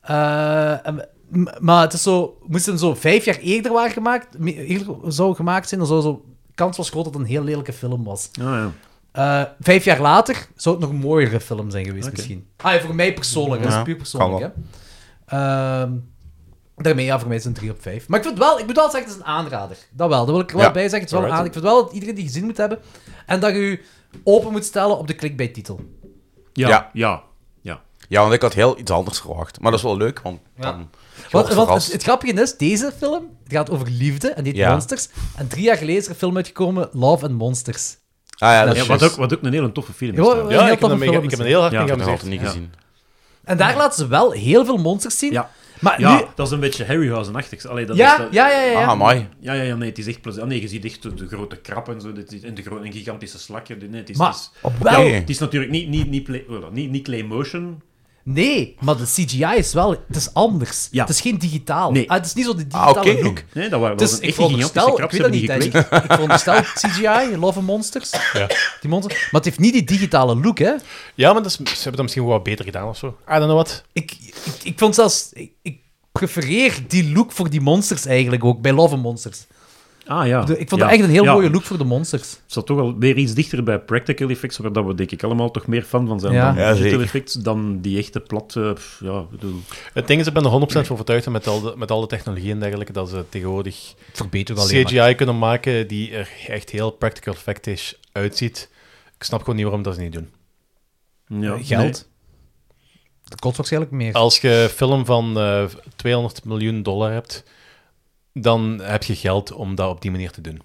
A: Eh, en- m- maar het is zo, moest hem zo vijf jaar eerder waren gemaakt, me- eerder zou gemaakt zijn, dan zou zo kans was groot dat het een heel lelijke film was.
F: Ah ja.
A: Eh, vijf jaar later zou het nog een mooiere film zijn geweest,
F: Oké.
A: misschien. Ah, ja, voor mij persoonlijk. Dat is
D: Ja,
A: puur persoonlijk, hè. Ehm, daarmee, ja, voor mij is het een 3 op 5. Maar ik vind wel, ik moet wel zeggen, het is een aanrader. Dat wel, dat wil ik er wel
D: Ja.
A: bij zeggen. Het is wel een aanrader. Ik vind wel dat iedereen die gezien moet hebben. En dat je je open moet stellen op de clickbait-titel.
F: Ja, ja.
D: Ja.
F: ja.
D: Ja, want ik had heel iets anders verwacht. Maar dat is wel leuk, want dan... je
A: Want,
D: wordt
A: want het,
D: verrast.
A: het grappige is, deze film het gaat over liefde en die
D: Ja.
A: monsters. En drie jaar geleden is er een film uitgekomen, Love and Monsters.
D: Ah ja, dat is
F: Ja, wat, ook,
D: juist.
F: wat ook een hele toffe film is.
A: Ja,
F: trouwens.
A: heel
G: Ja, ik heb,
A: toffe
G: hem, ik,
A: film
G: ik heb
A: is
G: hem heel hard
F: Ja,
G: in
D: Ik heb het
G: geamuseerd.
D: niet
F: Ja.
D: gezien.
A: En daar laten ze wel heel veel monsters zien.
F: Ja.
A: Maar
F: Ja,
A: nu...
F: dat is een beetje Harryhausen-achtig. Allee, dat is
A: Ja,
F: dat-
A: ja, ja, ja. ja.
D: Ah, mooi.
F: Ja, ja, ja, nee, het is echt plezier. Ah, nee, je ziet echt de, de grote krab en zo. dit is- En de gro- en gigantische slakken. Nee, het is,
A: Maar-
F: het is-
A: Wel,
D: Oké.
F: Het is natuurlijk niet, niet, niet, play, wel, niet, niet clay motion.
A: Nee, maar de CGI is wel... Het is anders.
F: Ja.
A: Het is geen digitaal.
F: Nee.
A: Ah, het is niet zo de
D: Ah,
A: digitale
D: oké.
A: look.
F: Nee, dat waren
A: Het
F: dat
A: is,
F: was een
A: ik
F: echt gigantische
A: veronderstel... Ik
F: krab.
A: weet dat
F: Ze
A: niet,
F: hebben
A: hè.
F: die
A: ik, ik veronderstel CGI, Love and Monsters. Die monster. Maar het heeft niet die digitale look, hè.
G: Ja, maar dat is, ze hebben dat misschien gewoon wat beter gedaan of zo. I don't know what.
A: Ik, ik, ik vond zelfs... Ik, ik prefereer die look voor die monsters eigenlijk ook, bij Love and Monsters.
F: Ah ja.
A: De- ik vond
F: ja.
A: dat echt een heel
F: Ja.
A: mooie look voor de monsters.
F: Het zat toch wel weer iets dichter bij practical effects, waar dat we denk ik allemaal toch meer fan van zijn
A: Ja.
F: dan
D: Ja,
F: digital
D: zeker.
F: effects, dan die echte platte... pff, ja, ik bedoel...
G: Het ding is, ik ben er 100% voor overtuigd dat met al, de, met al de technologie en dergelijke, dat ze tegenwoordig
A: Verbeteren alleen maar.
G: CGI kunnen maken die er echt heel practical effect-ish uitziet. Ik snap gewoon niet waarom dat ze niet doen.
F: Ja,
A: Geld. Dat kost waarschijnlijk meer.
G: Als je een film van eh, 200 miljoen dollar hebt, dan heb je geld om dat op die manier te doen.
F: nee.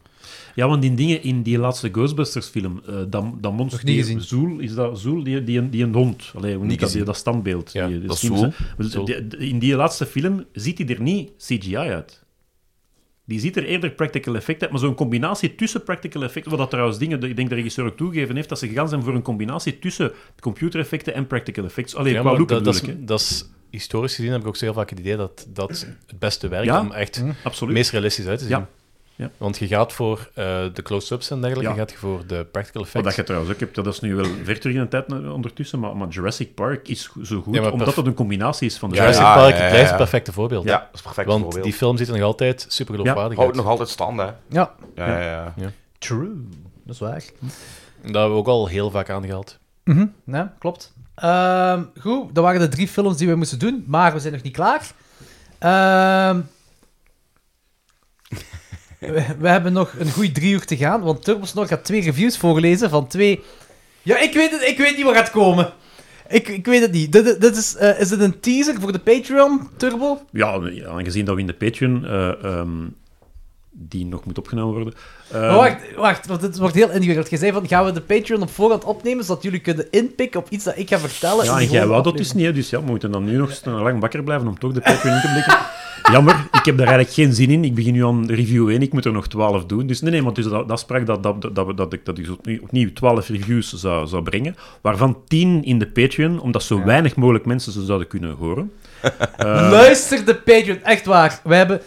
F: Ja, want die dingen in die laatste Ghostbusters-film, eh dat, dat monster...
A: Nog niet
F: die-
A: gezien.
F: Zool, is dat Zool? Die, die, die een hond. Allee, hoe noemt dat, die, dat standbeeld.
G: Ja,
F: die, die
D: dat is
F: schimmels,
D: Zool.
F: hè. Want
G: Zool.
F: die- die- in die laatste film ziet hij er niet CGI uit. Die ziet er eerder practical effect uit, maar zo'n combinatie tussen practical effect, wat dat trouwens dingen, ik denk de regisseur ook toegegeven heeft, dat ze gegaan zijn voor een combinatie tussen computereffecten en practical effects. Alleen
G: Ja,
F: qua
G: maar
F: look
G: dat, dat,
F: bedoel
G: is,
F: ik, hè.
G: dat is- historisch gezien heb ik ook heel vaak het idee dat dat het beste werkt
F: Ja?
G: om echt het
F: Absoluut.
G: meest realistisch uit te zien.
F: Ja. Ja.
G: Want je gaat voor eh, de close-ups en dergelijke,
F: Ja.
G: gaat je voor de practical
F: Wat
G: effects.
F: dat je trouwens ook hebt, dat is nu wel ver terug in de tijd eh, ondertussen, maar, maar Jurassic Park is go- zo goed,
G: Ja, maar
F: omdat
G: perf-
F: het een combinatie is van de
G: Jurassic
D: Ja,
G: Park
D: ja, ja,
G: blijft het
D: ja.
G: perfecte voorbeeld.
D: Ja, dat is perfect
G: Want
D: voorbeeld.
G: die film ziet er nog altijd super geloofwaardig
D: Houdt
G: uit.
D: nog altijd stand, hè.
A: Ja,
D: Ja, ja, ja.
A: true. Dat is waar.
G: Dat hebben we ook al heel vaak aangehaald.
A: Ja, klopt. Ehm, goed, dat waren de drie films die we moesten doen, maar we zijn nog niet klaar. Ehm, we, we hebben nog een goede drie uur te gaan, want Turbosnor gaat twee reviews voorlezen van twee... Ja, ik weet het, ik weet niet wat gaat komen. Ik, ik weet het niet. Dit, dit- dit is, eh, is dit een teaser voor de Patreon, Turbo?
F: Ja, ja, aangezien dat we in de Patreon, eh, ehm, die nog moet opgenomen worden. ehm,
A: Maar wacht, wacht, want dit wordt heel ingewikkeld. Je zei van, gaan we de Patreon op voorhand opnemen, zodat jullie kunnen inpikken op iets dat ik ga vertellen? in
F: ja,
A: de
F: en jij
A: volgende
F: wou dat dus
A: aflevering?
F: niet, hè, dus ja, we moeten dan nu nog eens lang wakker blijven om toch de Patreon in te blikken. Jammer, ik heb daar eigenlijk geen zin in. Ik begin nu aan review 1, ik moet er nog 12 doen. Dus nee, nee, want dus dat, dat sprak dat, dat, dat, we- dat ik dat ik zo opnieuw- opnieuw 12 reviews zou, zou brengen, waarvan 10 in de Patreon, omdat zo weinig mogelijk mensen ze zouden kunnen horen. Ehm.
A: Luister de Patreon, echt waar. We hebben.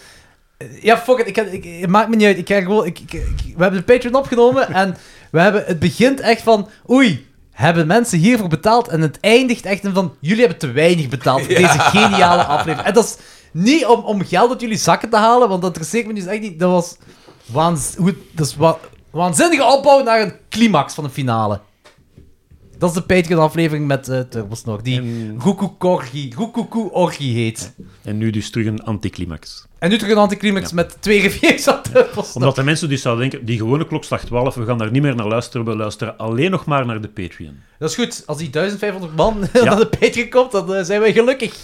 A: Ja, fuck it, ik, kan- ik, het maakt me niet uit. Ik, ga gewoon, ik, ik- ik- we hebben de Patreon opgenomen en we hebben, het begint echt van. Oei, hebben mensen hiervoor betaald? En het eindigt echt in van. Jullie hebben te weinig betaald voor deze geniale aflevering. En dat is niet om, om geld uit jullie zakken te halen, want dat interesseert me dus echt niet. Dat was. Waanz, hoe, dat is wa- waanzinnige opbouw naar een climax van een finale. Dat is de Patreon-aflevering met eh Turbosnor, die
F: En-
A: Gokukorgi, Gokukorgi heet.
F: En nu dus terug een anticlimax.
A: En nu terug een anticlimax met twee reviews aan de post.
F: Omdat de mensen dus zouden denken, die gewone klokslag 12, we gaan daar niet meer naar luisteren, we luisteren alleen nog maar naar de Patreon.
A: Dat is goed. Als die 1500 man naar de Patreon komt, dan eh, zijn wij gelukkig.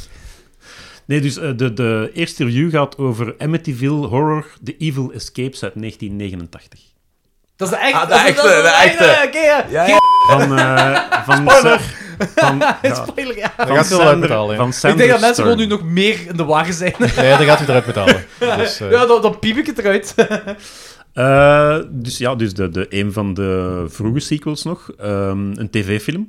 F: Nee, dus eh, de, de eerste review gaat over Amityville Horror, The Evil Escapes uit 1989.
A: Dat is de echte.
D: Ah, de
A: dat is- dat is
D: echte, de echte.
A: Oké, ja.
D: Ja,
A: Geen
F: Van, eh van Van, ja,
A: spoiler, ja.
G: Dat
F: van
G: gaat veel
F: Sander,
G: uitbetalen. hè.
F: van
A: Ik
F: Sander
A: denk dat mensen
F: Stern.
A: gewoon nu nog meer in de wagen zijn.
G: Nee, dat gaat hij eruit betalen. Dus, eh,
A: ja, dan, dan piep ik het eruit.
F: Eh, dus ja, dus de, de, een van de vroege sequels nog. ehm, een tv-film.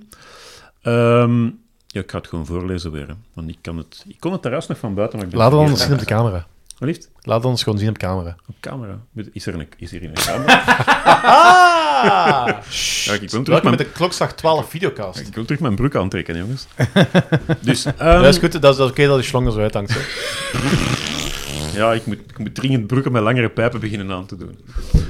F: Ehm, ja, ik ga het gewoon voorlezen weer. hè, Want ik, kan het, ik kon het thuis nog van buiten, maar ik ben
G: Laat het
F: vergeten.
G: ons zien op de camera.
F: Alsjeblieft,
G: Laat het ons gewoon zien op de camera.
F: op camera. Moet- Is er een, is er een camera?
D: Ah!
F: Ja, ik wil terug
G: Welkom met
F: mijn,
G: de klokslag 12 videocast.
F: ik wil terug mijn broek aantrekken, hè, jongens. dus, ehm,
G: dat is goed, dat is, dat is oké dat de schlong er zo uithangt. hè.
F: ja, ik moet, ik moet dringend broeken met langere pijpen beginnen aan te doen.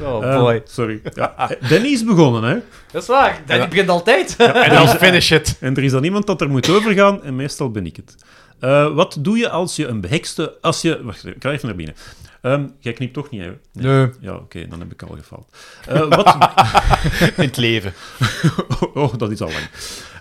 A: Oh
F: Ehm, sorry. Ja, Danny is begonnen, hè?
A: Dat is waar. Dat begint altijd.
G: En dan finish it.
F: En er is dan iemand dat er moet overgaan, en meestal ben ik het. Eh, wat doe je als je een behekste... Als je... Wacht, ik ga even naar binnen. Ehm, jij knipt toch niet, hè? Nee. Ja, oké, dan heb ik al gefaald. Eh, wat...
G: In het leven.
F: oh, dat is al lang.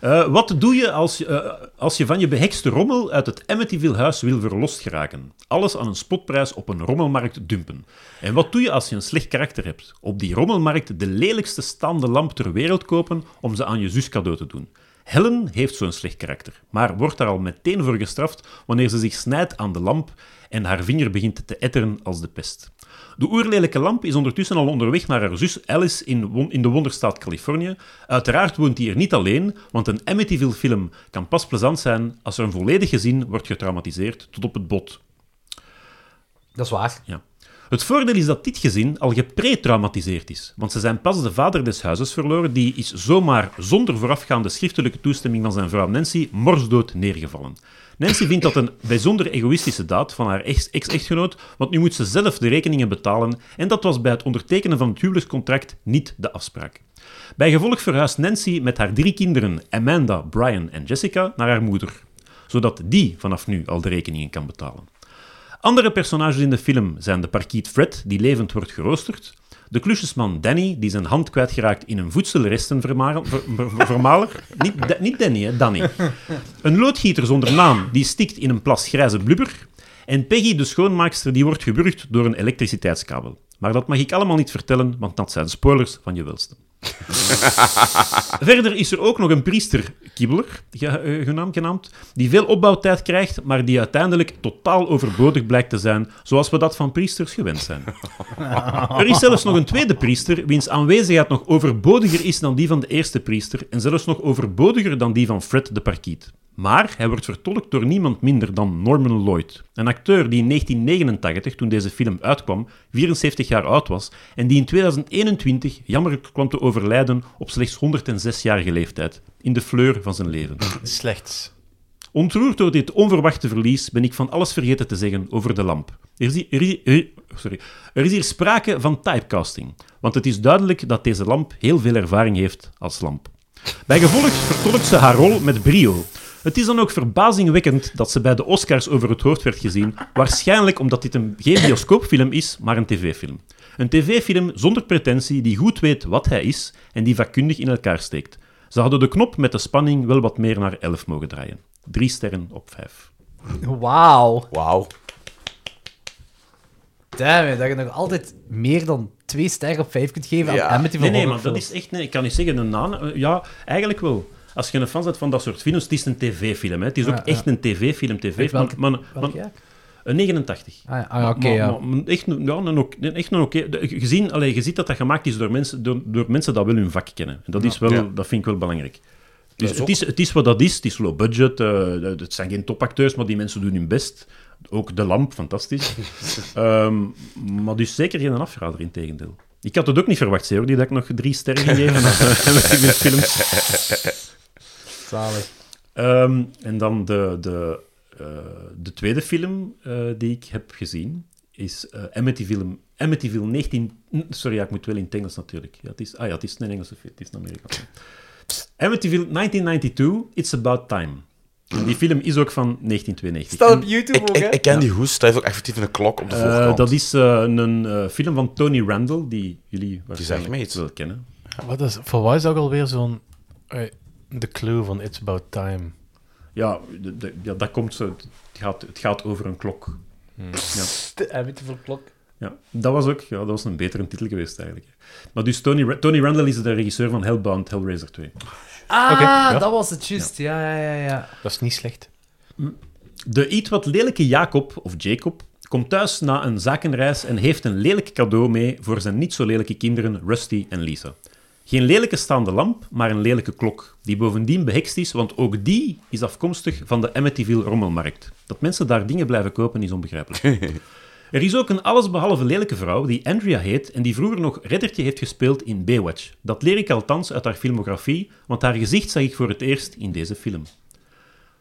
F: Eh, wat doe je als, je, eh, als je van je behekste rommel uit het Amityville-huis wil verlost geraken? Alles aan een spotprijs op een rommelmarkt dumpen. En wat doe je als je een slecht karakter hebt? Op die rommelmarkt de lelijkste staande lamp ter wereld kopen om ze aan je zus cadeau te doen. Helen heeft zo'n slecht karakter, maar wordt daar al meteen voor gestraft wanneer ze zich snijdt aan de lamp en haar vinger begint te etteren als de pest. De oerlelijke lamp is ondertussen al onderweg naar haar zus Alice in, won- in de wonderstaat Californië. Uiteraard woont hij er niet alleen, want een Amityville-film kan pas plezant zijn als er een volledig gezin wordt getraumatiseerd tot op het bot.
A: Dat is waar.
F: Ja. Het voordeel is dat dit gezin al gepretraumatiseerd is, want ze zijn pas de vader des huizes verloren, die is zomaar zonder voorafgaande schriftelijke toestemming van zijn vrouw Nancy morsdood neergevallen. Nancy vindt dat een bijzonder egoïstische daad van haar ex- ex-echtgenoot, want nu moet ze zelf de rekeningen betalen en dat was bij het ondertekenen van het huwelijkscontract niet de afspraak. Bij gevolg verhuist Nancy met haar drie kinderen, Amanda, Brian en Jessica, naar haar moeder, zodat die vanaf nu al de rekeningen kan betalen. Andere personages in de film zijn de parkiet Fred, die levend wordt geroosterd, de klusjesman Danny, die zijn hand kwijtgeraakt in een voedselrestenvermaler, ver- ver- vermaler. niet, Da- niet Danny, hè, Danny. Een loodgieter zonder naam, die stikt in een plas grijze blubber. En Peggy, de schoonmaakster, die wordt gewurgd door een elektriciteitskabel. Maar dat mag ik allemaal niet vertellen, want dat zijn spoilers van je welste. Verder is er ook nog een priester, Kibbeler, ge- eh, genaamd, genaamd, die veel opbouwtijd krijgt, maar die uiteindelijk totaal overbodig blijkt te zijn, zoals we dat van priesters gewend zijn. Er is zelfs nog een tweede priester, wiens aanwezigheid nog overbodiger is dan die van de eerste priester en zelfs nog overbodiger dan die van Fred de Parkiet. Maar hij wordt vertolkt door niemand minder dan Norman Lloyd, een acteur die in 1989, toen deze film uitkwam, 74 jaar oud was en die in 2021 jammerlijk kwam te overlijden op slechts 106-jarige leeftijd, in de fleur van zijn leven.
G: Slechts.
F: Ontroerd door dit onverwachte verlies ben ik van alles vergeten te zeggen over de lamp. Er is hier, er is- er- sorry. Er is hier sprake van typecasting, want het is duidelijk dat deze lamp heel veel ervaring heeft als lamp. Bij gevolg vertolkt ze haar rol met brio. Het is dan ook verbazingwekkend dat ze bij de Oscars over het hoofd werd gezien, waarschijnlijk omdat dit een, geen bioscoopfilm is, maar een tv-film. Een tv-film zonder pretentie die goed weet wat hij is en die vakkundig in elkaar steekt. Ze hadden de knop met de spanning wel wat meer naar 11 mogen draaien. Drie sterren op vijf.
A: Wauw.
D: Wauw.
A: Damn, dat je nog altijd meer dan twee sterren op vijf kunt geven
D: Ja.
A: aan Amity van
F: Nee, nee, maar dat is echt... Nee, ik kan niet zeggen, een nana... eh, Ja, eigenlijk wel. Als je een fan bent van dat soort films, het is een tv-film. hè. Het is ook echt een tv-film. TV, maar,
A: welke-
F: maar, maar-
A: Welk jaar?
F: een 89.
A: Ah, ja, ah, oké,
F: Maar-
A: ja.
F: maar- maar echt, een- ja, een ok- een- echt een oké... de- Gezien, allee, je ziet dat dat gemaakt is door mensen, door, door mensen dat wel hun vak kennen. En dat, is wel, dat vind ik wel belangrijk. Dus het, is, het is wat dat is. Het is low budget. eh, het zijn geen topacteurs, maar die mensen doen hun best. Ook De Lamp, fantastisch. Ehm, maar dus zeker geen afrader, in tegendeel. Ik had het ook niet verwacht, Seor, die dat ik nog drie sterren gegeven had in films.
A: Zalig.
F: Ehm, en dan de, de, eh, de tweede film eh, die ik heb gezien is eh, Amityville, Amityville 19... n- Sorry, ja, ik moet wel in het Engels natuurlijk. Ja, het is, ah ja, het is een Engelse film, het is een Amerikaanse. Amityville 1992, It's About Time. En die film is ook van 1992.
A: Staat
F: En,
A: op YouTube
D: Ik,
A: ook, hè?
D: ik, ik ken die hoest, dat heeft ook effectief een klok op de
F: eh,
D: voorkant.
F: dat is eh, een eh, film van Tony Randall, die jullie
D: me
F: waarschijnlijk
D: iets.
F: wel kennen.
G: Wat is, voor wat is dat ook alweer zo'n... eh, De clue van It's About Time.
F: Ja, de- de- ja dat komt zo. Het gaat, het gaat over een klok.
A: De Amity van Klok.
F: Ja, dat was ook ja, dat was een betere titel geweest eigenlijk. Maar dus Tony, Ra- Tony Randall is de regisseur van Hellbound, Hellraiser 2.
A: Ah,
G: Oké, ja.
A: dat was het, juist. Ja, ja, ja. ja.
G: Dat is niet slecht.
F: De iets wat lelijke Jacob, of Jacob, komt thuis na een zakenreis en heeft een lelijk cadeau mee voor zijn niet zo lelijke kinderen Rusty en Lisa. Geen lelijke staande lamp, maar een lelijke klok, die bovendien behekst is, want ook die is afkomstig van de Amityville rommelmarkt. Dat mensen daar dingen blijven kopen is onbegrijpelijk. Er is ook een allesbehalve lelijke vrouw die Andrea heet en die vroeger nog reddertje heeft gespeeld in Baywatch. Dat leer ik althans uit haar filmografie, want haar gezicht zag ik voor het eerst in deze film.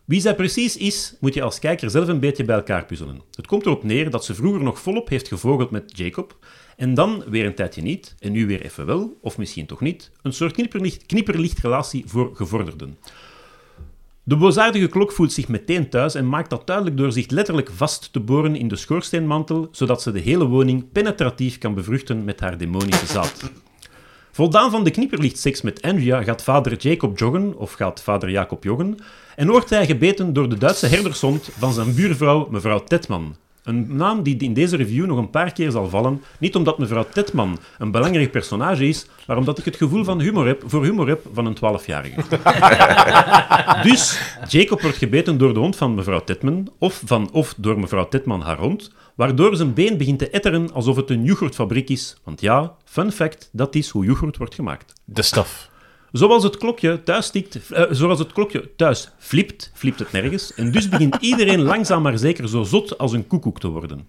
F: Wie zij precies is, moet je als kijker zelf een beetje bij elkaar puzzelen. Het komt erop neer dat ze vroeger nog volop heeft gevogeld met Jacob, en dan weer een tijdje niet, en nu weer even wel, of misschien toch niet, een soort knipperlicht, knipperlichtrelatie voor gevorderden. De boosaardige klok voelt zich meteen thuis en maakt dat duidelijk door zich letterlijk vast te boren in de schoorsteenmantel, zodat ze de hele woning penetratief kan bevruchten met haar demonische zaad. Voldaan van de knipperlichtseks met Andrea gaat vader Jacob joggen, of gaat vader Jacob joggen, en wordt hij gebeten door de Duitse herdershond van zijn buurvrouw mevrouw Tetman. Een naam die in deze review nog een paar keer zal vallen, niet omdat mevrouw Tetman een belangrijk personage is, maar omdat ik het gevoel van humor heb, voor humor heb van een 12-jarige. Dus Jacob wordt gebeten door de hond van mevrouw Tetman, of, van, of door mevrouw Tetman haar hond, waardoor zijn been begint te etteren alsof het een yoghurtfabriek is. Want ja, fun fact, dat is hoe yoghurt wordt gemaakt.
G: De staf.
F: Zoals het klokje thuis, tikt, eh, zoals het klokje thuis flipt, flipt het nergens. En dus begint iedereen langzaam maar zeker zo zot als een koekoek te worden.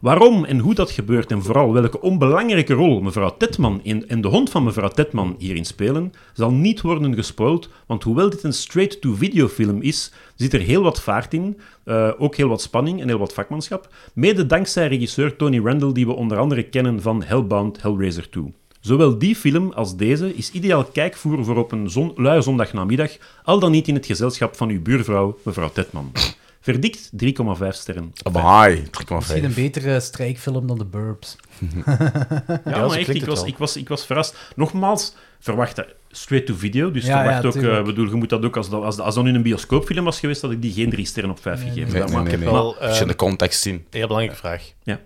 F: Waarom en hoe dat gebeurt en vooral welke onbelangrijke rol mevrouw Tetman in, en de hond van mevrouw Tetman hierin spelen, zal niet worden gespoild, want hoewel dit een straight-to-video film is, zit er heel wat vaart in, eh, ook heel wat spanning en heel wat vakmanschap, mede dankzij regisseur Tony Randall, die we onder andere kennen van Hellbound Hellraiser 2. Zowel die film als deze is ideaal kijkvoer voor op een zon, lui zondagnamiddag, al dan niet in het gezelschap van uw buurvrouw, mevrouw Tetman. Verdikt 3,5 sterren.
D: Amai,
A: Misschien
D: 3,5.
A: een betere strijkfilm dan The Burbs.
F: Ja,
G: zo
F: maar echt,
G: klinkt
F: ik
G: het
F: was,
G: wel.
F: ik, was, ik was verrast. Nogmaals, verwacht dat straight to video. Dus
A: Ja,
F: verwacht
A: ja,
F: ook, eh
A: tuurlijk.
F: bedoel, je moet dat ook, als dat, als dat, als dat nu een bioscoopfilm was geweest, had ik die geen drie sterren op vijf gegeven.
D: Nee,
F: Dat
D: nee,
F: maakt
D: nee,
F: het
D: nee.
F: wel-
G: Wel, eh,
D: Als je de context zien.
G: Heel belangrijke vraag.
F: Ja.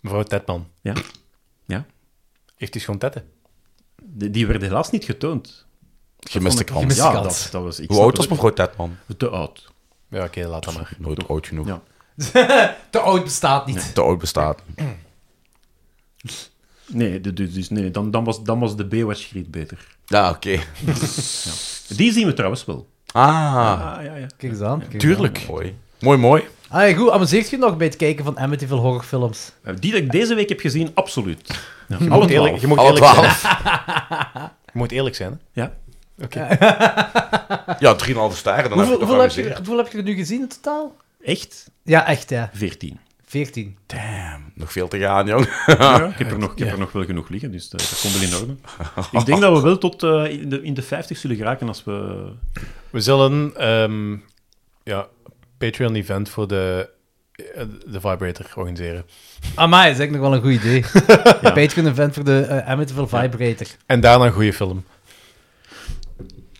G: Mevrouw Tetman,
F: Ja. Ja.
G: heeft u schoon tetten?
F: Die, die werden helaas niet getoond.
D: Gemiste
F: Vond ik-
D: kans.
A: Gemiste
F: Ja,
A: kans.
F: dat, dat was... ik
D: Hoe
F: snap
D: oud was
F: het.
D: mevrouw Tetman?
F: Te oud.
G: Ja, oké, laat dat maar.
D: Nooit oud genoeg.
F: Ja.
A: Te oud bestaat niet.
D: Te oud bestaat.
F: Nee, du- du- dus, nee dan, dan, was, dan was de Baywatch-griet beter.
D: Ja, oké.
F: Die zien we trouwens wel.
D: Ah,
F: Ah, ja, ja.
A: Kijk eens aan. kijk eens
D: tuurlijk. Mooi. Mooi, mooi.
A: aan. Ah, ja, goed, amuseert je nog bij het kijken van Amityville horrorfilms?
F: Eh, Die dat ik deze week heb gezien, absoluut. Ja, alle
G: moet eerlijk-
F: twaalf.
G: je moet
D: Alle
G: eerlijk zijn.
D: twaalf.
G: Je moet eerlijk zijn, hè?
F: Ja.
D: Ja, 3,5 sterren. Dan
A: Hoeveel, hoeveel, heb
D: heb ik
A: je,
D: toch geamuseerd.
A: hoeveel heb je er nu gezien in totaal?
F: Echt?
A: Ja, echt ja.
F: 14.
A: 14.
D: Nog veel te gaan, jong.
G: Ah.
F: Ja, ik heb, er nog, ik heb er nog wel genoeg liggen, dus dat, dat komt wel in orde. Ik denk dat we wel tot eh, in, de, in de 50 zullen geraken als we.
G: We zullen ehm, ja, Patreon-event voor de, eh, de Vibrator organiseren.
A: Amai, dat is echt nog wel een goed idee. ja. Patreon event voor de eh, Amityville Vibrator.
G: En daarna een goede film.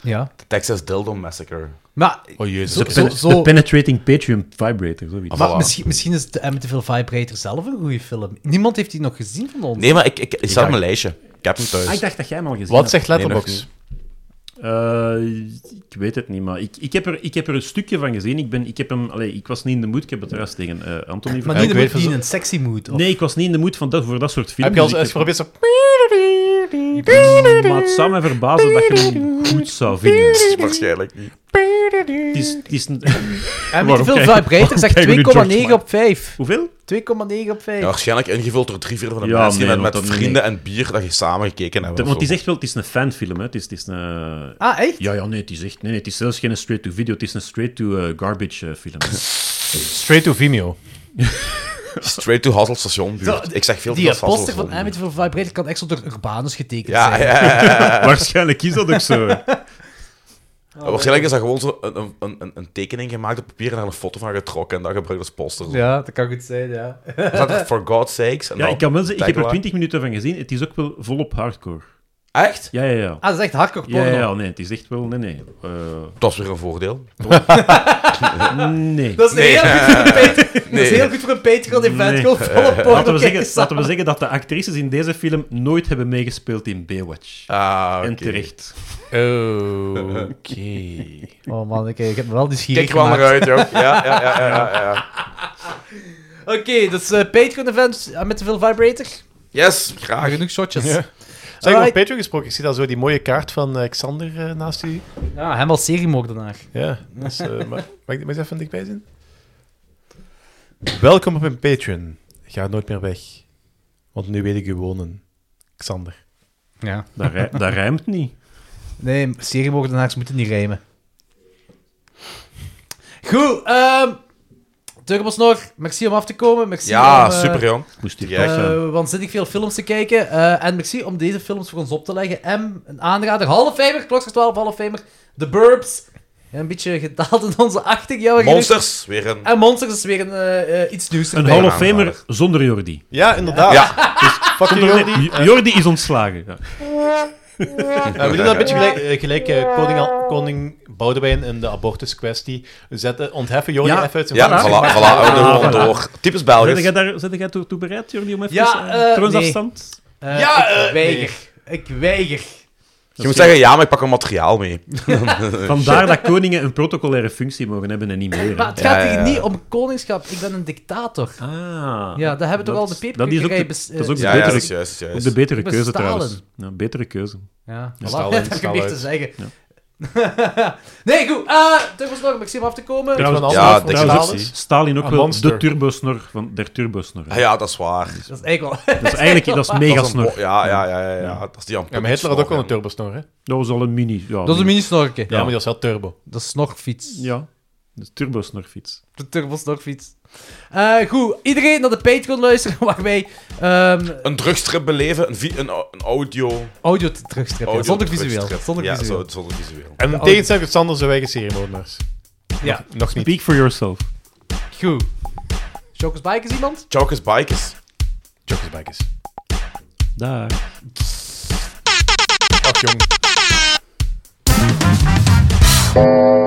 A: Ja.
D: De Texas Dildo Massacre.
A: Maar,
G: Oh jezus.
A: Zo-
G: Christus.
A: zo- zo-
F: Penetrating Patreon Vibrator,
G: Ah,
F: zoiets.
A: maar
D: voilà.
A: misschien, misschien is de Amityville Vibrator zelf een goede film. Niemand heeft die nog gezien van ons.
D: Nee, maar ik, ik, ik staat op mijn lijstje. Ik heb hem thuis.
F: Ah, ik dacht dat jij hem al gezien
G: Wat
F: had.
G: zegt Letterboxd?
D: nog
F: Eh, ik weet het niet, maar ik, ik, heb er, ik heb er een stukje van gezien. Ik, ben, ik, heb hem, allee, ik was niet in de mood, ik heb het eruit tegen eh, Anthony
A: Maar
F: verteld.
A: niet,
G: ik
A: in
G: weet
A: de- niet
G: van-
A: in een sexy mood. Of...
F: Nee, ik was niet in de mood van dat, voor dat soort films.
G: Heb je al
F: dus
G: eens
F: ik heb-
G: geprobeerd zo...
F: Maar het zou mij verbazen dat je hem goed zou vinden. Het
D: Waarschijnlijk niet.
F: is, het is een-
A: Amityville
F: Waarom
A: Vibrator zegt
F: kijken we nu
A: 2,9
F: George
A: op 5.
F: hoeveel?
A: 2,9 op 5.
D: Ja, waarschijnlijk ingevuld door drie vierde van de
F: Ja,
D: mensen
F: nee,
D: die met,
F: want
D: met
F: dan-
D: vrienden en bier dat je samen gekeken hebben.
F: Want
D: of
F: het is
D: zo.
F: echt wel, het is een fanfilm, hè. Het is, het is een...
A: Ah, echt?
F: Ja, ja, nee, het is echt... Nee, nee, het is zelfs geen straight-to-video, het is een straight-to-garbage eh, film.
G: Straight to Vimeo.
D: Straight to Hassel station
A: Zo,
D: buurt. Ik zeg veel te
A: Die
D: veel Hassel
A: poster van
D: station.
A: Amityville Vibrator kan echt zo door Urbanus getekend
D: Ja,
A: zijn.
D: ja, ja, ja.
F: Waarschijnlijk is dat ook zo.
D: Waarschijnlijk is dat gewoon zo een, een- een, een, een tekening gemaakt op papier en daar een foto van getrokken en dat gebruikt als poster. Zo.
A: Ja, dat kan goed zijn, ja.
D: Dan staat er for God's sakes. Nou. En
F: Ja,
D: dan
F: ik, kan wel zeggen, ik heb er
D: tagline.
F: 20 minuten van gezien. Het is ook wel volop hardcore.
D: Echt?
F: Ja, ja, ja.
A: Ah, dat is echt hardcore
F: Ja,
A: porno.
F: ja, ja, nee, het is echt wel... Nee, nee. Eh,
D: Dat is weer een voordeel.
F: nee.
A: Dat is,
D: Nee.
A: heel, goed voor een Patreon- dat is
D: Nee.
A: heel goed voor een Patreon event.
F: Nee.
A: Gewoon volle
F: Laten
A: porno kijken
F: we, zeggen, laten we
A: samen.
F: zeggen dat de actrices in deze film nooit hebben meegespeeld in Baywatch.
D: Ah, oké.
F: En terecht.
G: Oké.
A: Oh man, oké, ik heb me wel nieuwsgierig
D: Kijk wel
A: gemaakt.
D: naar uit, joh. Ja, ja, ja, ja, ja, ja.
A: Oké, dus eh, Patreon event eh, met de veel vibrator.
D: Yes, graag.
A: Genoeg shotjes.
G: Ja.
A: Ja,
G: Zeg, over
A: Alright.
G: Patreon gesproken, ik zie daar zo die mooie kaart van eh, Xander eh, naast u.
A: hem als seriemoordenaar.
G: Ja, dus, eh, ma- mag, ik dit maar eens even dichtbij zien? Welkom op mijn Patreon. Ga nooit meer weg. Want nu weet ik u wonen. Xander.
A: Ja.
F: Dat, rij- dat rijmt niet.
A: Nee, seriemoordenaars moeten niet rijmen. Goed, ehm... Turbos nog, merci om af te komen. Merci
D: Ja,
A: om, eh,
D: super, jong.
F: Moest hier
D: Ja,
F: toch zijn.
A: eh, waanzinnig veel films te kijken. Eh, en merci om deze films voor ons op te leggen. M, een aanrader. Halfheimer, klokslag 12, Halfheimer. The Burbs. Ja, een beetje gedaald in onze 80 jaar.
D: Monsters, weer een...
A: En Monsters is weer een, eh, eh, iets nieuws
F: Een
A: erbij.
F: Hall
D: half-
F: of Famer zonder Jordi.
G: Ja, inderdaad. Dus
D: Ja,
G: Fuck you, Jordi.
F: Jordi, Jordi is ontslagen. Ja.
G: Eh, we doen dat een beetje gelijk, eh, gelijk eh, koning, Al- koning Boudewijn in de abortuskwestie. We zetten, ontheffen Jordi
F: Ja.
G: even uit zijn
D: ja,
G: functie.
D: voilà, voilà. Oude
F: Ah,
D: gewoon
F: voilà.
D: door. Typisch
F: Zet jij
D: Belgisch.
F: daar zet jij toe, toe bereid, Jordi, om even
A: Ja,
F: eh,
A: eh,
F: troonsafstand?
A: Eh,
G: Ja,
A: ik
G: eh,
A: weiger. Ik weiger.
D: Je moet zeggen, ja, maar ik pak een materiaal mee.
F: Vandaar dat koningen een protocolaire functie mogen hebben en niet meer. hè.
A: Maar het gaat
D: Ja, ja,
A: hier
D: ja.
A: niet om koningschap. Ik ben een dictator.
F: Ah.
A: Ja, dat hebben we toch al de
F: dat is ook
A: peperkwekerij
F: de,
A: bes- eh,
F: dat is ook de
D: Ja, ja,
F: betere,
D: dat is juist, dat is
F: ook
D: juist.
F: de betere
A: Ik ben
F: keuze
A: Stalin.
F: trouwens. Ja, betere keuze.
A: Ja, voilà.
G: Staal in,
A: dat heb ik
G: staal
A: meer
G: uit.
A: te zeggen. nee, goed. Ah, Turbosnor, om ik zie hem af te komen.
G: Weet je wat een
D: Ja,
G: ander
D: dikke
G: verhaal
D: optie.
G: is?
F: Stalin ook
G: Een
F: wel
G: monster.
F: de turbosnor van der turbosnor.
D: Ah, ja, dat is waar.
A: Dat is eigenlijk wel...
F: Dat is eigenlijk dat is mega
D: Dat is een
F: snor.
D: bo- ja, ja, ja, ja, ja, dat is die aan
G: Ja, maar Hitler had ook wel een
D: Ja.
G: turbosnor, hè? Ja,
F: Dat was al een mini. Ja,
A: Dat is een mini-snorken.
G: maar die was wel turbo.
A: Dat is snorfiets.
F: Ja, de turbosnorfiets.
A: De turbosnorfiets. Eh goed, iedereen naar de Patreon luisteren, waar wij ehm,
D: Een drugstrip beleven, een, vi- een, au- een audio...
A: audio te- terugstrippen.
D: audio
A: ja, zonder visueel.
D: drugstrip.
A: Zonder
D: ja,
A: visueel.
D: zo- zonder visueel.
G: En in tegenstelling tot Sander zijn wij geen seriemoordenaars.
A: Ja,
G: Nog niet.
F: Speak for yourself.
A: goed. Chokers Bike is iemand?
D: Chokers Bikers.
G: Jokkersbikers.
F: Daar.
G: Ach, jong.